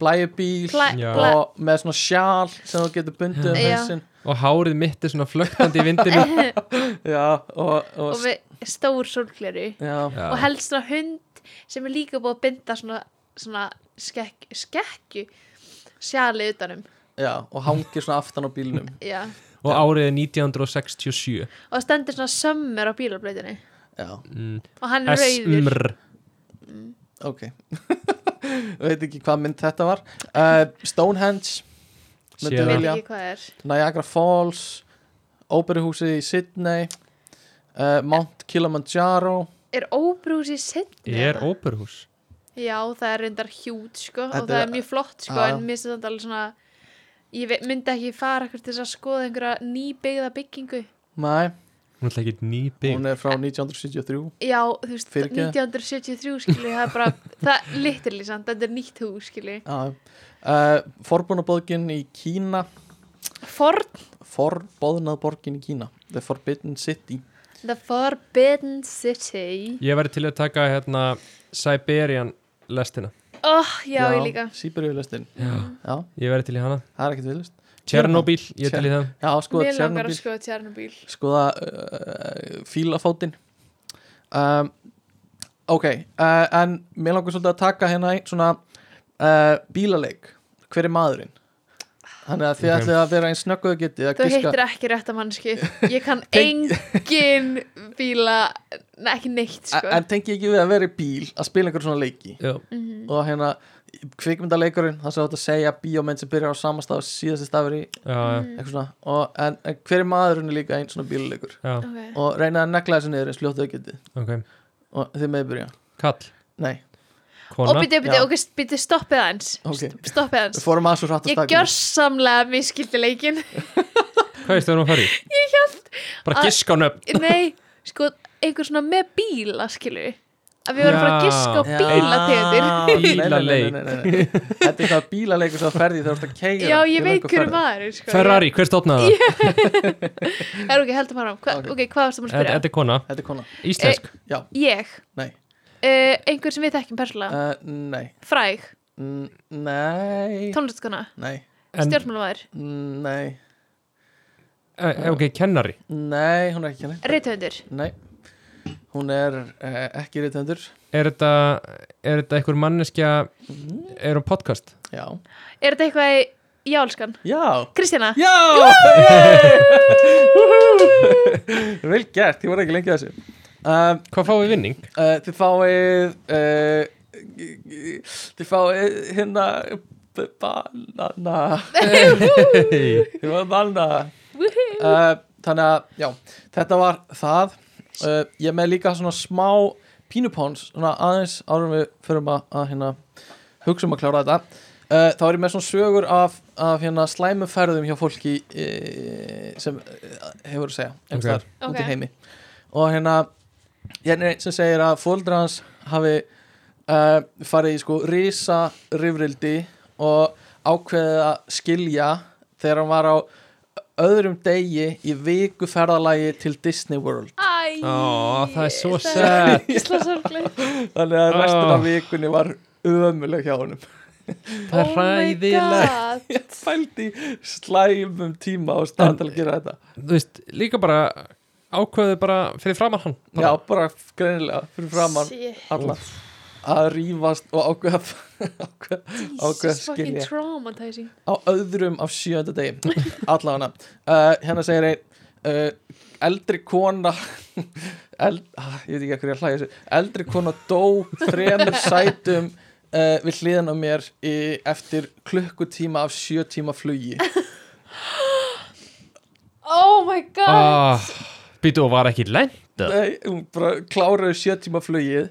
S3: Blæjubíl
S4: Blæ,
S2: Já.
S4: blæ,
S3: og með svona sjál sem þú getur bundið um
S4: Já.
S3: hausinn.
S2: og hárið mitt er svona flöktandi í vindinu
S3: Já, og, og,
S4: og við stór sólgleru
S3: já,
S2: Já.
S4: og helst svona hund sem er líka búið að binda svona, svona skekk, skekkju sjali utanum
S3: já, og hangir svona aftan á bílnum.
S4: Já.
S2: og árið er 1967
S4: og það stendur svona sömmur á bílablautinni
S3: Já,
S2: mm.
S4: og hann er rauður
S2: SMR
S3: ok veit ekki hvað mynd þetta var uh, Stonehenge Myndi
S4: ég
S2: síðan
S4: veit
S3: vilja.
S4: ekki hvað er
S3: Niagara Falls Óperuhúsið í Sydney uh, Mount Kilimanjaro
S4: er óbrús í sinni
S2: er óperhús
S4: Já, það er reyndar hjút sko
S3: Þetta
S4: og það
S3: er-
S4: er mjög flott sko
S3: Já.
S4: en mér finnst þetta alveg svona ég ve- myndi ekki fara ekkert til þess að skoða einhverja nýbyggða byggingu
S3: Nei,
S2: hún er alltaf ekki nýbygg
S3: hún er frá 1973
S4: Já, þú veist,
S3: Fyrirgefðu.
S4: 1973 skilju, það er bara, það er literally sant, þetta er nýtt hús skilju.
S3: uh, uh, Forbúnaborgin í Kína
S4: Forn,
S3: Forbóðnaðborgin í Kína The Forbidden City
S4: the Forbidden City.
S2: ég væri til að taka hérna Siberian lestina
S4: Oh, já, ég líka.
S3: Sýberíulistin Já,
S2: ég væri til í hana
S3: það er ekkert viðlist
S2: Tjernobyl, ég er til í það
S3: Já, skoða
S4: Mér langar að
S3: Sko, Tjernobyl
S4: skoða Tjernobyl.
S3: skoða uh, Sko fílafótinn um, ok uh, en mér langar svolítið að taka hérna einn svona uh, bílaleik hver er maðurinn þannig að þið
S2: Ok.
S3: ætlið að vera einn snögguðu getið að
S4: Þú
S3: giska-
S4: hittir ekki rétt að mannski. Ég kann
S3: Teng-
S4: engin bíla, ne, ekki neitt
S3: En-
S4: sko.
S3: en tengi ekki við að vera í bíl að spila einhver svona leiki
S2: Já.
S4: Mm.
S3: og hérna kvikmyndaleikurinn það sem þú átt að segja bíómenn sem byrjar á samastaf síðasti stafur í
S2: Já,
S4: Mm.
S3: eitthvað svona og, en, en hver er maðurinn er líka einn svona bílaleikur
S2: já,
S4: Ok,
S3: og reynið að negla þessu niður eins fljótt og þið getið
S2: ok
S3: og þið með byrja
S2: Kall,
S3: nei
S4: og
S2: kona
S4: byrju, byrju,
S3: Já.
S4: ok, byrju, stoppið aðeins.
S3: Ok.
S4: St- Stoppið
S3: Við
S4: aðeins.
S3: fórum aðeins og hratt að
S4: Ég gjör samlega miskildi leikin.
S2: Hvað veist það erum að fara í? Ég held Bara
S4: að-
S2: gisk á nöfn
S4: Nei, sko, einhver svona með bíla skilju. að við vorum bara að
S2: Já.
S4: giska á bílategundir
S2: Bílaleik.
S3: Þetta er eitthvað bílaleikur sem ferði þegar þú ert að keira
S4: Já, ég veit hverju maður sko.
S2: Ferrari, hver stofnaði það?
S4: Það er ok, heldur maður á Hva,
S3: Ok.
S4: Ok, hvað varst það að
S2: Þetta
S4: spyrja?
S2: þetta er kona,
S3: Þetta er kona
S2: íslensk
S3: Já,
S4: Ég,
S3: nei
S4: uh, einhver sem við þekkjum persónulega
S3: uh, Nei
S4: Fræg,
S3: N- Nei
S4: tónlistkona,
S3: Nei
S4: Eh,
S2: en,
S4: stjórnmálamæður
S3: Nei
S2: eh, Ok, kennari
S3: Nei, hún er ekki henni
S4: Rithöfundur,
S3: Nei Hún er uh, ekki reytöndur
S2: Er þetta, er þetta einhver manneskja
S4: Mm.
S2: Er hún podcast?
S3: Já
S4: er þetta eitthvað í Jálskan?
S3: Já
S4: Kristjana,
S3: Já Yay! Vel gert, ég voru ekki lengi að þessu um,
S2: Hvað fáum við vinning?
S3: uh, Þið fáið uh, Þið fáið hérna b- Banana Þið fáið banana uh, Þannig að, já, þetta var það uh, Ég er með líka svona smá pínupons, svona aðeins árum við förum að, að hérna hugsa um að klára þetta uh, þá er ég með svona sögur af, af hérna slæmu ferðum hjá fólki uh, sem uh, hefur að segja
S2: Ok.
S3: einhvers staðar okay. út
S4: Ok.
S3: í heimi og hérna hérna sem segir að fóldra hans hafi uh, farið í sko risa rifrildi og ákveðið að skilja þegar hann var á öðrum degi í viku ferðalagi til Disney World
S4: æ
S2: Ó, það er svo
S4: Það er Ísla sorgleg
S3: þannig að restin af
S2: Ah.
S3: vikunni var ömuleg hjá honum
S2: Það
S4: Oh
S2: er hræðilegt
S3: fælt í slæmum tíma og starta að gera þetta
S2: Þú veist, líka bara ákveðu bara fyrir framann hann
S3: Já,
S2: bara.
S3: bara greinilega fyrir framann alla að rýfast og ákveða ákveða- ákveða
S4: Jesus fucking
S3: skilja
S4: traumatizing
S3: á öðrum af sjönda degi allavega uh, hérna segir einn uh, eldri kona eld, ah, ég veit ekki að hverju að hlæja þessu eldri kona dó þremur sætum uh, við hliðan á mér í, eftir klukkutíma af sjö tíma flugi
S4: Oh my god
S2: ah, Býtu og var ekki lenda
S3: Nei, hún bara kláraði sjö tíma flugið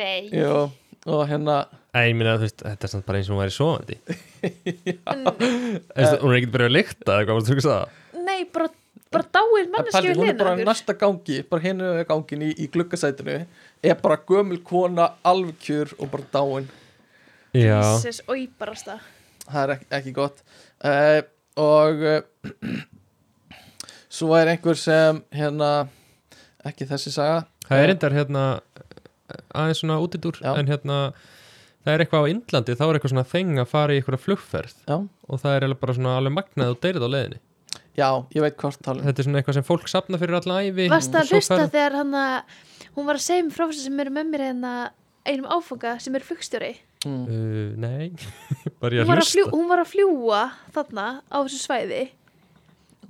S4: Nei,
S3: Jó, og hérna
S2: Nei, ég meina, þú veist, þetta er samt bara eins og hún væri sofandi
S4: n-
S2: Þú veist, Hún er ekkert bara að lykta eða hvað varstu að hugsa það
S4: nei, bara, bara dáið
S3: Paldi,
S4: manneskju
S3: hún
S4: við
S3: er bara
S4: hliðina á okkur
S3: næsta gangi bara hinu gangin í, í gluggasætinu er bara gömul kona alveg kjur og bara dáin
S2: Já,
S4: Jesus, oi, barasta
S3: það er ekki, ekki gott uh, og uh, svo er einhver sem hérna ekki þessi saga
S2: það er endar hérna aðeins svona útidúr
S3: Já.
S2: en hérna, það er eitthvað á Indlandi þá er eitthvað svona þeng að fara í eitthvað flugferð
S3: já,
S2: og það er eiginlega bara svona alveg magnað og deyrið á leiðinni
S3: já ég veit hvort um talum
S2: Þetta er svona eitthvað sem fólk sapna fyrir alla ævi
S4: Varst
S2: og
S4: að
S2: svo
S4: hlusta
S2: ferð-
S4: þegar hann að hún var að segja um frá þessu sem eru með mér en að einum áfanga sem er flugstjóri
S3: mm.
S2: Uh, nei, var ég
S4: hún
S2: að
S4: var að, um fljú,
S2: hlusta
S4: hún var að fljúa þarna á þessu svæði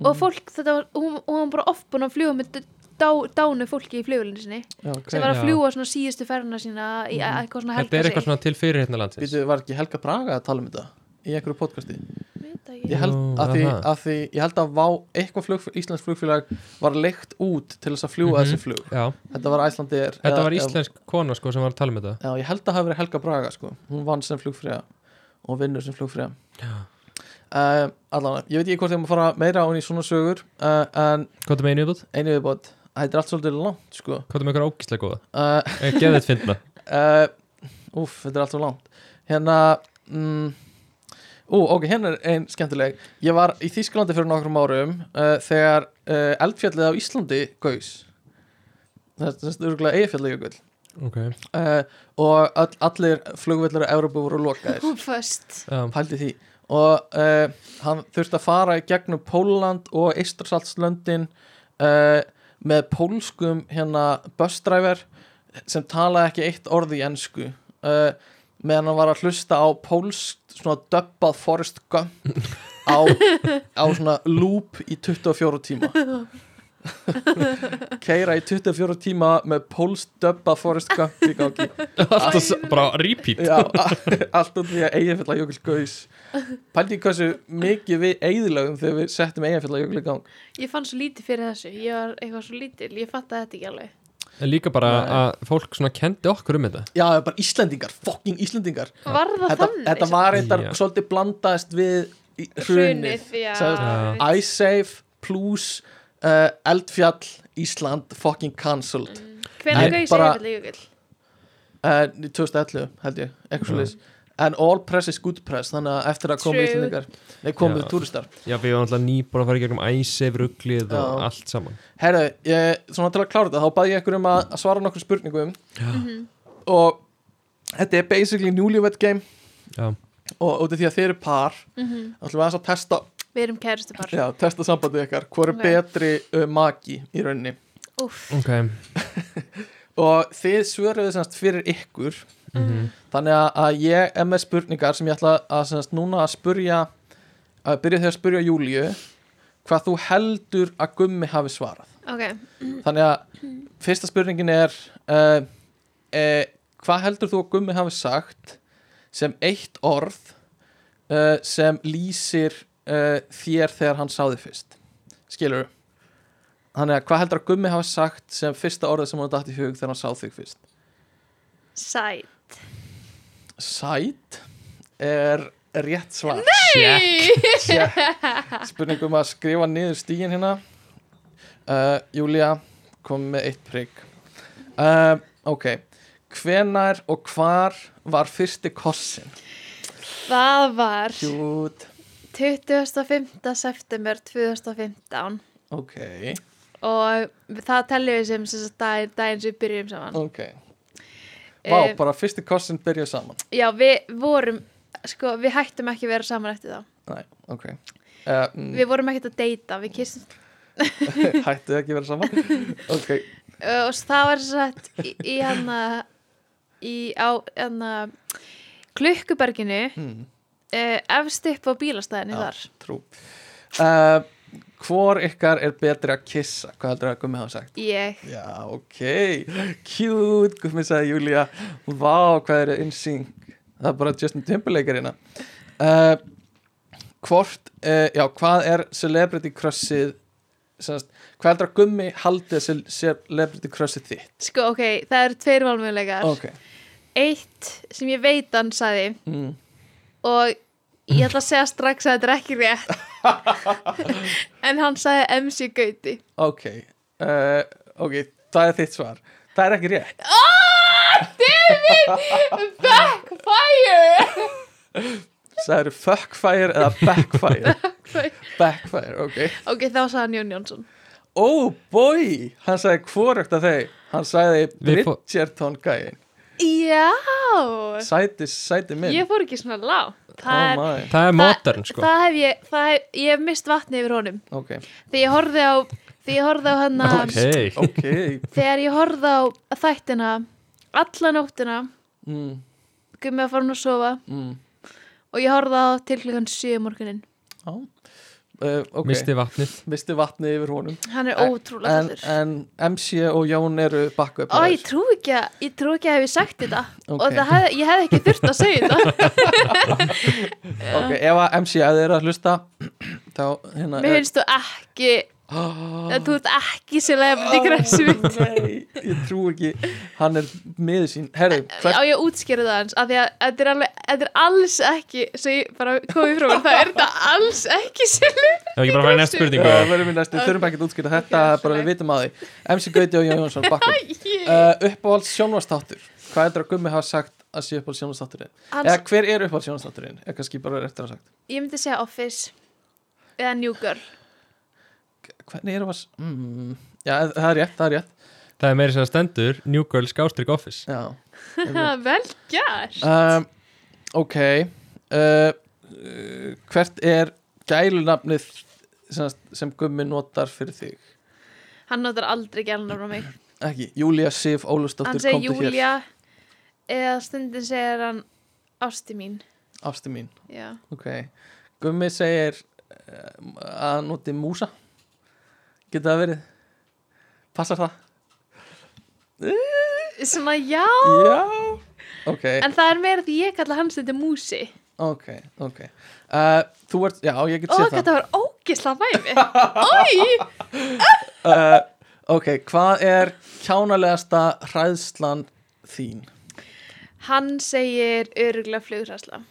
S2: Mm.
S4: og fólk, þetta var, hún, hún var bara oft búin að fljúa með d- dá, dánu fólki í flugulinu sinni
S3: já, ok
S4: sem var
S2: Já.
S4: að fljúa svona síðustu ferðina sína í mm. eitthvað svona
S2: Þetta er
S4: helga
S2: eitthvað svona til fyrir hérna landsins
S3: Býtu, var ekki Helga Braga að tala um þetta í einhverju podcasti
S4: svona
S3: ég held,
S2: Jú,
S3: að því,
S2: aha.
S3: að því, ég held að vá, eitthvað flug, Íslands flugfélag var leikt út til þess að fljúa
S2: Mhm.
S3: þessi flug
S2: Já,
S3: þetta var Æslandir
S2: þetta var íslensk kona sko sem var að tala um þetta
S3: Já, ég held að það hafi verið Helga Braga sko. hún vann sem flugfríða og vinnur sem flugfríða uh, allavega, ég veit ekki hvort ég má fara meira án í svona sögur uh, en
S2: Hvað er með einu yfirbútt?
S3: einu viðbót þetta er allt svolítið langt sko.
S2: Hvað er með eitthvað ógislega góða?
S3: uh,
S2: Eh, Geðið þetta fyndna
S3: uh, úf, þetta er allt svolítið langt hérna mm, ú, ok, hérna er einn skemmtileg ég var í Þýskalandi fyrir nokkrum árum uh, þegar uh, eldfjallið á Íslandi gaus þetta er örgulega eigafjallajökull
S2: Ok
S3: uh, og all, allir flugvellar á Európu voru lokaðir
S4: hún föst
S2: Já,
S3: pældi því og uh, hann þurfti að fara í gegnum Póland og Eistarsaltslöndin uh, með pólskum hérna busdræver sem talaði ekki eitt orð í ensku uh, meðan hann var að hlusta á pólst svona döbbað Forrest Gump á, á svona loop í 24 tíma keira í 24 tíma með pólst döbbað Forrest Gump í gangi
S2: alltaf s- bara repeat
S3: Já, a- allt út því að eiginfjalla jökul gaus Pældi í hversu mikið við eigðilögum þegar við settum eiginfjalla jökul í gang
S4: ég fann svo lítið fyrir þessu, ég var eitthvað svo lítil ég fatt að þetta ekki alveg
S2: En líka bara
S3: Nei.
S2: að fólk svona kendi okkur um þetta
S3: Já, það er bara Íslendingar, fucking Íslendingar
S4: var það
S3: Þetta,
S4: þannig?
S3: þetta var reyndar
S2: Já.
S3: svolítið blandaðist við í- hrunið
S4: já,
S3: Sagði-
S4: já.
S3: Icesafe, Plus, uh, Eldfjall, Ísland, fucking cancelled
S4: hvernig
S2: Nei,
S4: gauði
S3: bara-
S4: segja þetta jökull?
S3: uh, 2011 held ég, eitthvað
S2: Já.
S3: svo en all press is good press þannig að eftir að komu
S4: True.
S3: íslendingar nei komu
S2: Já.
S3: túristar
S2: Já, við varum alltaf nýbúin að fara í gegnum æsef, rugglið og
S3: Já.
S2: allt saman
S3: herru, ég, svona til að klára þetta þá bæði ég ykkur um að að svara nokkur spurningum og þetta er basically newlywed game
S2: Já,
S3: og út af því að þeir eru par mm -hmm. ætlum við aðeins að testa,
S4: Við erum kæristu bara
S3: já, testa sambandið ykkar hvor er
S4: Ok.
S3: betri uh, magi í rauninni
S4: Úff,
S2: ok
S3: og þið svöruðu semst fyrir ykkur
S2: Mhm.
S3: þannig að- að ég er með spurningar sem ég ætla að semst núna að spurja að byrja því að spurja Júlíu hvað þú heldur að gummi hafi svarað
S4: ok
S3: þannig að fyrsta spurningin er uh, uh, hvað heldur þú að gummi hafi sagt sem eitt orð uh, sem lýsir uh, þér þegar hann sáði fyrst skilur þannig að hvað heldur að gummi hafi sagt sem fyrsta orðið sem hann dætt í hug þegar hann sáð þig fyrst
S4: Sæt
S3: Sæt er rétt svar
S2: Check
S3: Check. Spurningum um að skrifa niður stígin hérna uh, Júlia kom með eitt prigg uh, Ok Hvenær og hvar var fyrsti kossin?
S4: Það var
S3: Cute
S4: 25. september 2015
S3: Ok,
S4: og það teljum við sem, sem sagt, dag, daginn sem við byrjum saman
S3: ok Vá,
S4: Eh,
S3: bara fyrsti kossin byrja saman
S4: Já, við vorum sko, við hættum ekki að vera saman eftir þá
S3: Nei, ok uh, mm,
S4: Við vorum ekkert að deyta, við kistum
S3: Hættu ekki að vera saman Ok,
S4: uh, og s- það var sem sagt í, í hana í á hana klukkuberginu
S3: mm,
S4: uh, efst upp á bílastæðinu
S3: Já.
S4: þar
S3: trú uh, Hvor ykkar er betri að kissa? Hvað heldur að gummi hafa sagt?
S4: ég,
S3: Já, ok, cute, gummi sagði Júlia Vá, hvað eru insýng Það er bara Justin Timberlake er hérna uh, Hvort, uh, já, hvað er celebrity crushið semast, Hvað heldur að gummi haldið að ce- celebrity crushið þitt?
S4: sko ok það eru tveir valmöguleikar
S3: Ok
S4: eitt sem ég veit hann sagði
S3: mm.
S4: og ég ætla að segja strax að þetta er ekki rétt en hann sagði MC Gauti
S3: Ok, uh, ok, það er þitt svar Það er ekki rétt
S4: Ah, Backfire
S3: Það eru fuckfire eða backfire Backfire, ok
S4: ok þá sagði hann Jón Jónsson
S3: Oh boy, hann sagði hvorugt af þeim Hann sagði
S2: Við fó-
S3: Bridgerton gæin
S4: já
S3: Sæti, sæti minn
S4: ég fór ekki svona lág
S3: Oh
S4: það, er,
S3: my,
S2: Það er modern sko
S4: það hef ég það hef, ég hef mist vatni yfir honum
S3: ok
S4: þegar ég horfði á þegar ég horfði á hann
S2: Ok
S3: Ok
S4: þegar ég horfði á þættina alla nóttina
S3: mm,
S4: gummi að fara hann að sofa
S3: mm.
S4: og ég horfði á til klukkan um 7 morgunin
S3: Já. Uh, ok, misti.
S2: Misti vatnið
S3: vatni yfir honum
S4: hann er
S3: En-
S4: ótrúlega
S3: en,
S4: fallur
S3: en MC og Jón eru bakku upp
S4: Ó, ég trú ekki að, ég trú ekki að hef ég sagt þetta
S3: Ok.
S4: og það hef, ég hef ekki þurft að segja þetta
S3: Ok, ef að MC að þið eru að hlusta þá hérna
S4: mér finnst þú ekki
S3: oh,
S4: þú ert ekki celebrity crush mitt
S3: Nei, ég trú ekki Hann er miður sín Herru, hvert
S4: á ég að útskýra það hans af því að þetta er, alveg, þetta er alls ekki sem ég bara komið frá mér, það er þetta alls ekki celebrity
S2: Það er ekki bara að fara í næst
S3: Já,
S2: spurningu
S3: Það verður mér næst, við þurfum ekki að útskýra þetta
S4: Ok,
S3: bara við vitum að því MC Gauti og Jón Jónsson, bakku uh, Uppáhalds sjónvastáttur Hvað heldur að Gummi hafa sagt að sé uppáhalds sjónvastátturinn? Eða
S4: hans,
S3: hver er uppáhalds sjónvastátturinn? Er kannski bara eftir að hafa sagt
S4: ég myndi segja Office eða New Girl
S3: Hvernig er uppáhalds? Mm, já, það er rétt, það er rétt
S2: Það er meiri sem að stendur New Girl skástrík office
S3: Já
S4: Ha, vel gert
S3: um, Ok uh, uh, Hvert er gælunafnið sem, sem Gummi notar fyrir þig?
S4: Hann notar aldrei gælna frá mig
S3: Ekki, Júlia Sif
S4: Hann
S3: Ólafsdóttir
S4: segir
S3: komdu hér
S4: Júlia eða stundin segir hann Ásti mín
S3: Ástu mín
S4: Já.
S3: Ok, Gummi segir eh, að hann noti músa Getur það verið? Passar það?
S4: Svona já
S3: Já Ok,
S4: En það er meira því ég kalla hann stundi músi
S3: ok, ok uh, Þú ert, já, ég get
S4: Ó,
S3: séð það
S4: þetta var ógisla væmi Ói
S3: uh, Ok, hvað er kjánalegasta hræðslan þín?
S4: Hann segir öruglega flugræsla
S3: Eh,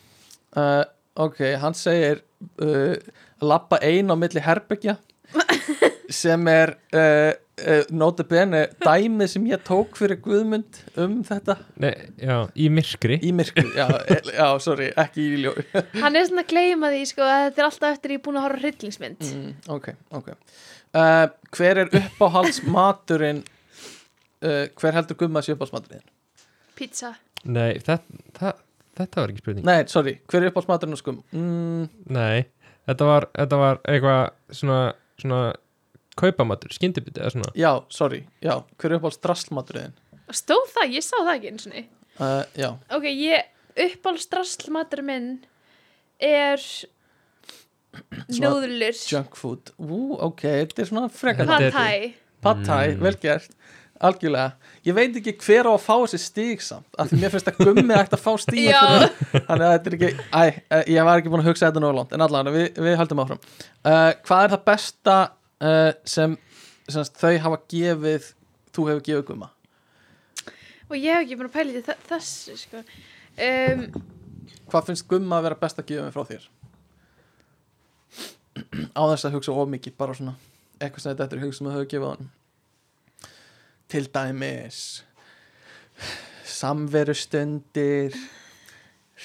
S3: Uh, ok, hann segir uh, Lappa ein á milli herbyggja sem er uh, uh, nota bene dæmið sem ég tók fyrir Guðmund um þetta
S2: Nei, já, í myrkri
S3: í myrku, já, eh, já sorry, ekki í ljó
S4: Hann er svona að gleyma því sko að þetta er alltaf eftir ég er búin að horfa á hryllingsmynd
S3: mm, ok, ok uh, hver er uppáhaldsmaturinn uh, hver heldur Guðmund að sé uppáhaldsmaturinn þinn?
S4: Pizza
S2: Nei, það, það, þetta var ekki spurning
S3: nei, sorry, hver er uppáhaldsmaturinn á skum mm,
S2: Nei, þetta var, þetta var eitthvað svona, svona kaupamatur, skyndibiti eða svona
S3: já, sorry, já, hver er uppáhaldsdraslmaturinn þinn?
S4: Stóð það, ég sá það ekki eins og niður
S3: uh, já,
S4: Ok, ég uppáhaldsdraslmatur minn er núðlur
S3: junk food ú, ok, þetta er svona frekar
S2: Þetta er-
S4: Pad Thai
S3: Pad Thai,
S2: Mm.
S3: vel gert algjörlega, ég veit ekki hver á að fá þessi stíg samt, af því mér finnst að gummi ætti að fá stíg
S4: Já.
S3: þannig að þetta er ekki, æ, eh, ég var ekki búin að hugsa þetta nógu langt, en allavega, við, við höldum áfram uh, hvað er það besta uh, sem, sem sagt, þau hafa gefið, þú hefur gefið gumma
S4: Og ég hef ekki búin að pæla í þe- þessu sko um,
S3: hvað finnst gumma að vera best að gefa mig frá þér á þess að hugsa of mikið, bara svona eitthvað sem þetta er hugsa sem þau hefur gefið honum til dæmis samverustundir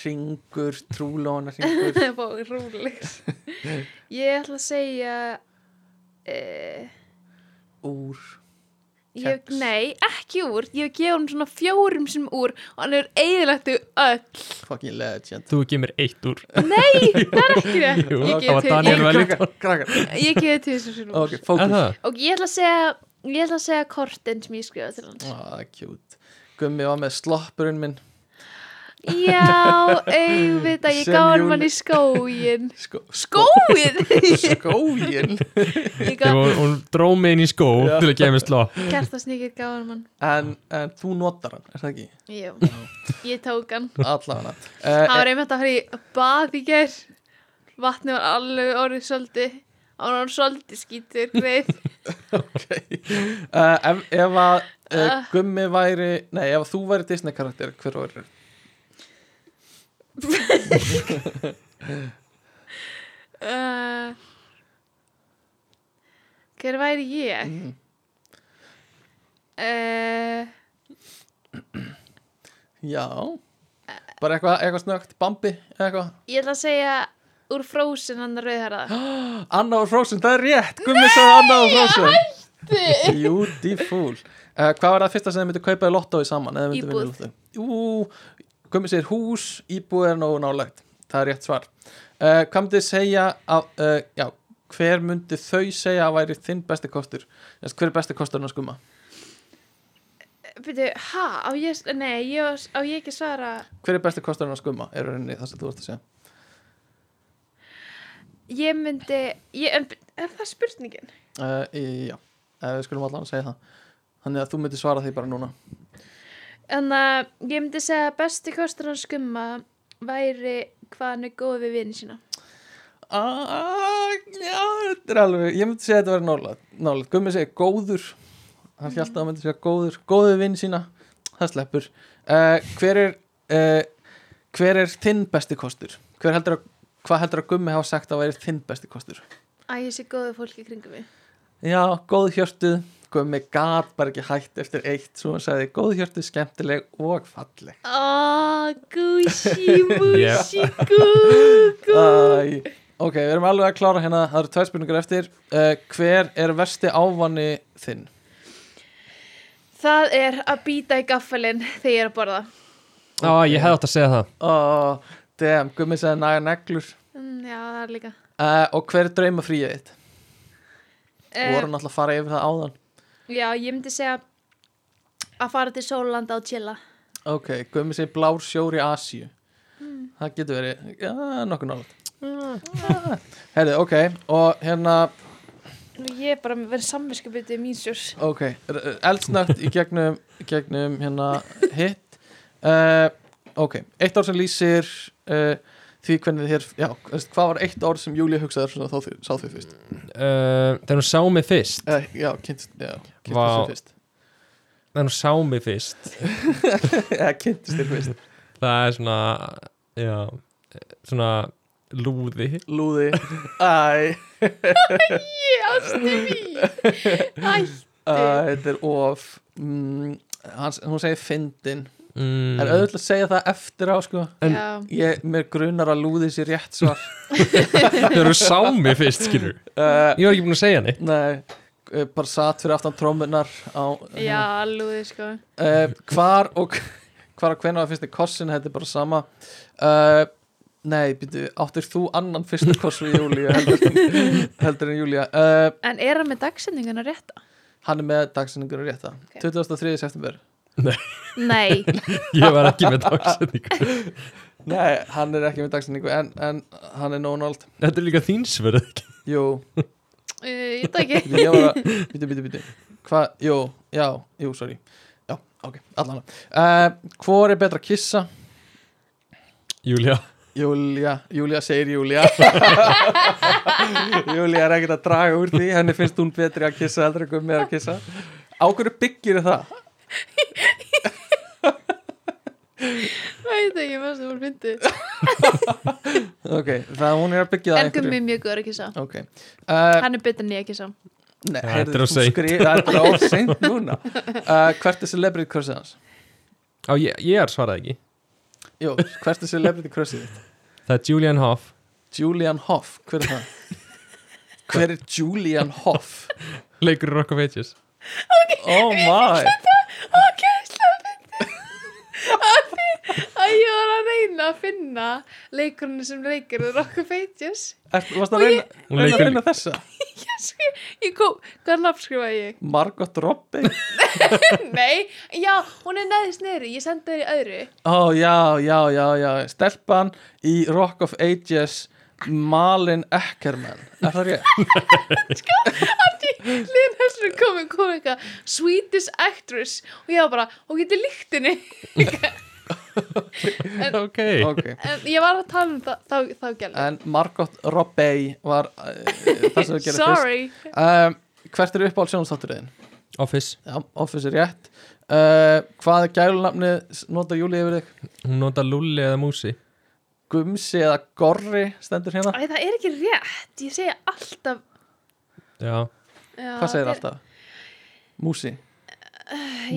S3: ringur, trúlóna ringur
S4: Það var rúlegs Ég ætla að segja uh,
S3: úr
S4: ég,
S3: Kex.
S4: Nei, ekki úr Ég hef gefið hann svona fjórum sem úr og hann er eiginlegt öll
S3: fucking legend
S2: Þú gefur mér eitt úr
S4: Nei, það er ekki rétt
S2: Jú,
S4: Ég
S2: það var
S4: gefið
S2: Daniel
S4: til-
S2: Valentine.
S3: krakkar, krakkar.
S4: ég- ég gefið til þessu svona úr
S3: ok, fókus
S2: Er
S3: ah,
S2: það?
S4: Og ég ætla að segja Ég ætla að segja kortin sem ég skrifaði til hans
S3: það er Ah, cute Gummi var með sloppurinn minn
S4: Já, auðvitað, ég
S3: Sem
S4: gaf
S3: Júli-
S4: hann mann í skóin
S3: Skó,
S4: Skóið
S3: skóin
S4: Ég
S2: Þegar
S4: gaf
S2: hún, hún dró mig inn í skó
S3: Já.
S2: til að gefa mér slá
S4: kertasnýkir gaf hann mann
S3: en, en þú notar hann, er það ekki?
S4: Já, ég tók hann
S3: allavega
S4: Það
S3: uh,
S4: var einmitt að fara í bað í ger Vatni var alveg orðið svolítið Það var hann svolítið skítur greið
S3: uh, ef, ef að uh,
S4: Ah.
S3: Gummi væri nei, ef að þú væri Disney karakter hver væri
S4: uh, Hver væri ég?
S3: Mm.
S4: Uh,
S3: já bara eitthvað eitthva snögt, Bambi eða eitthvað,
S4: ég ætla að segja úr frósin hann rauðherða
S3: Anna og Frozen, það er rétt Gummi sagði Anna og Frozen beautiful uh, hvað var það fyrsta sem þið myndi kaupa í lottói saman eða þið myndu vinna í
S4: Íbúð.
S3: lottói? Jú, Gummi segir hús, íbúð er nógu nálægt það er rétt svar uh, hvað myndi þið segja að, uh, já, hver myndi þau segja að væri þinn besti kostur Þess, hver er besti kosturinn að skumma
S4: Byrju, ha? Á ég, nei, ég, var- á ég ekki að svara
S3: hver er besti kosturinn að skumma er rauninni það sem þú ert að segja
S4: Ég myndi ég, en, Er það spurningin?
S3: uh, í- já, uh, við skulum allan að segja það þannig að þú myndir svara því bara núna
S4: En að ég myndi segja að besti kostur hann skumma væri hvað hann er góð við vini sína
S3: aaaah, já, þetta er alveg ég myndi segja að þetta verið nálega, nálega. Gummi segir góður hann mm. hjátt að hann myndi segja góður góður vinn sína, það sleppur uh, hver er uh, hver er þinn besti kostur hver heldur að, hvað heldur að Gummi hafa sagt að væri þinn besti kostur
S4: Æ, ég sé góðu fólki kringum mig
S3: já, góð hjörtuð Gummi gat bara ekki hætt eftir eitt svo hann sagði góð hjörtuð, skemmtileg og falleg
S4: Ah, Gucci,
S2: Yep.
S4: Gucci, Gucci
S3: Æ, ok, við erum alveg að klára hérna það eru tvær spurningar eftir uh, hver er versti ávani þinn?
S4: Það er að býta í gaffalinn þegar ég er að borða
S2: Á, ég hefði átt að segja það
S3: oh, damn, gummi segði naga neglur
S4: mm, Já, það er líka
S3: uh, og hver er drauma fríið þitt?
S4: Eh,
S3: Uh, voru náttúrulega að fara yfir það áðan
S4: Já, ég myndi segja að fara til Sólanda og chilla
S3: ok, gummi segði blár sjór í Asíu það getur verið ja, nokkuð nátt herrið, ok, og hérna
S4: Nú, Ég er bara með verið samvinskapitið mín sjórs
S3: ok, eldsnögt í gegnum, gegnum hérna hitt uh, ok, eitt ár sem lýsir uh, því hvernig þér já, veist, hvað var eitt ár sem Júli hugsaði svona þá þau, sá þau fyrst
S2: uh, Þegar hún sá mig fyrst
S3: uh, já, kynntist, já, kynntist
S2: Vá.
S3: þau fyrst
S2: Þegar hún sá mig fyrst
S3: eða kynntist þér fyrst
S2: Það er svona Já, eh, svona lúði
S3: lúði Æ, æ, þetta er of mm, hans, Hún segir fyndin
S2: mm.
S3: En auðvitað að segja það eftir á sko
S2: En-
S4: Já.
S3: Ég, mér grunar að lúði sér rétt svar
S2: Þegar þú sá mig fyrst, skilur
S3: uh,
S2: Ég var ekki búin að segja neitt
S3: Nei, eh, bara satt fyrir aftan trómunar á,
S4: Já, lúði sko
S3: uh, hvar og hvar og hvenær var fyrsti kossin þetta er bara sama uh, nei, býtu, áttir þú annan fyrsta koss við Júlíu heldur, en- heldur en Júlía uh,
S4: En er hann með dagsendinguna rétta?
S3: hann er með dagsinningur og rétta
S4: Ok.
S3: 23. september
S4: Nei,
S2: Ég var ekki með dagsetningu
S3: nei, hann er ekki með dagsinningu en, en hann er nónáld
S2: Þetta er líka þín sverð ekki
S3: jú,
S4: uh, ég veit ekki
S3: býtu, ég var að býtu, býtu, býtu hvað, jú, já, jú, sorry já, ok, allan uh, hvor er betra að kissa?
S2: Júlia
S3: Júlia, Júlia segir Júlia Júlia er ekkert að draga úr því henni finnst hún betri að kissa heldur en gummi er að kissa á hverju byggir það?
S4: Veit ekki, mest þú voru fyndi
S3: ok, það hún er að byggja það
S4: En gummi er mjög góður að kissa
S3: ok uh,
S4: Hann er betur en ég að kissa
S3: nei,
S2: Já,
S3: heyrðu,
S2: þetta er of
S3: þú
S2: seint.
S3: skri- þetta er of seint núna uh, hvert er celebrity crushið hans?
S2: Á, ég, ég er svarað ekki
S3: Jú, hvert er celebrity crushið þitt?
S2: Það er Julian Hoff
S3: Julian Hoff, hver er það? hver er Julian Hoff?
S2: Leikur í Rock of Ages
S3: oh my
S4: Ok, slöfndi Af því að ég var að reyna að finna leikurinn sem leikur The Rock of Ages
S3: er, varst að reyna, reyna
S2: Hún
S3: að
S2: leikur-
S3: finna þessa?
S4: Ég kom, hvað nafnskrifaði ég?
S3: Margot Robbie
S4: Nei, já, hún er neðist neyri, ég sendi þér í öðru
S3: Ó, Oh, já, já, já, já Stelpan í Rock of Ages Malin Eckerman Er það rétt?
S4: Líðan Hesslur kom og kom eitthvað Swedish actress og ég var bara, og getur líkt henni
S2: Ok
S3: Ok
S4: en ég var að tala um það, þá, þá gæla
S3: En Margot Robbie var uh, það sem við gerum fyrst
S4: Sorry
S3: um, Hvert er uppáhald sjónastátturðin?
S2: Office
S3: Já, Office er rétt uh, Hvað er gælunafni notar Júli yfir þig?
S2: Hún nota lulli eða músi
S3: Gumsi eða Gorri stendur hérna
S4: Æ, það er ekki rétt, ég segja alltaf
S2: Já
S4: já,
S3: Hvað segir
S4: það er- Eh,
S3: alltaf? Músi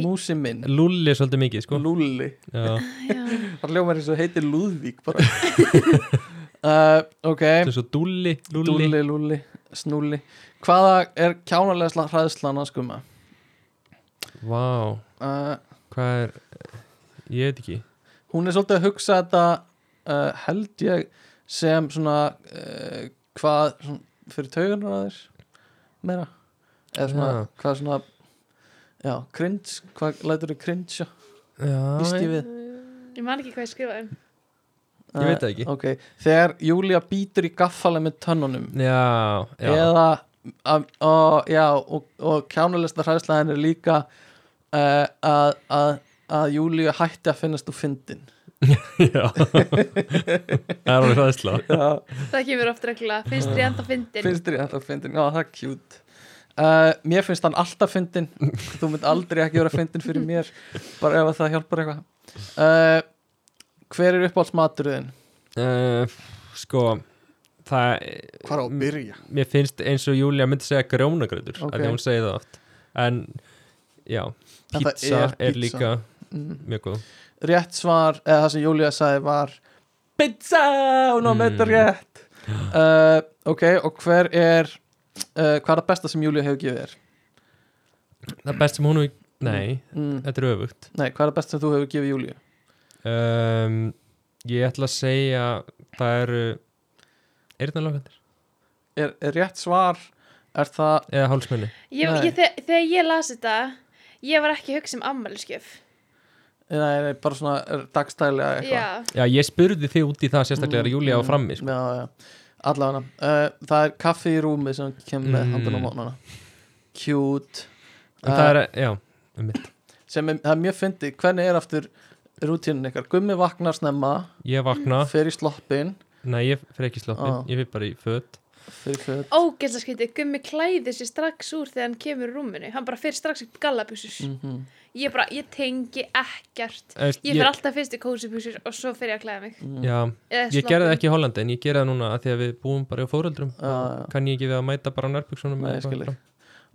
S3: Músi minn
S2: Lulli er svolítið mikið, sko
S3: Lúli
S2: Já
S4: Já,
S3: Það ljómar eins og heitir Lúðvík bara uh, Ok
S2: Þetta er svo dulli Lulli
S3: Dúlli, lúlli, snúlli Hvaða er kjánalega hræðslan að skumma?
S2: Vá
S3: Uh,
S2: Hvað er Ég veit ekki
S3: hún er svolítið að hugsa þetta uh, held ég sem svona uh, hvað svona, fyrir taugunar að þér meira eða svona,
S2: Já.
S3: hvað svona já, cringe, hvað lætur þið cringe
S2: Já
S3: býst ég
S2: ég-
S3: við
S4: ég man ekki hvað ég skrifaði um.
S2: Ég veit það ekki.
S3: uh, okay. Þegar Júlia býtur í gaffali með tönnunum
S2: Já, já
S3: eða að, og, já, og, og kjánulegsta hræðslaðin er líka uh, að, að, að Júlíu hætti að finnast úr fyndin
S2: Já Það er alveg hræðsla
S4: Það kemur oft regla, finnst þér ég enda fyndin
S3: finnst þér alltaf fyndin, já það er kjút uh, mér finnst hann alltaf fyndin þú mynd aldrei ekki vera fyndin fyrir mér bara ef að það hjálpar eitthvað uh, hver er uppáhaldsmaturinn?
S2: uh, Sko Það
S3: Hvar á að byrja?
S2: Mér finnst eins og Júlia myndi segja grjónagröður
S3: Ok.
S2: okay. Því hún segi það oft En já
S3: En
S2: Pizza
S3: það
S2: er,
S3: er pizza.
S2: líka
S3: Mm.
S2: mjög góð
S3: rétt svar, eða það sem Júlia sagði var pizza, hún á með þetta
S2: Mm.
S3: rétt uh, ok, og hver er uh, hvað er það besta sem Júlia hefur gefið þér?
S2: Það best sem hún hefur- Nei,
S3: Mm.
S2: þetta er öfugt
S3: nei, hvað er það besta sem þú hefur gefið Júliu?
S2: um, Ég ætla að segja Það eru Eirnarlokandir
S3: Er, er rétt svar, er það
S2: Eða hálsmenni
S4: ég,
S3: Nei.
S4: ég, þegar, þegar ég las þetta ég var ekki að hugsa um ammælisgjöf
S3: nei, nei, bara svona er dagstælega eitthvað
S4: Já,
S2: Já, ég spurði þig út í það sérstaklega mm, Júlia á frammi sko.
S3: já, já. allavega, uh, það er kaffi í rúmi sem hún kemur með
S2: Mm.
S3: handan á mónana cute
S2: En
S3: Ah.
S2: það er, já, um mitt
S3: sem er, það er mjög fyndið, hvernig er aftur rútínin ykkar, gummi vaknar snemma
S2: Ég vakna,
S3: fer í sloppin
S2: nei ég fyrir ekki sloppin
S3: Ah.
S2: Ég fyrir bara í föt
S3: Fyrir föt
S4: Ógæsla skrítið, gummi klæði sér strax úr þegar hann kemur úr rúminu. Hann bara fyrir strax í gallabjúsus.
S3: Mhm.
S4: Ég bara, ég tengi ekkert.
S2: Þú veist,
S4: Ég fyrir alltaf fyrst í kósibjúsus og svo fyrir ég að klæða mig.
S3: mhm.
S2: já,
S3: Mm.
S4: Eða
S2: ég
S4: svona-
S2: gerði það ekki í Hollandi en ég gerði það núna að því að við búum bara á fóreldrum
S3: Já, já.
S2: kann ég ekki við að mæta bara á nærbyggsonum
S3: Nei, ég skil þig.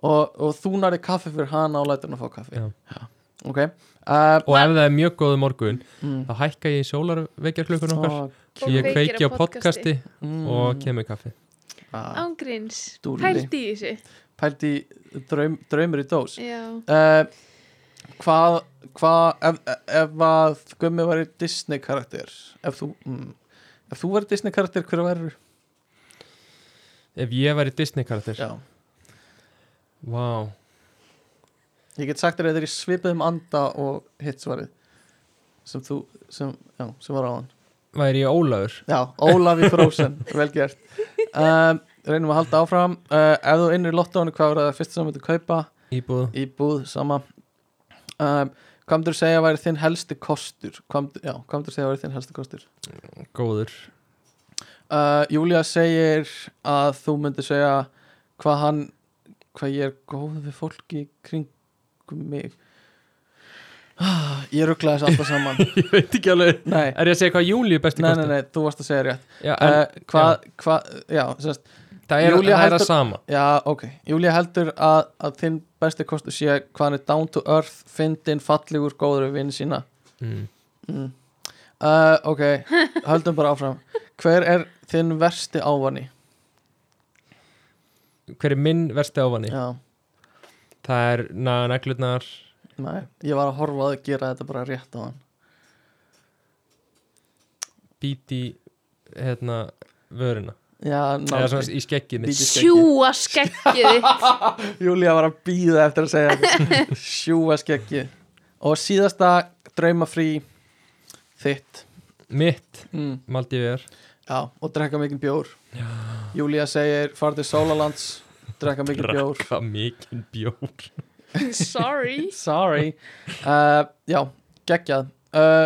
S3: og, og þú nærði kaffi fyrir hana og lætur hann að fá kaffi
S2: Já.
S3: Ok uh,
S2: og ef það er mjög góð morgun
S3: mm.
S2: þá hækka ég sólarvekjarklökun okkar
S3: Ó,
S4: Og
S2: ég
S4: kveikir
S2: kveiki á podcasti
S3: mm,
S2: og kemur kaffi
S3: ah,
S4: Ángríns,
S3: Dúlli.
S4: pælt í þessu.
S3: Pælt í draum, draumur í dós
S4: Já.
S3: uh, Hvað hva, ef, ef að Gummi væri Disney karakter Ef þú mm, Ef þú væri Disney karakter, hver verður?
S2: ef ég væri Disney karakter
S3: Já
S2: wow.
S3: Ég get sagt þér að þeir eru svipið um anda og hitt svarið sem þú, sem, já, sem var á hann
S2: væri ég Ólafur
S3: Já, Ólafi Frozen, vel gert um, Reynum að halda áfram uh, Ef þú innir lottónu, hvað var það fyrst sem þú myndir kaupa?
S2: íbúð
S3: Íbúð, sama um, Hvað myndir segja að væri þinn helsti kostur? Hvað myndir, já, hvað myndir segja að væri þinn helsti kostur?
S2: góður
S3: Uh, Júlia segir að þú myndir segja hvað hann hvað ég er góð við fólki kringum mig ah, ég rugglaði þessu alltaf saman
S2: ég veit ekki alveg
S3: nei,
S2: er ég að segja hvað Júli er besti
S3: nei, nei,
S2: kostur
S3: nei, þú varst að segja rétt
S2: Já, en,
S3: uh, hvað, hvað, já, sérst
S2: það er,
S3: Júlía
S2: það er að
S3: heldur-
S2: sama
S3: já, ok, Júlia heldur að, að þinn besti kostu sé hvað hann er down to earth, fyndin, fallegur góður við vinn sína
S2: mm.
S3: mm. uh, ok, höldum bara áfram hver er þinn versti ávani?
S2: hver er minn versti ávani
S3: já
S2: það er na- neglurnar
S3: Nei, ég var að horfa að gera þetta bara rétt á hann
S2: bíti hérna vörina
S3: Já,
S2: eða svona
S3: náttúrulega
S2: í skegginni
S3: Bíti-
S1: Sjúa skeggið þitt.
S3: Júlía var að býða eftir að segja þetta Sjúa skeggi Og síðasta draumafrí Þitt
S2: mitt
S3: mm.
S2: Maldíver
S3: Já, og drekka mikinn bjór Júlía segir, farðu til Sólalands Drekka mikinn bjór
S2: drakka mikinn bjór
S4: Sorry.
S3: Sorry uh, Já, geggjað uh,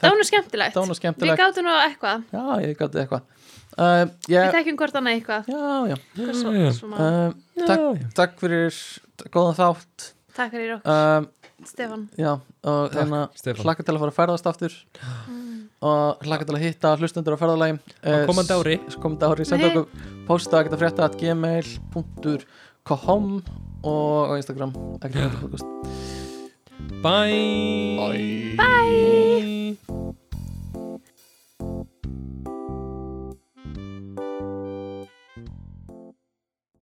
S4: Það var nú skemmtilegt.
S3: Það var nú
S4: Við
S3: skemmtilegt
S4: gátum nú á eitthvað.
S3: Já, ég gæti eitthvað uh,
S4: Við
S3: ég,
S4: tekjum hvort annað eitthvað.
S3: Já, já
S4: Hvað svo,
S2: Já.
S4: svona,
S3: uh, takk, takk fyrir Góðan þátt
S4: Takk fyrir okkur,
S3: um,
S4: Stefan.
S3: Já, og hérna-
S2: Takk,
S3: þannig að
S2: Stefán.
S3: hlakka til að fara að ferðast aftur og hlakka til að hitta hlustendur á ferðalagi Eh,
S2: á komandi ári
S3: komandi ári, senda
S4: Nei.
S3: okkur posta ekkert að frétta at gmail.com og á Instagram ekkert að frétta podcast
S2: bye bye